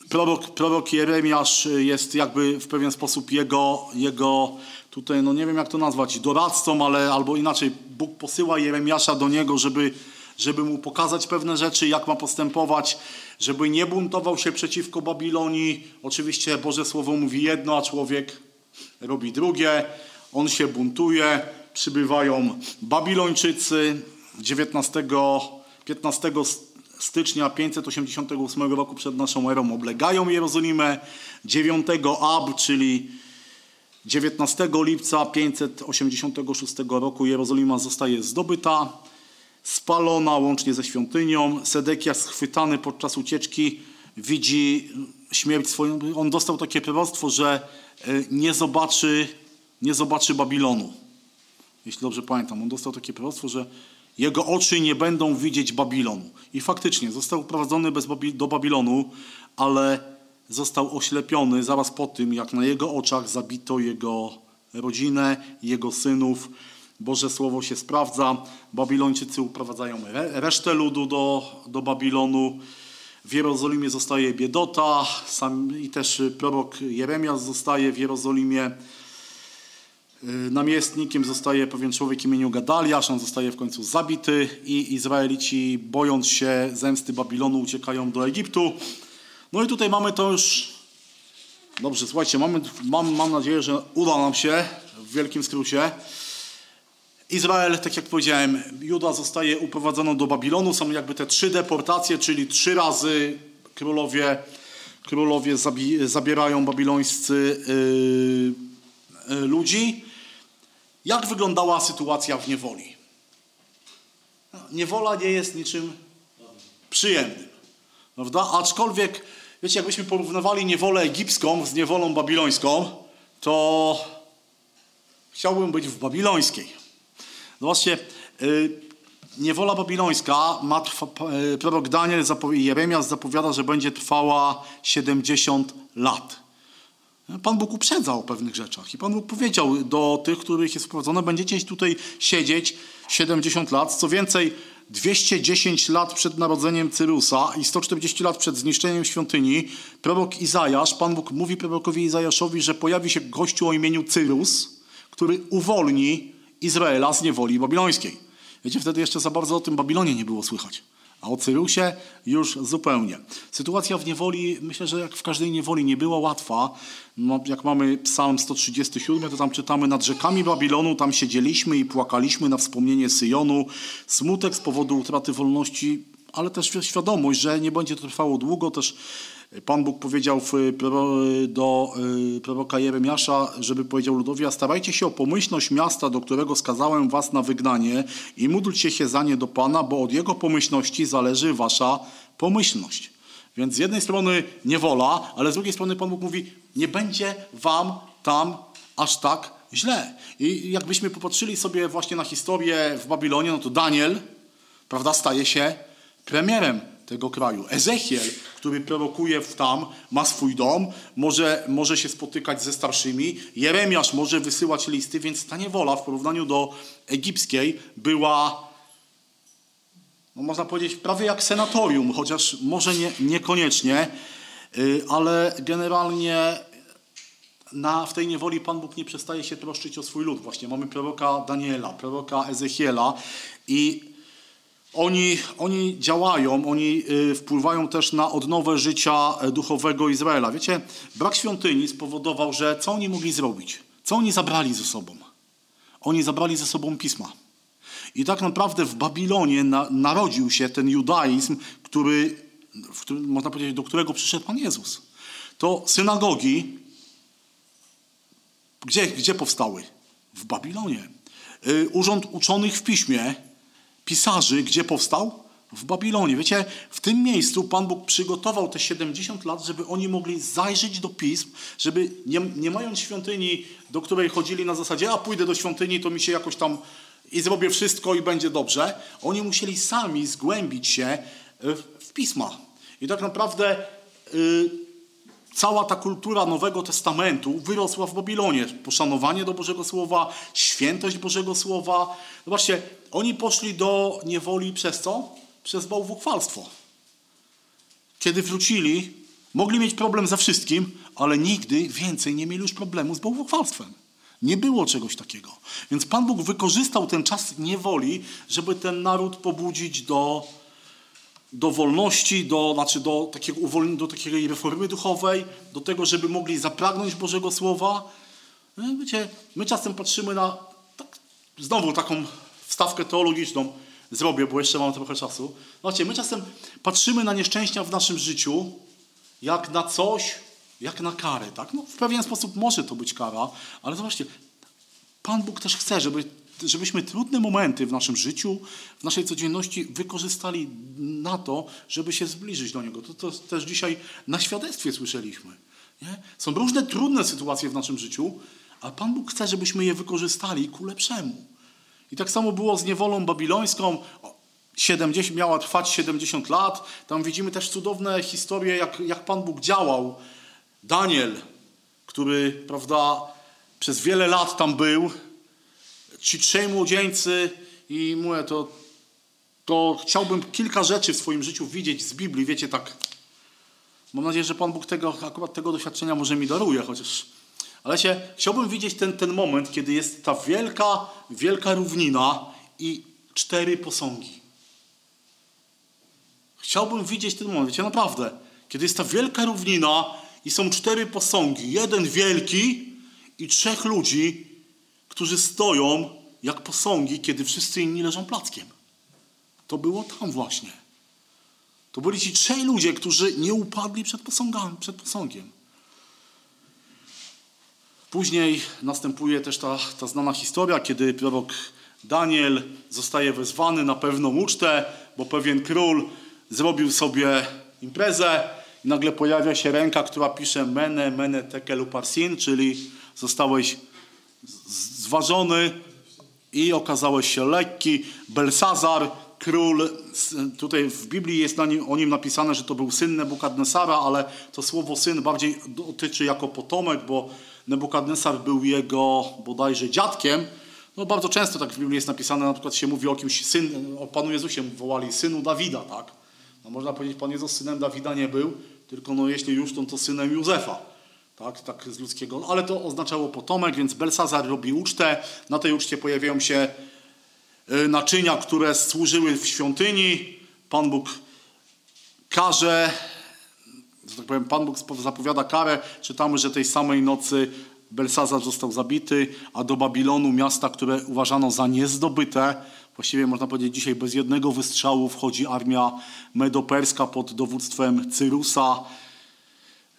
[SPEAKER 1] Prorok, prorok Jeremiasz y, jest jakby w pewien sposób jego, jego tutaj, no nie wiem jak to nazwać, doradcą, ale albo inaczej, Bóg posyła Jeremiasza do niego, żeby, żeby mu pokazać pewne rzeczy, jak ma postępować, żeby nie buntował się przeciwko Babilonii. Oczywiście Boże Słowo mówi jedno, a człowiek robi drugie, on się buntuje, przybywają Babilończycy 19, 15 stycznia 588 roku przed naszą erą oblegają Jerozolimę, 9 Ab, czyli 19 lipca 586 roku Jerozolima zostaje zdobyta, spalona łącznie ze świątynią. Sedekia schwytany podczas ucieczki widzi śmierć swoją. On dostał takie proroctwo, że y, nie zobaczy, nie zobaczy Babilonu. Jeśli dobrze pamiętam, on dostał takie proroctwo, że jego oczy nie będą widzieć Babilonu. I faktycznie został uprowadzony bez Babi- do Babilonu, ale został oślepiony zaraz po tym, jak na jego oczach zabito jego rodzinę, jego synów. Boże Słowo się sprawdza. Babilończycy uprowadzają re- resztę ludu do, do Babilonu. W Jerozolimie zostaje biedota sam, i też y, prorok Jeremiasz zostaje w Jerozolimie. Y, Namiestnikiem zostaje pewien człowiek imieniu Gadaliasz, on zostaje w końcu zabity i Izraelici bojąc się zemsty Babilonu uciekają do Egiptu. No i tutaj mamy to już... Dobrze, słuchajcie, mamy, mam, mam nadzieję, że uda nam się w wielkim skrócie. Izrael, tak jak powiedziałem, Juda zostaje uprowadzona do Babilonu. Są jakby te trzy deportacje, czyli trzy razy królowie, królowie zabi- zabierają babilońscy yy, yy, ludzi. Jak wyglądała sytuacja w niewoli? No, Niewola nie jest niczym przyjemnym, prawda? Aczkolwiek, wiecie, jakbyśmy porównywali niewolę egipską z niewolą babilońską, to chciałbym być w babilońskiej. Zobaczcie, y, niewola babilońska, ma trwa, y, prorok Daniel, zapo- Jeremiasz zapowiada, że będzie trwała 70 lat. Pan Bóg uprzedzał o pewnych rzeczach i Pan Bóg powiedział do tych, których jest wprowadzone, będziecie tutaj siedzieć 70 lat. Co więcej, 210 lat przed narodzeniem Cyrusa i 140 lat przed zniszczeniem świątyni, prorok Izajasz, Pan Bóg mówi prorokowi Izajaszowi, że pojawi się gościu o imieniu Cyrus, który uwolni Izraela z niewoli babilońskiej. Wiecie, wtedy jeszcze za bardzo o tym Babilonie nie było słychać. A o Cyrusie już zupełnie. Sytuacja w niewoli, myślę, że jak w każdej niewoli nie była łatwa. No, jak mamy psalm 137, to tam czytamy nad rzekami Babilonu, tam siedzieliśmy i płakaliśmy na wspomnienie Syjonu. Smutek z powodu utraty wolności, ale też wi- świadomość, że nie będzie to trwało długo. Też e, Pan Bóg powiedział w, proro- do y, proroka Jeremiasza, żeby powiedział ludowi, a starajcie się o pomyślność miasta, do którego skazałem was na wygnanie i módlcie się za nie do Pana, bo od jego pomyślności zależy wasza pomyślność. Więc z jednej strony niewola, ale z drugiej strony Pan Bóg mówi, nie będzie wam tam aż tak źle. I jakbyśmy popatrzyli sobie właśnie na historię w Babilonie, no to Daniel, prawda, staje się premierem tego kraju. Ezechiel, który prorokuje w tam, ma swój dom, może, może się spotykać ze starszymi. Jeremiasz może wysyłać listy, więc ta niewola w porównaniu do egipskiej była no można powiedzieć, prawie jak senatorium, chociaż może nie, niekoniecznie, y, ale generalnie na, w tej niewoli Pan Bóg nie przestaje się troszczyć o swój lud. Właśnie mamy proroka Daniela, proroka Ezechiela i oni, oni działają, oni y, wpływają też na odnowę życia e, duchowego Izraela. Wiecie, brak świątyni spowodował, że co oni mogli zrobić? Co oni zabrali ze sobą? Oni zabrali ze sobą pisma. I tak naprawdę w Babilonie na, narodził się ten judaizm, który, w którym, można powiedzieć, do którego przyszedł Pan Jezus. To synagogi, gdzie, gdzie powstały? W Babilonie. Y, Urząd uczonych w piśmie, pisarzy, gdzie powstał? W Babilonie. Wiecie, w tym miejscu Pan Bóg przygotował te 70 lat, żeby oni mogli zajrzeć do pism, żeby nie, nie mając świątyni, do której chodzili na zasadzie, a pójdę do świątyni, to mi się jakoś tam i zrobię wszystko i będzie dobrze. Oni musieli sami zgłębić się w, w pisma. I tak naprawdę y, cała ta kultura Nowego Testamentu wyrosła w Babilonie. Poszanowanie do Bożego Słowa, świętość Bożego Słowa. Zobaczcie, oni poszli do niewoli przez co? Przez bałwuchwalstwo. Kiedy wrócili, mogli mieć problem ze wszystkim, ale nigdy więcej nie mieli już problemu z bałwochwalstwem. Nie było czegoś takiego. Więc Pan Bóg wykorzystał ten czas niewoli, żeby ten naród pobudzić do, do wolności, do, znaczy do, takiego uwolnienia, do takiej reformy duchowej, do tego, żeby mogli zapragnąć Bożego Słowa. No i Wiecie, my czasem patrzymy na tak, znowu taką wstawkę teologiczną zrobię, bo jeszcze mam trochę czasu. Zobaczcie, my czasem patrzymy na nieszczęścia w naszym życiu jak na coś, jak na karę, tak? No, w pewien sposób może to być kara, ale zobaczcie, Pan Bóg też chce, żeby, żebyśmy trudne momenty w naszym życiu, w naszej codzienności wykorzystali na to, żeby się zbliżyć do Niego. To, to też dzisiaj na świadectwie słyszeliśmy. Nie? Są różne trudne sytuacje w naszym życiu, a Pan Bóg chce, żebyśmy je wykorzystali ku lepszemu. I tak samo było z niewolą babilońską. O, 70, miała trwać 70 lat. Tam widzimy też cudowne historie, jak, jak Pan Bóg działał. Daniel, który, prawda, przez wiele lat tam był. Ci trzej młodzieńcy i mówię, to, to chciałbym kilka rzeczy w swoim życiu widzieć z Biblii, wiecie, tak. Mam nadzieję, że Pan Bóg tego, akurat tego doświadczenia może mi daruje, chociaż... Ale się, chciałbym widzieć ten, ten moment, kiedy jest ta wielka, wielka równina i cztery posągi. Chciałbym widzieć ten moment, wiecie, naprawdę. Kiedy jest ta wielka równina i są cztery posągi. Jeden wielki i trzech ludzi, którzy stoją jak posągi, kiedy wszyscy inni leżą plackiem. To było tam właśnie. To byli ci trzej ludzie, którzy nie upadli przed, posągami, przed posągiem. Później następuje też ta, ta znana historia, kiedy prorok Daniel zostaje wezwany na pewną ucztę, bo pewien król zrobił sobie imprezę i nagle pojawia się ręka, która pisze mene, mene tekelu parsin, czyli zostałeś z- z- zważony i okazałeś się lekki. Belsazar, król, s- tutaj w Biblii jest na nim, o nim napisane, że to był syn Nebukadnesara, ale to słowo syn bardziej dotyczy jako potomek, bo Nebukadnesar był jego bodajże dziadkiem. No bardzo często tak w Biblii jest napisane, na przykład się mówi o kimś, syn, o Panu Jezusie wołali, synu Dawida, tak? No można powiedzieć, Pan Jezus synem Dawida nie był, tylko no jeśli już, to, to synem Józefa. Tak, tak z ludzkiego, ale to oznaczało potomek, więc Belsazar robi ucztę. Na tej uczcie pojawiają się y, naczynia, które służyły w świątyni. Pan Bóg każe, że tak powiem, Pan Bóg spo- zapowiada karę. Czytamy, że tej samej nocy Belsazar został zabity, a do Babilonu, miasta, które uważano za niezdobyte, właściwie można powiedzieć dzisiaj bez jednego wystrzału wchodzi armia medoperska pod dowództwem Cyrusa.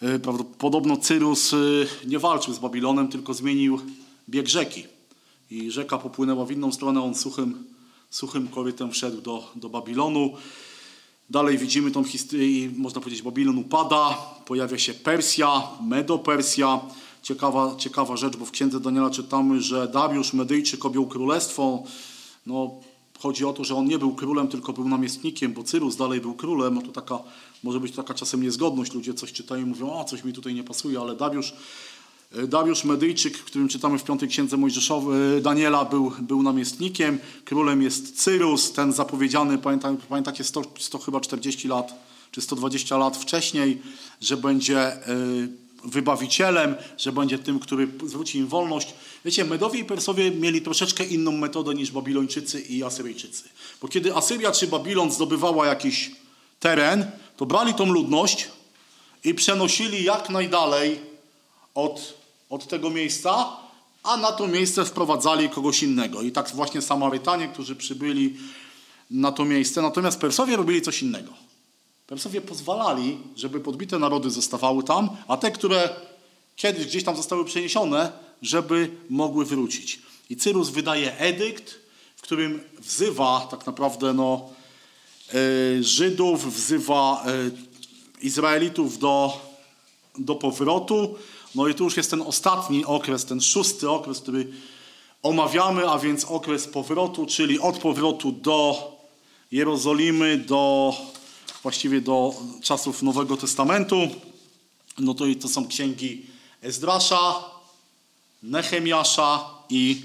[SPEAKER 1] Y, prawda- Podobno Cyrus y, nie walczył z Babilonem, tylko zmienił bieg rzeki. I rzeka popłynęła w inną stronę, on suchym, suchym korytem wszedł do, do Babilonu. Dalej widzimy tą historię, można powiedzieć, Babilon upada, pojawia się Persja, Medo-Persja. Ciekawa, ciekawa rzecz, bo w księdze Daniela czytamy, że Dariusz Medyjczyk objął królestwo. No, chodzi o to, że on nie był królem, tylko był namiestnikiem, bo Cyrus dalej był królem. No to taka, może być taka czasem niezgodność. Ludzie coś czytają i mówią, a coś mi tutaj nie pasuje, ale Dariusz E, Dariusz Medyjczyk, w którym czytamy w piątej księdze Mojżeszowej, e, Daniela był, był namiestnikiem, królem jest Cyrus, ten zapowiedziany, pamiętam, pamiętacie, 100, 100 chyba 40 lat, czy 120 lat wcześniej, że będzie y, wybawicielem, że będzie tym, który zwróci im wolność. Wiecie, Medowie i Persowie mieli troszeczkę inną metodę niż Babilończycy i Asyryjczycy. Bo kiedy Asyria czy Babilon zdobywała jakiś teren, to brali tą ludność i przenosili jak najdalej od, od tego miejsca, a na to miejsce wprowadzali kogoś innego. I tak właśnie Samarytanie, którzy przybyli na to miejsce. Natomiast Persowie robili coś innego. Persowie pozwalali, żeby podbite narody zostawały tam, a te, które kiedyś gdzieś tam zostały przeniesione, żeby mogły wrócić. I Cyrus wydaje edykt, w którym wzywa tak naprawdę no, y, Żydów, wzywa y, Izraelitów do do powrotu. No i tu już jest ten ostatni okres, ten szósty okres, który omawiamy, a więc okres powrotu, czyli od powrotu do Jerozolimy, do właściwie do czasów Nowego Testamentu. No to i to są księgi Ezdrasza, Nehemiasza i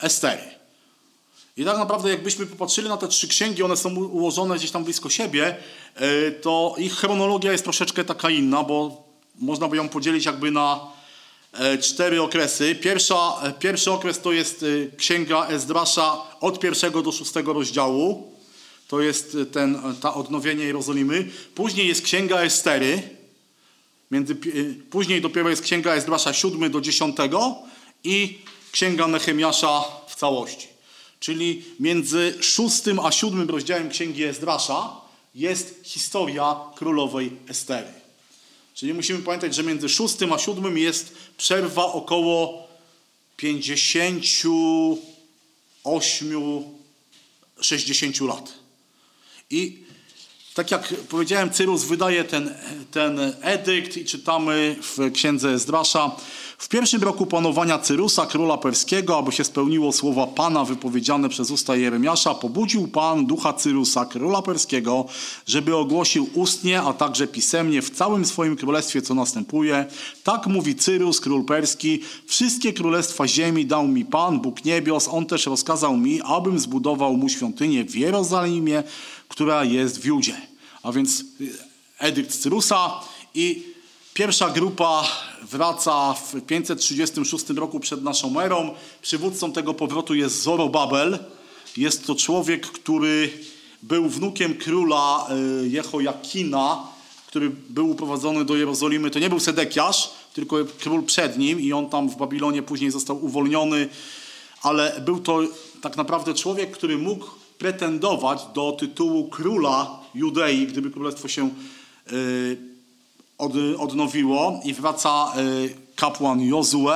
[SPEAKER 1] Estery. I tak naprawdę, jakbyśmy popatrzyli na te trzy księgi, one są u- ułożone gdzieś tam blisko siebie, yy, to ich chronologia jest troszeczkę taka inna, bo można by ją podzielić jakby na e, cztery okresy. Pierwsza, e, pierwszy okres to jest y, księga Ezdrasza od pierwszego do szóstego rozdziału. To jest y, ten, ta odnowienie Jerozolimy. Później jest księga Estery. Między, pi- y, później dopiero jest księga Ezdrasza 7 do 10 i księga Nehemiasza w całości. Czyli między 6 a 7 rozdziałem księgi Ezdrasza jest historia królowej Estery. Czyli musimy pamiętać, że między 6 a 7 jest przerwa około 58 60 lat. I tak jak powiedziałem, Cyrus wydaje ten, ten edykt i czytamy w księdze Ezdrasza. W pierwszym roku panowania Cyrusa, króla perskiego, aby się spełniło słowa Pana wypowiedziane przez usta Jeremiasza, pobudził Pan ducha Cyrusa, króla perskiego, żeby ogłosił ustnie, a także pisemnie w całym swoim królestwie, co następuje. Tak mówi Cyrus, król perski, wszystkie królestwa ziemi dał mi Pan, Bóg niebios, on też rozkazał mi, abym zbudował mu świątynię w Jerozolimie, która jest w Judzie. A więc y, edykt Cyrusa i pierwsza grupa wraca w 536 roku przed naszą erą. Przywódcą tego powrotu jest Zorobabel. Jest to człowiek, który był wnukiem króla y, Jehoiakina, który był uprowadzony do Jerozolimy. To nie był Sedekiasz, tylko król przed nim i on tam w Babilonie później został uwolniony ale był to tak naprawdę człowiek, który mógł pretendować do tytułu króla Judei, gdyby królestwo się y, od, odnowiło i wraca y, kapłan Jozue.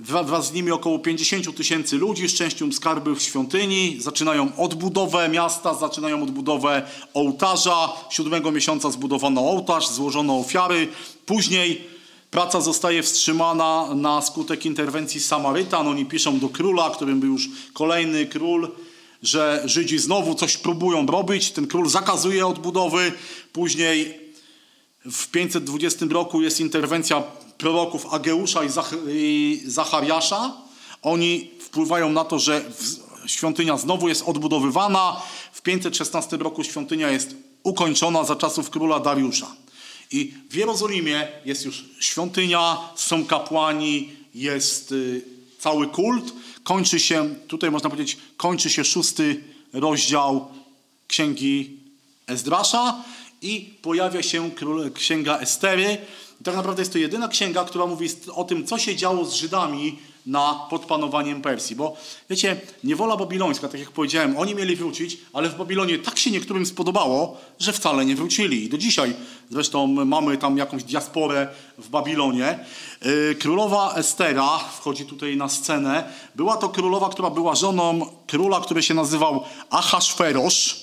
[SPEAKER 1] Wra- Wraz z nimi około 50 tysięcy ludzi, szczęścią skarby w świątyni, zaczynają odbudowę miasta, zaczynają odbudowę ołtarza. Siódmego miesiąca zbudowano ołtarz, złożono ofiary. Później Praca zostaje wstrzymana na skutek interwencji Samarytan. Oni piszą do króla, którym był już kolejny król, że Żydzi znowu coś próbują robić. Ten król zakazuje odbudowy. Później w 520 roku jest interwencja proroków Ageusza i, Zach- i Zachariasza. Oni wpływają na to, że w- świątynia znowu jest odbudowywana. W 516 roku świątynia jest ukończona za czasów króla Dariusza. I w Jerozolimie jest już świątynia, są kapłani, jest y, cały kult. Kończy się, tutaj można powiedzieć, kończy się szósty rozdział księgi Ezdrasza i pojawia się król, księga Estery. I tak naprawdę jest to jedyna księga, która mówi st- o tym, co się działo z Żydami na, pod panowaniem Persji. Bo wiecie, niewola babilońska, tak jak powiedziałem, oni mieli wrócić, ale w Babilonie tak się niektórym spodobało, że wcale nie wrócili. I do dzisiaj zresztą mamy tam jakąś diasporę w Babilonie. Yy, Królowa Estera wchodzi tutaj na scenę. Była to królowa, która była żoną króla, który się nazywał Ahasferosz.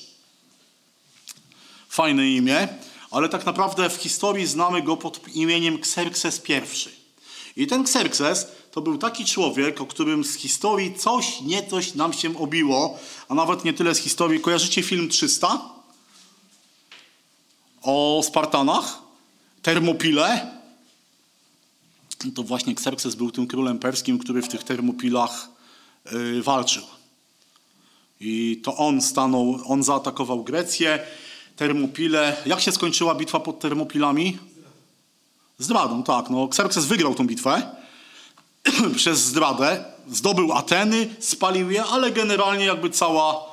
[SPEAKER 1] fajne imię, ale tak naprawdę w historii znamy go pod imieniem Xerxes I. I ten Xerxes to był taki człowiek, o którym z historii coś, niecoś nam się obiło, a nawet nie tyle z historii. Kojarzycie film 300? O Spartanach? Termopile? to właśnie Xerxes był tym królem perskim, który w tych termopilach y, walczył. I to on stanął, on zaatakował Grecję, termopile. Jak się skończyła bitwa pod termopilami? Zdradą, tak. No, Xerxes wygrał tą bitwę przez zdradę. Zdobył Ateny, spalił je, ale generalnie jakby cała,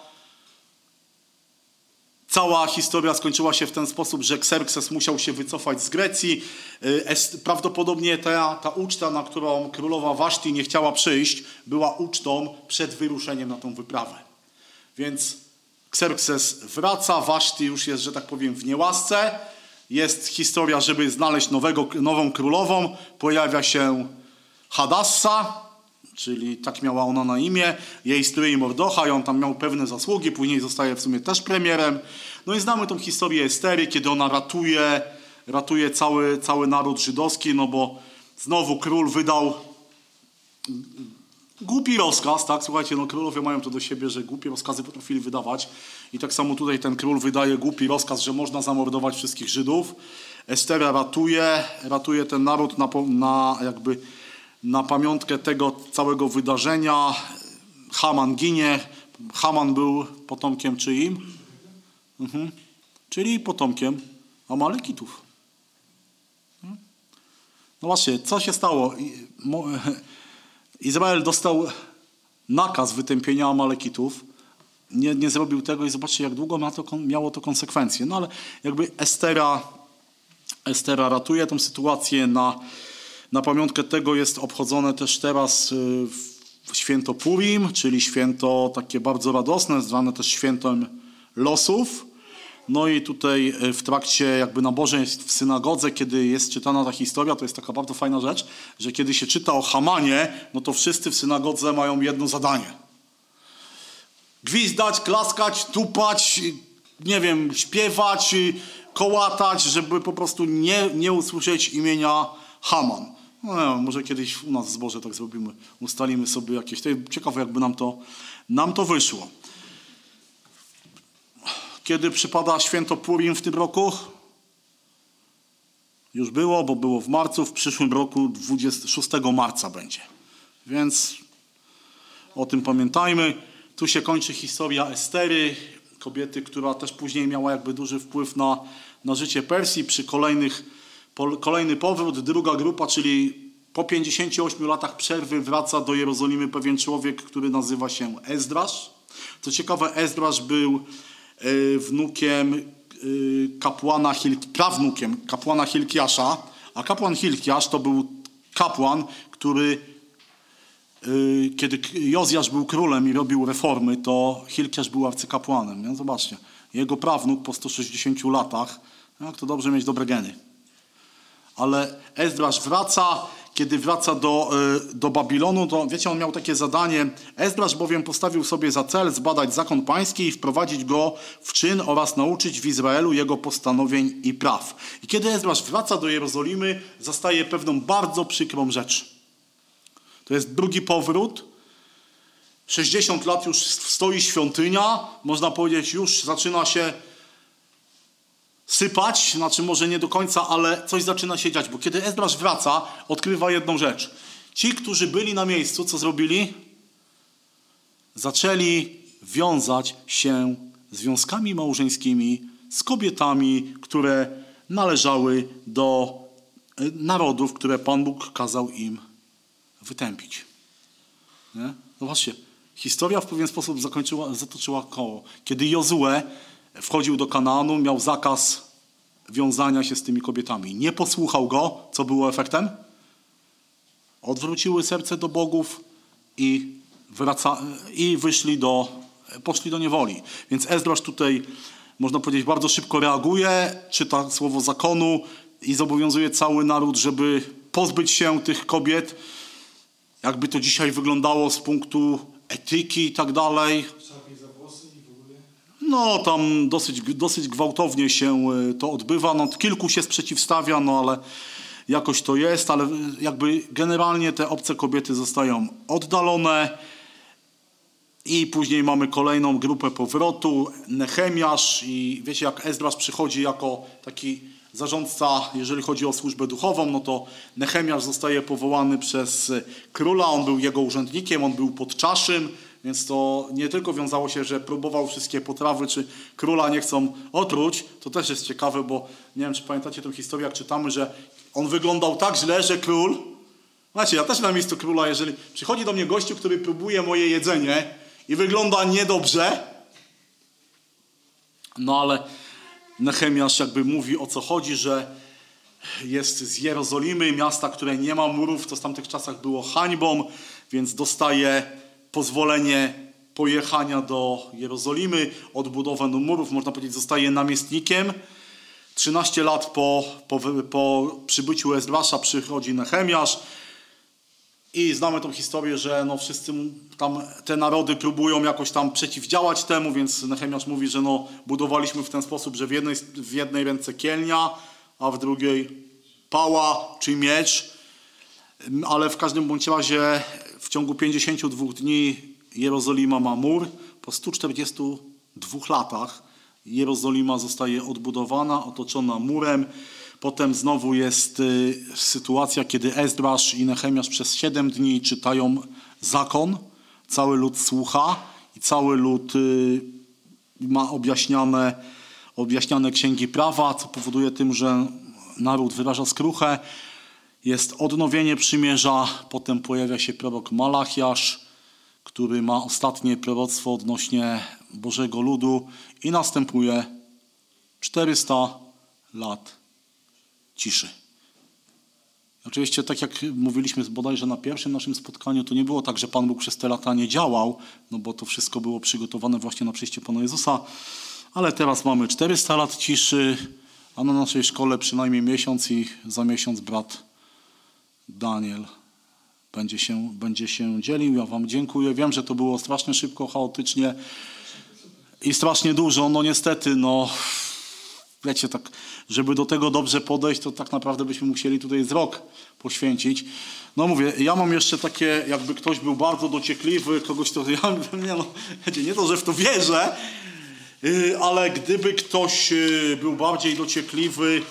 [SPEAKER 1] Cała historia skończyła się w ten sposób, że Xerxes musiał się wycofać z Grecji. Y, est- Prawdopodobnie ta, ta uczta, na którą królowa Waszti nie chciała przyjść, była ucztą przed wyruszeniem na tą wyprawę. Więc Xerxes wraca, Waszti już jest, że tak powiem, w niełasce. Jest historia, żeby znaleźć nowego, nową królową. Pojawia się Hadassa, czyli tak miała ona na imię, jej stryj Mordochaj, on tam miał pewne zasługi, później zostaje w sumie też premierem. No i znamy tą historię Estery, kiedy ona ratuje, ratuje cały, cały naród żydowski, no bo znowu król wydał głupi rozkaz, tak? Słuchajcie, no królowie mają to do siebie, że głupie rozkazy potrafili wydawać. I tak samo tutaj ten król wydaje głupi rozkaz, że można zamordować wszystkich Żydów. Estera ratuje, ratuje ten naród na, po- na jakby na pamiątkę tego całego wydarzenia. Haman ginie. Haman był potomkiem czyim? Mhm. Czyli potomkiem Amalekitów. Hmm? No właśnie, co się stało? I- mo- Izrael dostał nakaz wytępienia Amalekitów. Nie, nie zrobił tego i zobaczcie, jak długo ma to, kon- miało to konsekwencje. No ale jakby Estera, Estera ratuje tą sytuację. Na, na pamiątkę tego jest obchodzone też teraz y, w- w święto Purim, czyli święto takie bardzo radosne, zwane też świętem losów. No i tutaj y, w trakcie jakby nabożeństw w synagodze, kiedy jest czytana ta historia, to jest taka bardzo fajna rzecz, że kiedy się czyta o Hamanie, no to wszyscy w synagodze mają jedno zadanie. Gwizdać, klaskać, tupać, y, nie wiem, śpiewać, y, kołatać, żeby po prostu nie, nie usłyszeć imienia Haman. No, nie wiem, może kiedyś u nas w zborze tak zrobimy. Ustalimy sobie jakieś. to jest Ciekawe, jakby nam to, nam to wyszło. Kiedy przypada święto Purim w tym roku? Już było, bo było w marcu, w przyszłym roku 26 marca będzie. Więc o tym pamiętajmy. Tu się kończy historia Estery, kobiety, która też później miała jakby duży wpływ na, na życie Persji. Przy kolejnych, pol, kolejny powrót, druga grupa, czyli po 58 latach przerwy wraca do Jerozolimy pewien człowiek, który nazywa się Ezdrasz. Co ciekawe, Ezdrasz był y, wnukiem y, kapłana Hilk, prawnukiem kapłana Hilkiasza, a kapłan Hilkiasz to był kapłan, który Y, kiedy K- Jozjasz był królem i robił reformy, to Hilkiasz był arcykapłanem. No zobaczcie, jego prawnuk po 160 latach, jak to dobrze mieć dobre geny. Ale Ezdrasz wraca, kiedy wraca do, y, do Babilonu, to wiecie, on miał takie zadanie. Ezdrasz bowiem postawił sobie za cel zbadać zakon pański i wprowadzić go w czyn oraz nauczyć w Izraelu jego postanowień i praw. I kiedy Ezdrasz wraca do Jerozolimy, zastaje pewną bardzo przykrą rzecz. To jest drugi powrót. 60 lat już stoi świątynia, można powiedzieć, już zaczyna się sypać, znaczy może nie do końca, ale coś zaczyna się dziać, bo kiedy Ezdrasz wraca, odkrywa jedną rzecz. Ci, którzy byli na miejscu, co zrobili? Zaczęli wiązać się związkami małżeńskimi z kobietami, które należały do y, narodów, które Pan Bóg kazał im wytępić. Nie? Zobaczcie, historia w pewien sposób zakończyła, zatoczyła koło. Kiedy Jozue wchodził do Kanaanu, miał zakaz wiązania się z tymi kobietami. Nie posłuchał go, co było efektem? Odwróciły serce do bogów i, wraca, i wyszli do, poszli do niewoli. Więc Ezdrasz tutaj, można powiedzieć, bardzo szybko reaguje, czyta słowo zakonu i zobowiązuje cały naród, żeby pozbyć się tych kobiet, jakby to dzisiaj wyglądało z punktu etyki i tak dalej.
[SPEAKER 3] Czapie za włosy i w ogóle.
[SPEAKER 1] No, tam dosyć, dosyć gwałtownie się y, to odbywa. No, kilku się sprzeciwstawia, no ale jakoś to jest, ale y, jakby generalnie te obce kobiety zostają oddalone. I później mamy kolejną grupę powrotu, Nehemiasz i wiecie jak Ezdrasz przychodzi jako taki zarządca, jeżeli chodzi o służbę duchową, no to Nehemiasz zostaje powołany przez y, króla, on był jego urzędnikiem, on był podczaszym, więc to nie tylko wiązało się, że próbował wszystkie potrawy, czy króla nie chcą otruć, to też jest ciekawe, bo nie wiem, czy pamiętacie tą historię, jak czytamy, że on wyglądał tak źle, że król Macie, Znaczy, ja też na miejscu króla, jeżeli przychodzi do mnie gościu, który próbuje moje jedzenie i wygląda niedobrze, no ale Nehemiasz jakby mówi o co chodzi, że jest z Jerozolimy, miasta, które nie ma murów, to w tamtych czasach było hańbą, więc dostaje pozwolenie pojechania do Jerozolimy, odbudowę murów, można powiedzieć, zostaje namiestnikiem. 13 lat po, po, wy- po przybyciu Ezdrasza przychodzi Nehemiasz, i znamy tą historię, że no wszyscy mu- tam te narody próbują jakoś tam przeciwdziałać temu, więc Nehemiasz mówi, że no budowaliśmy w ten sposób, że w jednej, w jednej ręce kielnia, a w drugiej pała czy miecz. M, Ale w każdym bądź razie w ciągu 52 dni Jerozolima ma mur. Po 142 latach Jerozolima zostaje odbudowana, otoczona murem. Potem znowu jest y, sytuacja, kiedy Ezdrasz i Nehemiasz przez 7 dni czytają zakon. Cały lud słucha i cały lud y, ma objaśniane, objaśniane księgi prawa, co powoduje tym, że naród wyraża skruchę. Jest odnowienie przymierza, potem pojawia się prorok Malachiasz, który ma ostatnie proroctwo odnośnie Bożego ludu i następuje 400 lat ciszy. Oczywiście, tak jak mówiliśmy bodajże na pierwszym naszym spotkaniu, to nie było tak, że Pan Bóg przez te lata nie działał, no bo to wszystko było przygotowane właśnie na przyjście Pana Jezusa, ale teraz mamy 400 lat ciszy, a na naszej szkole przynajmniej miesiąc i za miesiąc brat Daniel będzie się, będzie się dzielił. Ja Wam dziękuję. Wiem, że to było strasznie szybko, chaotycznie i strasznie dużo. No niestety, no wiecie, tak, żeby do tego dobrze podejść, to tak naprawdę byśmy musieli tutaj z rok poświęcić. No mówię, ja mam jeszcze takie, jakby ktoś był bardzo dociekliwy, kogoś to, ja nie, no, wiecie, nie to, że w to wierzę, yy, ale gdyby ktoś yy, był bardziej dociekliwy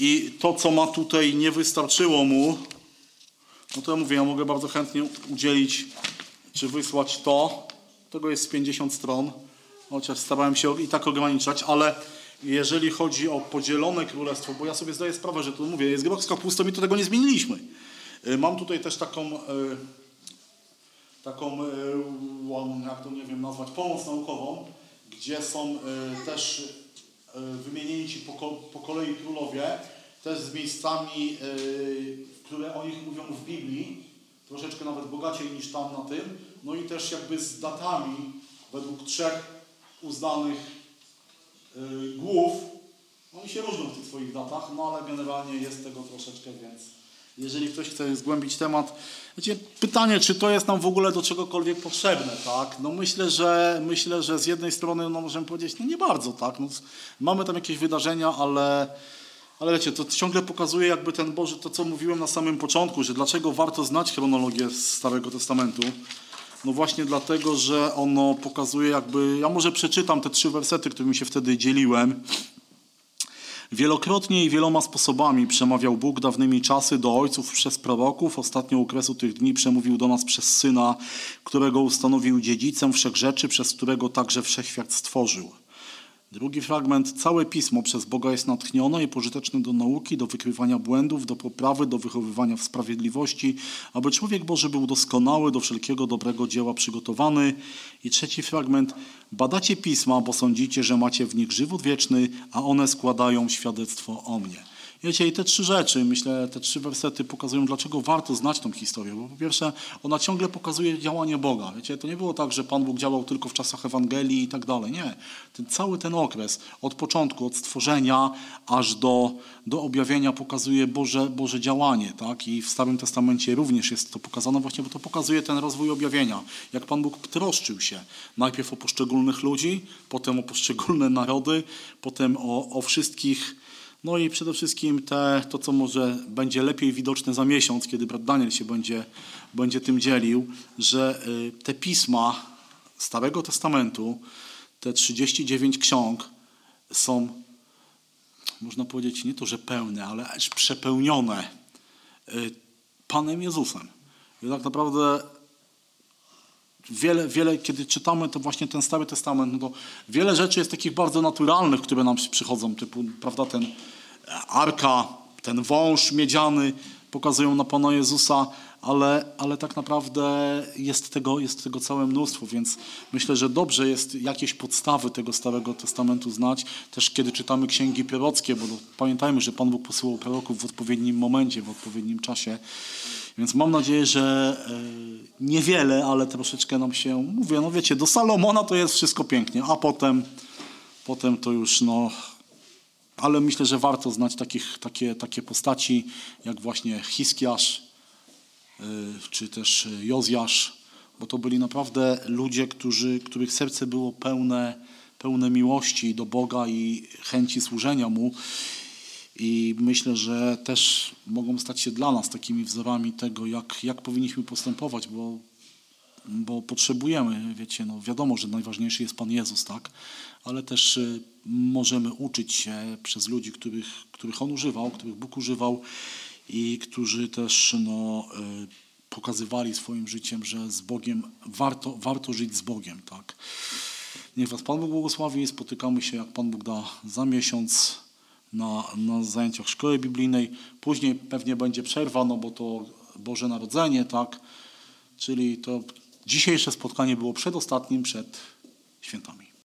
[SPEAKER 1] i to, co ma tutaj, nie wystarczyło mu, no to ja mówię, ja mogę bardzo chętnie udzielić czy wysłać to. Tego jest z 50 stron, chociaż starałem się i tak ograniczać, ale jeżeli chodzi o podzielone królestwo, bo ja sobie zdaję sprawę, że tu mówię, jest groch z kapustą i to tego nie zmieniliśmy. Y, Mam tutaj też taką, y, taką, y, łam- jak to nie wiem nazwać, pomoc naukową, gdzie są y, też y, wymienieni ci po, ko- po kolei królowie, też z miejscami, y, które o nich mówią w Biblii, troszeczkę nawet bogaciej niż tam na tym, no i też jakby z datami według trzech uznanych y, głów. Oni się różnią w tych swoich datach, no ale generalnie jest tego troszeczkę więcej. Jeżeli ktoś chce zgłębić temat, wiecie, pytanie, czy to jest nam w ogóle do czegokolwiek potrzebne, tak? No myślę, że myślę, że z jednej strony no możemy powiedzieć, no nie bardzo, tak? No, s- mamy tam jakieś wydarzenia, ale, ale wiecie, to ciągle pokazuje jakby ten Boży, to co mówiłem na samym początku, że dlaczego warto znać chronologię Starego Testamentu. No właśnie dlatego, że ono pokazuje jakby, ja może przeczytam te trzy wersety, którymi się wtedy dzieliłem. Wielokrotnie i wieloma sposobami przemawiał Bóg dawnymi czasy do ojców przez proroków. Ostatnio okresu tych dni przemówił do nas przez Syna, którego ustanowił dziedzicem wszechrzeczy, przez którego także wszechświat stworzył. Drugi fragment. Całe pismo przez Boga jest natchnione i pożyteczne do nauki, do wykrywania błędów, do poprawy, do wychowywania w sprawiedliwości, aby człowiek Boży był doskonały, do wszelkiego dobrego dzieła przygotowany. I trzeci fragment. Badacie pisma, bo sądzicie, że macie w nich żywot wieczny, a one składają świadectwo o mnie. Ja dzisiaj te trzy rzeczy, myślę, te trzy wersety pokazują, dlaczego warto znać tą historię. Bo po pierwsze, ona ciągle pokazuje działanie Boga. Wiecie, to nie było tak, że Pan Bóg działał tylko w czasach Ewangelii i tak dalej. Nie. Ten, cały ten okres, od początku, od stworzenia aż do, do objawienia pokazuje Boże, Boże działanie. Tak? I w Starym Testamencie również jest to pokazane właśnie, bo to pokazuje ten rozwój objawienia. Jak Pan Bóg troszczył się najpierw o poszczególnych ludzi, potem o poszczególne narody, potem o, o wszystkich... No i przede wszystkim te, to, co może będzie lepiej widoczne za miesiąc, kiedy brat Daniel się będzie, będzie tym dzielił, że y, te pisma Starego Testamentu, te 39 ksiąg są, można powiedzieć, nie to, że pełne, ale aż przepełnione y, Panem Jezusem. I tak naprawdę wiele, wiele, kiedy czytamy to właśnie ten Stary Testament, no to wiele rzeczy jest takich bardzo naturalnych, które nam przy- przychodzą, typu, prawda, ten e, arka, ten wąż miedziany, pokazują na Pana Jezusa, ale, ale tak naprawdę jest tego, jest tego całe mnóstwo, więc myślę, że dobrze jest jakieś podstawy tego Starego Testamentu znać, też kiedy czytamy księgi prorockie, bo no, pamiętajmy, że Pan Bóg posyłał proroków w odpowiednim momencie, w odpowiednim czasie, więc mam nadzieję, że e, niewiele, ale troszeczkę nam się mówię. No wiecie, do Salomona to jest wszystko pięknie, a potem, potem to już no. Ale myślę, że warto znać takich, takie, takie postaci jak właśnie Hiskiasz e, czy też e, Jozjasz, bo to byli naprawdę ludzie, którzy, których serce było pełne, pełne miłości do Boga i chęci służenia Mu. I myślę, że też mogą stać się dla nas takimi wzorami tego, jak, jak powinniśmy postępować, bo, bo potrzebujemy, wiecie, no wiadomo, że najważniejszy jest Pan Jezus, tak? Ale też y, możemy uczyć się przez ludzi, których, których On używał, których Bóg używał i którzy też no, y, pokazywali swoim życiem, że z Bogiem warto, warto żyć z Bogiem, tak? Niech Was Pan Bóg błogosławi. Spotykamy się, jak Pan Bóg da, za miesiąc na, na zajęciach szkoły biblijnej. Później pewnie będzie przerwa, no bo to Boże Narodzenie, tak? Czyli to dzisiejsze spotkanie było przedostatnim przed świętami.